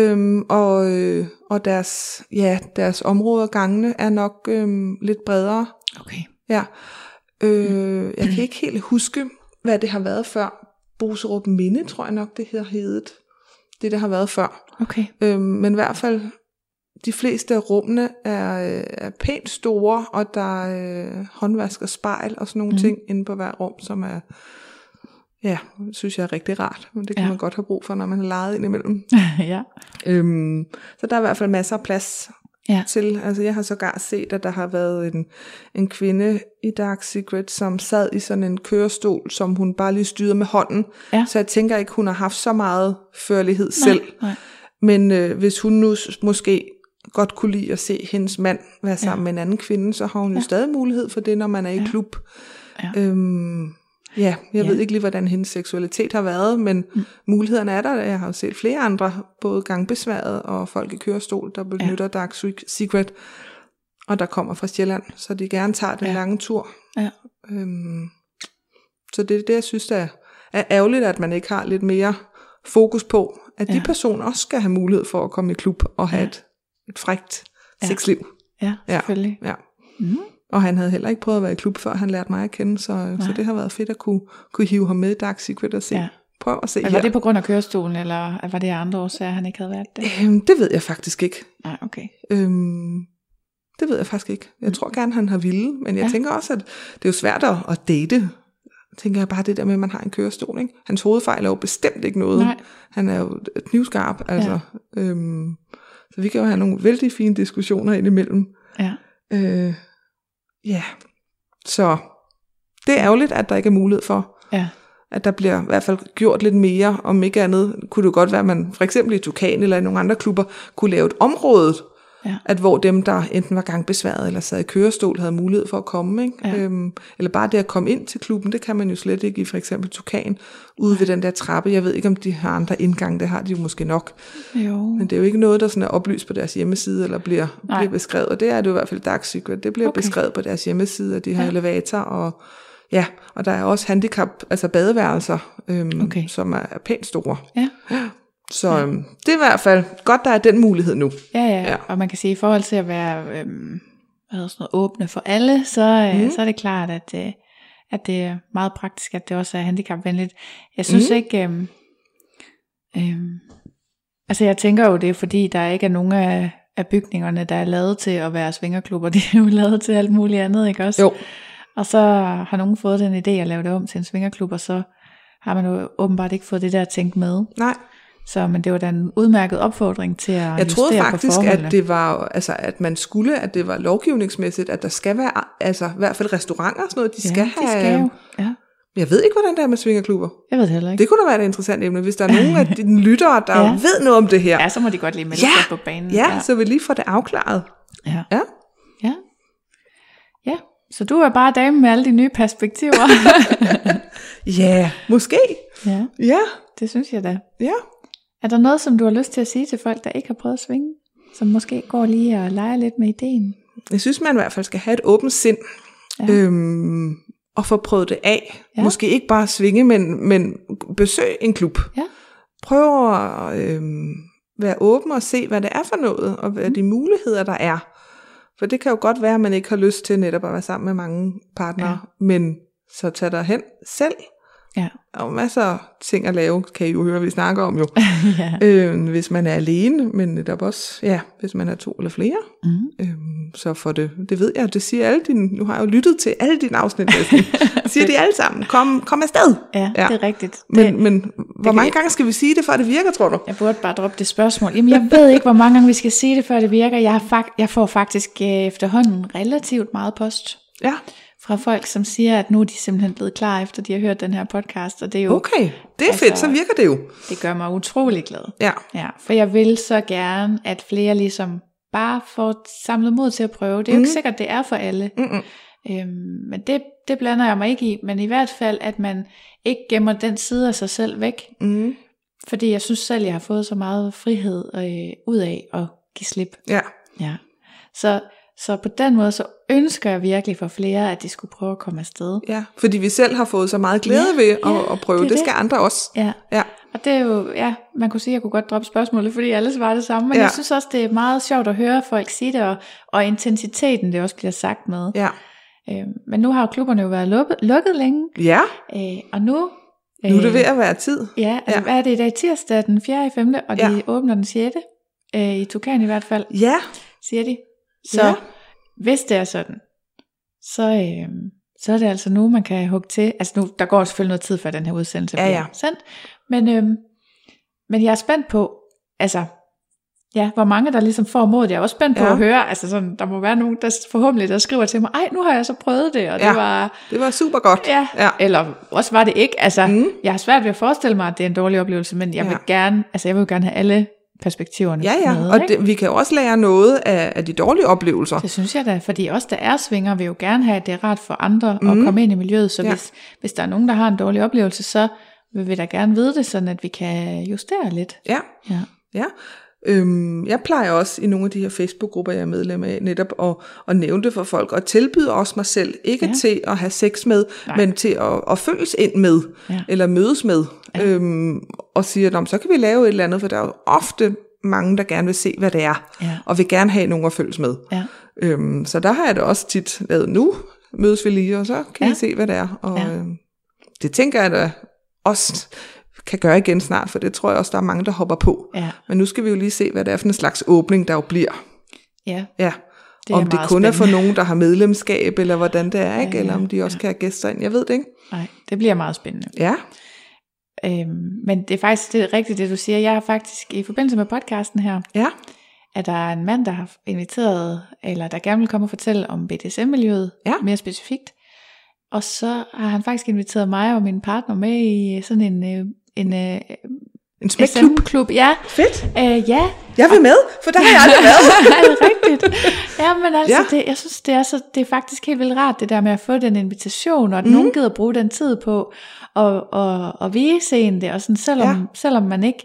S3: Øhm, og øh, og deres, ja, deres områder, gangene, er nok øhm, lidt bredere.
S2: Okay.
S3: Ja. Øh, jeg kan ikke helt huske, hvad det har været før. Boserup Minde, tror jeg nok, det her hedet. Det, der har været før.
S2: Okay.
S3: Øhm, men i hvert fald, de fleste af rummene er, øh, er pænt store, og der er øh, håndvask og spejl og sådan nogle mm. ting inde på hver rum, som er, ja, synes jeg er rigtig rart. Men det kan
S2: Ja.
S3: ja. man godt have brug for, når man har lejet ind imellem.
S2: ja.
S3: Øhm, så der er i hvert fald masser af plads
S2: Ja.
S3: til. Altså, jeg har sågar set, at der har været en, en kvinde i Dark Secret, som sad i sådan en kørestol, som hun bare lige styrede med hånden.
S2: Ja.
S3: Så jeg tænker ikke, hun har haft så meget førlighed selv.
S2: Nej.
S3: Men øh, hvis hun nu s- måske godt kunne lide at se hendes mand være sammen ja. med en anden kvinde, så har hun jo ja. stadig mulighed for det, når man er i ja. klub.
S2: Ja.
S3: Øhm, ja, jeg
S2: Ja.
S3: ja. ved ikke lige, hvordan hendes seksualitet har været, men mm. mulighederne er der. Jeg har jo set flere andre, både gangbesværet og folk i kørestol, der benytter ja. Dark Sec- Secret, og der kommer fra Sjælland, så de gerne tager den
S2: Ja.
S3: ja. lange tur.
S2: Ja.
S3: Øhm, så det er det, jeg synes, der er ærgerligt, at man ikke har lidt mere fokus på, at de
S2: Ja.
S3: personer også skal have mulighed for at komme i klub og have
S2: Ja.
S3: ja. et, et frægt
S2: Ja.
S3: ja. sexliv.
S2: Ja,
S3: Ja.
S2: selvfølgelig.
S3: Ja.
S2: Mm.
S3: Og han havde heller ikke prøvet at være i klub, før han lærte mig at kende, så, så
S2: Nej.
S3: det har været fedt at kunne, kunne hive ham med i Dark Secret og se.
S2: Ja.
S3: Ja. Prøv at se
S2: Men var
S3: her.
S2: det på grund af kørestolen, eller var det af andre årsager, han ikke havde været det?
S3: Øhm, det ved jeg faktisk ikke.
S2: Nej, okay.
S3: Øhm, det ved jeg faktisk ikke. Jeg tror gerne, han har ville, men jeg
S2: Mm. Ja.
S3: ja. tænker også, at det er jo svært at, at date. Tænker jeg bare det der med, at man har en kørestol. Ikke? Hans hovedfejl er jo bestemt ikke noget.
S2: Nej.
S3: Han er jo knivskarp, altså. Ja. Øhm, så vi kan jo have nogle vældig fine diskussioner indimellem.
S2: Ja.
S3: Øh, ja, så det er ærgerligt, at der ikke er mulighed for,
S2: Ja.
S3: at der bliver i hvert fald gjort lidt mere, om ikke andet kunne det jo godt være, at man for eksempel i Tukan eller i nogle andre klubber kunne lave et område,
S2: Ja.
S3: at hvor dem, der enten var gangbesværet eller sad i kørestol, havde mulighed for at komme. Ikke?
S2: Ja.
S3: Øhm, eller bare det at komme ind til klubben, det kan man jo slet ikke i for eksempel Tukan, ude ved den der trappe. Jeg ved ikke, om de har andre indgange, det har de jo måske nok.
S2: Jo.
S3: Men det er jo ikke noget, der sådan er oplyst på deres hjemmeside, eller bliver,
S2: Nej.
S3: bliver beskrevet. Og det er det jo i hvert fald i Dark Secret. Det bliver
S2: Okay.
S3: okay. beskrevet på deres hjemmeside, at de har
S2: Ja.
S3: ja. elevator, og ja, og der er også handicap, altså badeværelser, øhm,
S2: Okay.
S3: okay. som er er pænt store.
S2: Ja.
S3: Så ja. øhm, det er i hvert fald godt, der er den mulighed nu.
S2: Ja, ja, ja,
S3: Ja.
S2: og man kan sige, i forhold til at være øhm, hvad hedder sådan noget, åbne for alle, så, øh, mm. så er det klart, at, øh, at det er meget praktisk, at det også er handicapvenligt. Jeg synes mm. ikke, øhm, øhm, altså jeg tænker jo, det er fordi, der ikke er nogen af, af bygningerne, der er lavet til at være svingerklubber, de er jo lavet til alt muligt andet, ikke også?
S3: Jo.
S2: Og så har nogen fået den idé at lave det om til en svingerklub, og så har man jo åbenbart ikke fået det der tænkt med.
S3: Nej,
S2: Så, men det var da en udmærket opfordring til at
S3: jeg troede
S2: justere
S3: faktisk,
S2: på forholdene.
S3: at det var, altså, at man skulle, at det var lovgivningsmæssigt, at der skal være, altså i hvert fald restauranter og sådan noget, de skal
S2: ja,
S3: have... øhm,
S2: de skal jo. Ja,
S3: Jeg ved ikke, hvordan det er med svingerklubber.
S2: jeg ved det heller ikke.
S3: Det kunne da være et interessant emne, hvis der er nogen af dine lyttere, der
S2: Ja.
S3: ja. ved noget om det her.
S2: Ja, så må de godt lige melde
S3: Ja,
S2: sig på banen.
S3: Ja, ja, så vi lige får det afklaret.
S2: ja.
S3: Ja.
S2: ja. Ja, så du er bare dame med alle de nye perspektiver.
S3: Ja, yeah. måske.
S2: ja,
S3: Ja,
S2: det synes jeg da.
S3: ja.
S2: Er der noget, som du har lyst til at sige til folk, der ikke har prøvet at svinge? Som måske går lige og leger lidt med ideen?
S3: Jeg synes, man i hvert fald skal have et åbent sind.
S2: Ja.
S3: Ja. Øhm, og få prøvet det af.
S2: Ja.
S3: Ja. Måske ikke bare svinge, men, men besøg en klub.
S2: Ja.
S3: Prøv at øhm, være åben og se, hvad det er for noget, og hvad de muligheder, der er. For det kan jo godt være, at man ikke har lyst til netop at være sammen med mange partnere, ja. men så tag dig hen selv.
S2: Ja.
S3: Der er jo masser af ting at lave, kan I jo høre, vi snakker om jo.
S2: ja.
S3: Øh, hvis man er alene, men netop også, ja, hvis man er to eller flere,
S2: Mm.
S3: øh, så får det, det ved jeg, det siger alle dine, nu har jeg jo lyttet til alle dine afsnit, næsten. siger de alle sammen, kom, kom afsted.
S2: Ja, ja,
S3: Ja.
S2: det er rigtigt.
S3: Men,
S2: det,
S3: men hvor
S2: kan
S3: mange
S2: vi-
S3: gange skal vi sige det, før det virker, tror du?
S2: Jeg burde bare droppe det spørgsmål. Jamen, jeg ved ikke, hvor mange gange vi skal sige det, før det virker. Jeg, har fak- jeg får faktisk øh, efterhånden relativt meget post
S3: Ja,
S2: fra folk, som siger, at nu er de simpelthen blevet klar, efter de har hørt den her podcast, og det er jo,
S3: okay, det er altså, fedt,
S2: Altså-
S3: så virker det jo.
S2: det gør mig utrolig glad.
S3: Ja,
S2: Ja, for jeg vil så gerne, at flere ligesom bare får samlet mod til at prøve. Det er jo ikke
S3: Mhm.
S2: sikkert, det er for alle,
S3: Mm-mm.
S2: øhm, men det, det blander jeg mig ikke i. Men i hvert fald, at man ikke gemmer den side af sig selv væk,
S3: Mm.
S2: fordi jeg synes selv, jeg har fået så meget frihed øh, ud af at give slip.
S3: ja,
S2: Ja. Så, Så på den måde, så ønsker jeg virkelig for flere, at de skulle prøve at komme afsted.
S3: Ja, fordi vi selv har fået så meget glæde
S2: Ja,
S3: ved at,
S2: ja, det
S3: at prøve. Det,
S2: er
S3: det
S2: det.
S3: skal andre også.
S2: Ja.
S3: Ja.
S2: Og det er jo, ja, man kunne sige, at jeg kunne godt droppe spørgsmålet, fordi alle svarer det samme. Men
S3: Ja.
S2: ja. jeg synes også, det er meget sjovt at høre folk sige det, og, og intensiteten, det også bliver sagt med.
S3: Ja.
S2: Øh, men nu har jo klubberne jo været lukket, lukket længe,
S3: Ja,
S2: øh, og nu... øh,
S3: nu er det ved at være tid.
S2: Ja, altså, ja,
S3: Ja.
S2: hvad er det i dag? Tirsdag den 4. i 5. og de
S3: Ja.
S2: åbner den 6. Øh, I Tukan i hvert fald,
S3: Ja,
S2: siger de. Så
S3: Ja.
S2: ja. hvis det er sådan, så, øh, så er det altså nu, man kan hugge til. Altså nu, der går selvfølgelig noget tid, før den her udsendelse
S3: Ja,
S2: bliver
S3: ja.
S2: sendt. Men, øh, men jeg er spændt på, altså, ja, hvor mange der ligesom får modet. Jeg er også spændt på
S3: Ja.
S2: at høre, altså sådan, der må være nogen, der forhåbentlig der skriver til mig, ej, nu har jeg så prøvet det, og ja.
S3: Ja.
S2: det var...
S3: det var super godt.
S2: Ja.
S3: ja.
S2: Eller også var det ikke. Altså,
S3: Mm.
S2: mm. jeg har svært ved at forestille mig, at det er en dårlig oplevelse, men jeg
S3: Ja.
S2: vil gerne, altså jeg vil jo gerne have alle perspektiverne
S3: Ja,
S2: med.
S3: ja, og
S2: ikke?
S3: det, vi kan jo også lære noget af, af de dårlige oplevelser.
S2: det synes jeg da, fordi også der er svinger, vil jo gerne have, at det er rart for andre mm. at komme ind i miljøet, så
S3: Ja.
S2: ja. hvis, hvis der er nogen, der har en dårlig oplevelse, så vil vi da gerne vide det, sådan at vi kan justere lidt.
S3: Ja,
S2: Ja.
S3: ja. Øhm, jeg plejer også i nogle af de her Facebook-grupper, jeg er medlem af, netop at, at nævne det for folk, og tilbyde også mig selv, ikke ja.
S2: Ja.
S3: til at have sex med, Nej.
S2: Nej.
S3: men til at, at følges ind med,
S2: Ja.
S3: eller mødes med, ja. øhm, og siger, "Nå, men så kan vi lave et eller andet, for der er jo ofte mange, der gerne vil se, hvad det er,
S2: Ja.
S3: og vil gerne have nogen at følges med.
S2: Ja.
S3: Øhm, så der har jeg det også tit lavet nu, mødes vi lige, og så kan ja.
S2: Ja.
S3: I se, hvad det er. Og ja.
S2: Ja.
S3: øhm, det tænker jeg da også kan gøre igen snart, for det tror jeg også, der er mange, der hopper på.
S2: Ja.
S3: Men nu skal vi jo lige se, hvad det er for en slags åbning, der jo bliver.
S2: ja,
S3: Ja.
S2: Det er
S3: om det kun
S2: meget
S3: er for
S2: spændende.
S3: nogen, der har medlemskab, eller hvordan det er, ikke?
S2: Ja,
S3: eller om de
S2: ja.
S3: også kan have gæster ind. Jeg ved det ikke.
S2: nej, det bliver meget spændende.
S3: Ja,
S2: Øhm, men det er faktisk det er rigtigt, det du siger. Jeg har faktisk, i forbindelse med podcasten her,
S3: ja,
S2: at der er en mand, der har inviteret, eller der gerne vil komme og fortælle om BDSM-miljøet
S3: Ja.
S2: mere specifikt. Og så har han faktisk inviteret mig og min partner med i sådan en, øh, en øh,
S3: en smækklub.
S2: SM-klub. Ja,
S3: Fedt.
S2: øh, ja.
S3: Jeg vil med, for der har jeg aldrig været.
S2: er det rigtigt? Ja, men altså,
S3: Ja.
S2: ja. Det, jeg synes, det er, så, det er faktisk helt vildt rart, det der med at få den invitation,
S3: Mhm.
S2: og at mm. nogen gider bruge den tid på og, og, og vise en det, og sådan, selvom,
S3: Ja.
S2: ja. selvom man ikke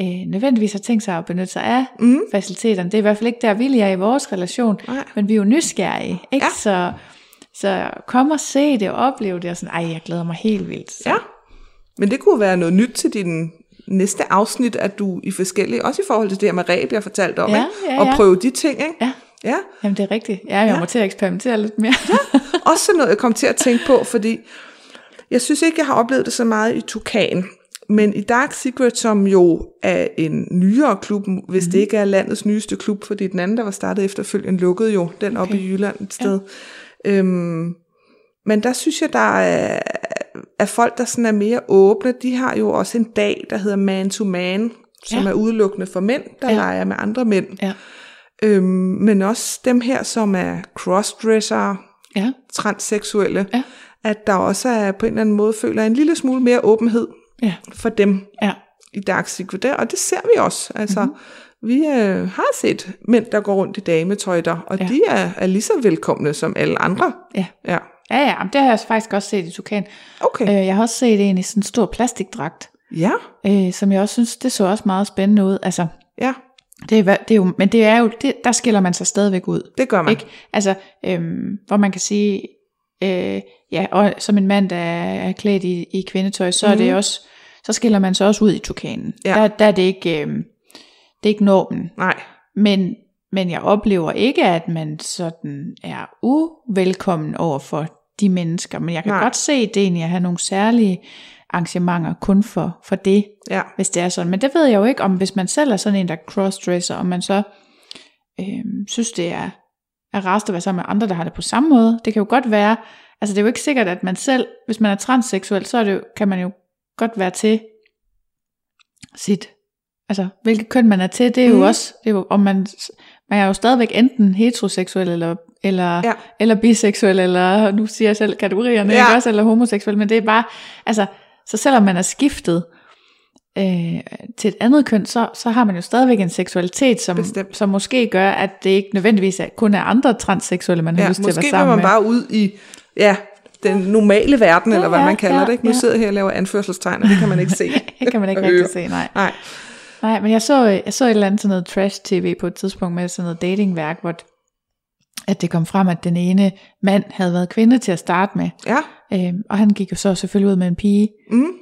S2: øh, nødvendigvis har tænkt sig at benytte sig af
S3: Mm.
S2: faciliteterne. Det er i hvert fald ikke der, vi er i vores relation,
S3: Nej.
S2: men vi er jo nysgerrige, ikke?
S3: Ja.
S2: Så, så kom og se det og opleve det, og sådan, ej, jeg glæder mig helt vildt. Så,
S3: Ja. Men det kunne være noget nyt til din næste afsnit, at du i forskellige, også i forhold til det her med ræb, jeg fortalte om,
S2: Ja,
S3: ikke?
S2: ja,
S3: og
S2: ja.
S3: prøve de ting. Ikke?
S2: ja.
S3: ja.
S2: Jamen, det er rigtigt. Ja, jeg
S3: Ja.
S2: ja. må til at eksperimentere lidt mere.
S3: Også sådan noget, jeg kom til at tænke på, fordi jeg synes ikke, jeg har oplevet det så meget i Tukan. Men i Dark Secret, som jo er en nyere klub, hvis mm. det ikke er landets nyeste klub, fordi den anden, der var startet efterfølgende, lukkede jo den okay. op i Jylland et sted. Ja. Øhm, men der synes jeg, der er, er folk, der sådan er mere åbne. De har jo også en dag, der hedder Man to Man, som ja.
S2: Ja.
S3: er udelukkende for mænd, der ja.
S2: Ja.
S3: leger med andre mænd.
S2: ja.
S3: Øhm, men også dem her, som er crossdresser,
S2: ja.
S3: transseksuelle,
S2: Ja.
S3: at der også er på en eller anden måde føler en lille smule mere åbenhed
S2: Ja.
S3: for dem
S2: Ja.
S3: i Dark Secret, der, og det ser vi også. Altså,
S2: Mhm.
S3: mm-hmm. vi øh, har set mænd, der går rundt i dametøjter, og ja.
S2: Ja.
S3: de er, er lige så velkomne som alle andre.
S2: Ja.
S3: Ja,
S2: Ja, ja, men det har jeg faktisk også set i Tukan.
S3: okay. Øh.
S2: Øh, jeg har også set en i sådan en stor plastikdragt,
S3: Ja,
S2: øh, som jeg også synes, det så også meget spændende ud. Altså,
S3: ja,
S2: det er, hva- det er jo, men det er jo, det, der skiller man sig stadigvæk ud.
S3: det gør man.
S2: Ikke? Altså, øhm, hvor man kan sige, øh, ja, og som en mand, der er klædt i, i kvindetøj, så mm. er det også, så skiller man sig også ud i tukanen.
S3: Ja.
S2: Der, der er det ikke, øhm, det er ikke normen.
S3: Nej,
S2: Men, men jeg oplever ikke, at man sådan er uvelkommen over for de mennesker. Men jeg kan
S3: Nej.
S2: Nej. godt se ideen i at have nogle særlige arrangementer kun for, for det,
S3: ja,
S2: hvis det er sådan. Men det ved jeg jo ikke, om hvis man selv er sådan en, der crossdresser, om man så øhm, synes, det er, er rarest at være sammen med andre, der har det på samme måde. Det kan jo godt være, altså det er jo ikke sikkert, at man selv, hvis man er transseksuel, så er det jo, kan man jo godt være til sit, altså hvilket køn man er til, det er
S3: Mhm.
S2: jo også, det er jo, om man, man er jo stadigvæk enten heteroseksuel eller eller,
S3: Ja.
S2: ja. eller biseksuel, eller nu siger jeg selv kategorierne,
S3: Ja.
S2: ja. ikke også, eller homoseksuel, men det er bare, altså, så selvom man er skiftet, øh, til et andet køn, så, så har man jo stadigvæk en seksualitet, som,
S3: Bestemt.
S2: som måske gør, at det ikke nødvendigvis er, kun er andre transseksuelle, man har
S3: ja.
S2: lyst til at
S3: Måske
S2: være sammen
S3: vil man
S2: med.
S3: bare ud i ja, den normale verden,
S2: Ja,
S3: eller hvad
S2: ja,
S3: man kalder
S2: ja,
S3: det. Ikke? Nu
S2: ja.
S3: sidder jeg her og laver anførselstegn, og det kan man ikke se.
S2: det kan man ikke
S3: og høre.
S2: rigtig se, nej.
S3: Nej,
S2: Nej, men jeg så, jeg så et eller andet sådan noget trash-tv på et tidspunkt med sådan noget datingværk, hvor, at det kom frem, at den ene mand havde været kvinde til at starte med.
S3: Ja.
S2: Øhm, og han gik jo så selvfølgelig ud med en pige.
S3: Mm.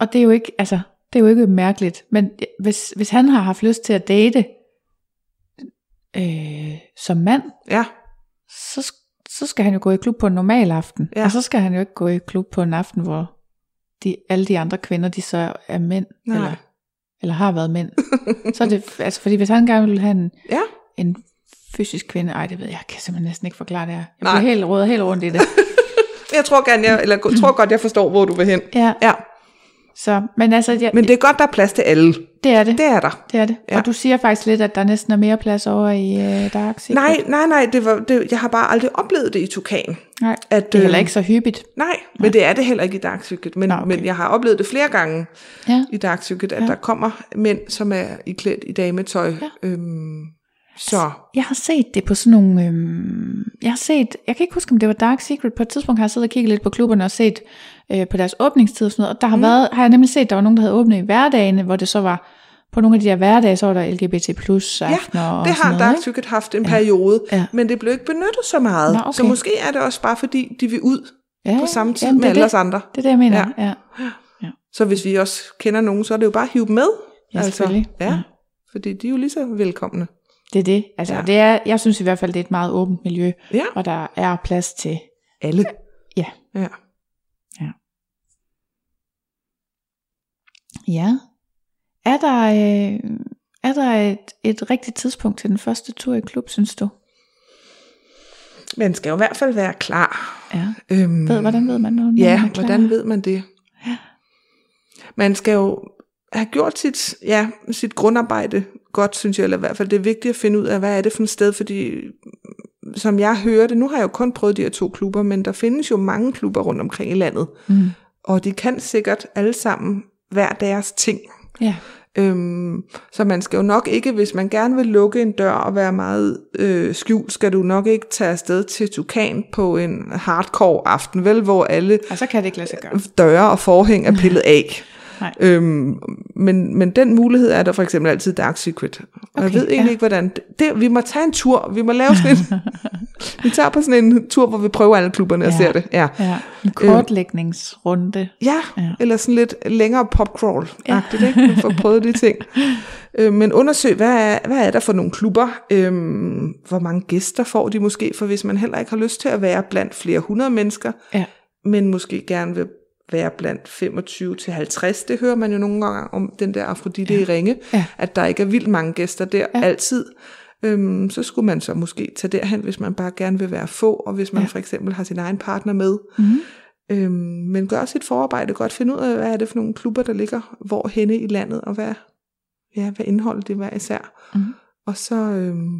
S2: Og det er jo ikke, altså, det er jo ikke mærkeligt. Men hvis, hvis han har haft lyst til at date øh, som mand,
S3: Ja.
S2: så, sk- så skal han jo gå i klub på en normal aften.
S3: Ja.
S2: Ja. Og så skal han jo ikke gå i klub på en aften, hvor de, alle de andre kvinder, de så er mænd.
S3: Nej.
S2: Eller, eller har været mænd. så er det, altså fordi hvis han gerne vil have en,
S3: Ja.
S2: en fysisk kvinde, ej det ved jeg, jeg kan simpelthen næsten ikke forklare det her. Jeg
S3: Nej.
S2: bliver helt råd helt rundt i det.
S3: Jeg tror, gerne, jeg, eller, tror godt, jeg forstår, hvor du vil hen.
S2: Ja,
S3: Ja.
S2: så, men altså, jeg,
S3: Men det er godt, der er plads til alle.
S2: det er det.
S3: Det er der.
S2: Det er det.
S3: Ja.
S2: Ja. Og du siger faktisk lidt, at der næsten er mere plads over i øh, Dark Secret.
S3: Nej, nej, nej. Det var, det, jeg har bare aldrig oplevet det i Tukan.
S2: Nej.
S3: At,
S2: det er heller
S3: øh,
S2: ikke så hyppigt.
S3: Nej, men det er det heller ikke i Dark Circuit. Men,
S2: Nå,
S3: okay.
S2: okay.
S3: men jeg har oplevet det flere gange
S2: Ja.
S3: i Dark Circuit, at ja.
S2: Ja.
S3: der kommer mænd, som er iklædt i dametøj. Ja.
S2: Ja.
S3: Øhm, så,
S2: Jeg har set det på sådan nogle... Øhm, jeg har set... Jeg kan ikke huske, om det var Dark Secret. På et tidspunkt har jeg siddet og kigget lidt på klubberne og set øh, på deres åbningstid og sådan noget. Og der har, mm. været, har jeg nemlig set, at der var nogen, der havde åbnet i hverdagene, hvor det så var... På nogle af de der hverdage, så var der LGBT plus
S3: ja,
S2: aftener og
S3: det
S2: sådan
S3: har
S2: noget.
S3: Dark
S2: ikke?
S3: Circuit haft en ja. periode, ja.
S2: Ja.
S3: men det blev ikke benyttet så meget.
S2: Nå, okay.
S3: Så måske er det også bare, fordi de vil ud
S2: ja,
S3: på samme tid
S2: jamen, det
S3: med
S2: er
S3: alle
S2: det.
S3: os andre.
S2: Det er det, jeg mener.
S3: Ja.
S2: Ja. ja.
S3: Så hvis vi også kender nogen, så er det jo bare at hive dem med. Altså,
S2: Ja, selvfølgelig.
S3: ja,
S2: Ja.
S3: fordi de er jo lige så velkomne.
S2: Det er det. Altså,
S3: Ja.
S2: ja. det er, jeg synes i hvert fald, det er et meget åbent miljø,
S3: Ja,
S2: hvor der er plads til...
S3: alle.
S2: Ja.
S3: ja.
S2: Ja. Er der, øh, er der et, et rigtigt tidspunkt til den første tur i klub, synes du?
S3: Man skal jo i hvert fald være klar.
S2: Ja.
S3: Øhm,
S2: Ved, hvordan ved man, når man
S3: Ja,
S2: er klar?
S3: hvordan ved man det? Man skal jo have gjort sit, ja, sit grundarbejde godt, synes jeg, eller i hvert fald det er vigtigt at finde ud af, hvad er det for et sted, fordi mm, som jeg hører det, nu har jeg jo kun prøvet de her to klubber, men der findes jo mange klubber rundt omkring i landet,
S2: Mm.
S3: og de kan sikkert alle sammen hver deres ting.
S2: Ja.
S3: Øhm, så man skal jo nok ikke, hvis man gerne vil lukke en dør og være meget øh, skjult, skal du nok ikke tage afsted til Tukan på en hardcore aften, vel, hvor alle
S2: Og så kan det ikke lade sig gøre.
S3: døre og forhæng er pillet af.
S2: Nej.
S3: Øhm, men, men den mulighed er der for eksempel altid i Dark Secret. Og okay, jeg
S2: Okay,
S3: ved egentlig
S2: ja.
S3: ikke, hvordan... Det, vi må tage en tur. Vi må lave sådan en... vi tager på sådan en tur, hvor vi prøver alle klubberne ja. og
S2: Ja.
S3: ser det. Ja.
S2: Ja. En kortlægningsrunde.
S3: Ja, ja,
S2: Ja.
S3: eller sådan lidt længere popcrawl-agtigt, ja. ikke? For at prøve de ting. Øh, men undersøg, hvad er, hvad er der for nogle klubber? Øhm, hvor mange gæster får de måske? For hvis man heller ikke har lyst til at være blandt flere hundrede mennesker,
S2: Ja.
S3: men måske gerne vil være blandt 25 til 50. Det hører man jo nogle gange om den der Afrodite ja. i Ringe,
S2: Ja.
S3: at der ikke er vildt mange gæster der ja.
S2: Ja.
S3: altid. Øhm, så skulle man så måske tage derhen, hvis man bare gerne vil være få, og hvis man ja. Mhm. for eksempel har sin egen partner med.
S2: Mm-hmm.
S3: Øhm, men gør sit forarbejde godt. Find ud af, hvad er det for nogle klubber, der ligger hvor henne i landet, og hvad, ja, hvad indholdet det hver især.
S2: Mhm.
S3: Og så, øhm,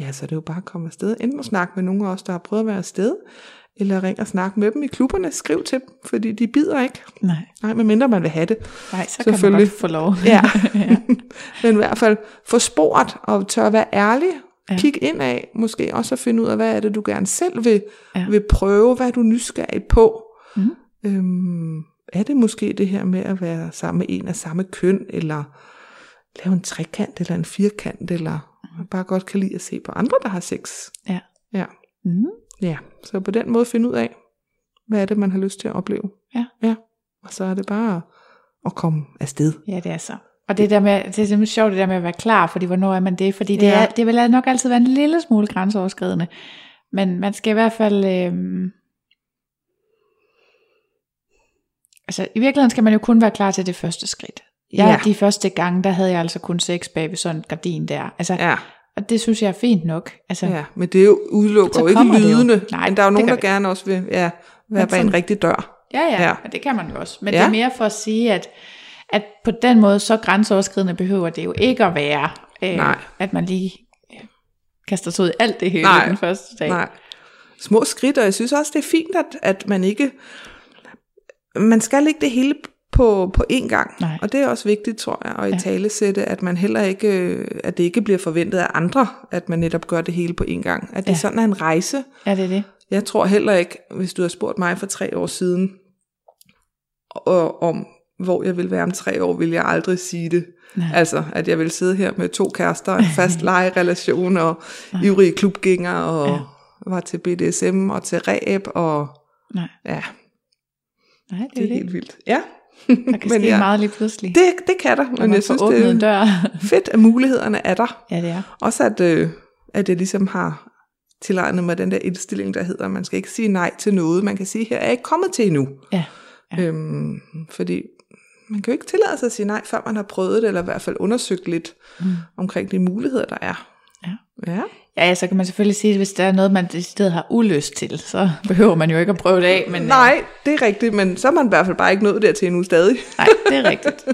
S3: ja, så er det jo bare at komme afsted. Enten at snakke med nogen af os, der har prøvet at være afsted, eller ring og snak med dem i klubberne. Skriv til dem, fordi de bider ikke.
S2: Nej.
S3: Nej, medmindre man vil have det.
S2: Nej, så kan man
S3: Selvfølgelig.
S2: godt få lov.
S3: Ja.
S2: ja.
S3: Men i hvert fald få sporet og tør at være ærlig. Ja.
S2: Ja.
S3: Kig ind af, måske også at finde ud af, hvad er det, du gerne selv vil, ja.
S2: Ja.
S3: vil prøve, hvad er du nysgerrig på.
S2: Mhm.
S3: Øhm, er det måske det her med at være sammen med en af samme køn, eller lave en trekant, eller en firkant, eller man
S2: Mhm.
S3: bare godt kan lide at se på andre, der har sex.
S2: Ja.
S3: Ja.
S2: Mm-hmm.
S3: ja. Så på den måde finde ud af, hvad er det, man har lyst til at opleve.
S2: Ja.
S3: ja. Og så er det bare at komme afsted.
S2: ja, det er så. Og det, der med, det er simpelthen sjovt, det der med at være klar, fordi hvornår er man det? Fordi det,
S3: Ja.
S2: er, det vil nok altid være en lille smule grænseoverskridende. Men man skal i hvert fald... Øhm, altså, i virkeligheden skal man jo kun være klar til det første skridt. Jeg,
S3: Ja.
S2: ja. De første gange, der havde jeg altså kun sex bag ved sådan en gardin der. Altså, ja.
S3: Ja.
S2: Og det synes jeg er fint nok. Altså,
S3: Ja, men det er jo udelukker
S2: Så
S3: jo ikke
S2: kommer det jo.
S3: lydende.
S2: Nej,
S3: men der er jo
S2: det
S3: nogen,
S2: gør
S3: der
S2: det
S3: gerne også vil ja, være bag en
S2: sådan-
S3: rigtig dør.
S2: Ja, ja,
S3: Ja.
S2: ja. Og det kan man jo også. Men
S3: Ja.
S2: ja. det er mere for at sige, at, at på den måde, så grænseoverskridende behøver det jo ikke at være, øh,
S3: Nej.
S2: at man lige øh, kaster sig ud i alt det hele
S3: Nej.
S2: den første dag.
S3: Nej. Små skridt, og jeg synes også, det er fint, at, at man ikke... Man skal ikke det hele på, på én gang.
S2: Nej.
S3: Og det er også vigtigt, tror jeg, at i
S2: Ja.
S3: talesætte, at man heller ikke, øh, at det ikke bliver forventet af andre, at man netop gør det hele på én gang. At det ja.
S2: Ja.
S3: sådan er en rejse.
S2: Ja, det er det.
S3: Jeg tror heller ikke, hvis du havde spurgt mig for tre år siden, og, om hvor jeg vil være om tre år, vil jeg aldrig sige det.
S2: Nej.
S3: Altså, at jeg vil sidde her med to kærester, en fast lejerelation og ivrige klubgængere og
S2: Ja.
S3: var til BDSM og til ræb og
S2: Nej,
S3: ja,
S2: nej det,
S3: det er
S2: det er
S3: helt vildt. Ja,
S2: det. Der kan
S3: men
S2: ske
S3: jeg-
S2: meget lige pludselig.
S3: det, det kan der,
S2: når
S3: men
S2: man
S3: jeg
S2: får
S3: synes,
S2: åbnet en
S3: det er
S2: dør.
S3: fedt, at mulighederne er der.
S2: ja, det er.
S3: Også at, øh, at jeg ligesom har tilegnet mig den der indstilling, der hedder, at man skal ikke sige nej til noget, man kan sige, her er jeg ikke kommet til endnu.
S2: Ja.
S3: Ja. Øhm, fordi man kan jo ikke tillade sig at sige nej, før man har prøvet det, eller i hvert fald undersøgt lidt mm. omkring de muligheder, der er.
S2: Ja.
S3: ja.
S2: Ja, ja, så kan man selvfølgelig sige, at hvis der er noget, man i stedet har ulyst til, så behøver man jo ikke at prøve det af. Men, øh,
S3: Nej, det er rigtigt, men så er man i hvert fald bare ikke nået dertil endnu stadig.
S2: nej, det er rigtigt.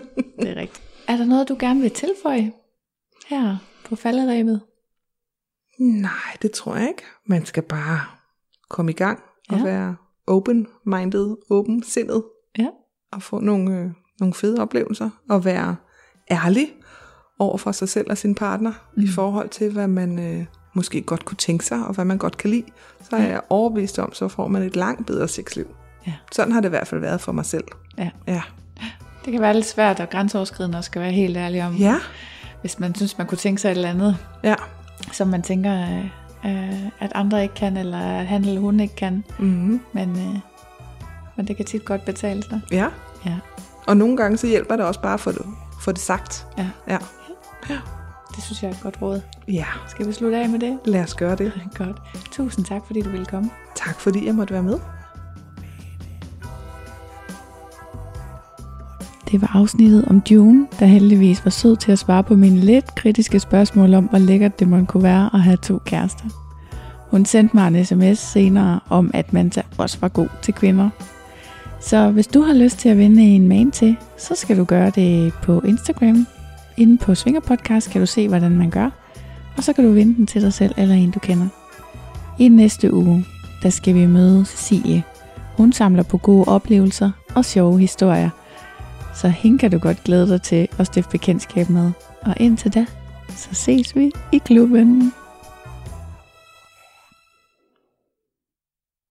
S2: Det er rigtigt. Er der noget, du gerne vil tilføje her på falderæbet?
S3: Nej, det tror jeg ikke. Man skal bare komme i gang og
S2: Ja.
S3: være open-minded, åben-sindet.
S2: Ja.
S3: og få nogle, øh, nogle fede oplevelser, og være ærlig over for sig selv og sin partner, mm. i forhold til, hvad man øh, måske godt kunne tænke sig, og hvad man godt kan lide, så er jeg overbevist om, så får man et langt bedre sexliv.
S2: Ja.
S3: Sådan har det i hvert fald været for mig selv.
S2: Ja.
S3: Ja.
S2: Det kan være lidt svært og grænseoverskridende at skal være helt ærlig om,
S3: Ja.
S2: hvis man synes, man kunne tænke sig et eller andet,
S3: ja.
S2: som man tænker, øh, øh, at andre ikke kan, eller at han eller hun ikke kan.
S3: Mm-hmm.
S2: Men, øh, men det kan tit godt betale sig.
S3: ja.
S2: Ja,
S3: Og nogle gange så hjælper det også bare at få det, få det sagt.
S2: ja,
S3: Ja.
S2: det synes jeg er et godt råd.
S3: ja,
S2: Skal vi slutte af med det?
S3: lad os gøre det.
S2: Godt. Tusind tak, fordi du ville komme.
S3: Tak fordi jeg måtte være med.
S4: Det var afsnittet om June, der heldigvis var sød til at svare på mine lidt kritiske spørgsmål om, hvor lækkert det måtte kunne være at have to kærester. Hun sendte mig en sms senere om, at Manta også var god til kvinder. Så hvis du har lyst til at vinde en man til, så skal du gøre det på Instagram. Inde på Svinger Podcast kan du se, hvordan man gør. Og så kan du vinde den til dig selv eller en, du kender. I næste uge, der skal vi møde Cecilie. Hun samler på gode oplevelser og sjove historier så hende kan du godt glæde dig til at stifte bekendtskab med. Og indtil da, så ses vi i klubben.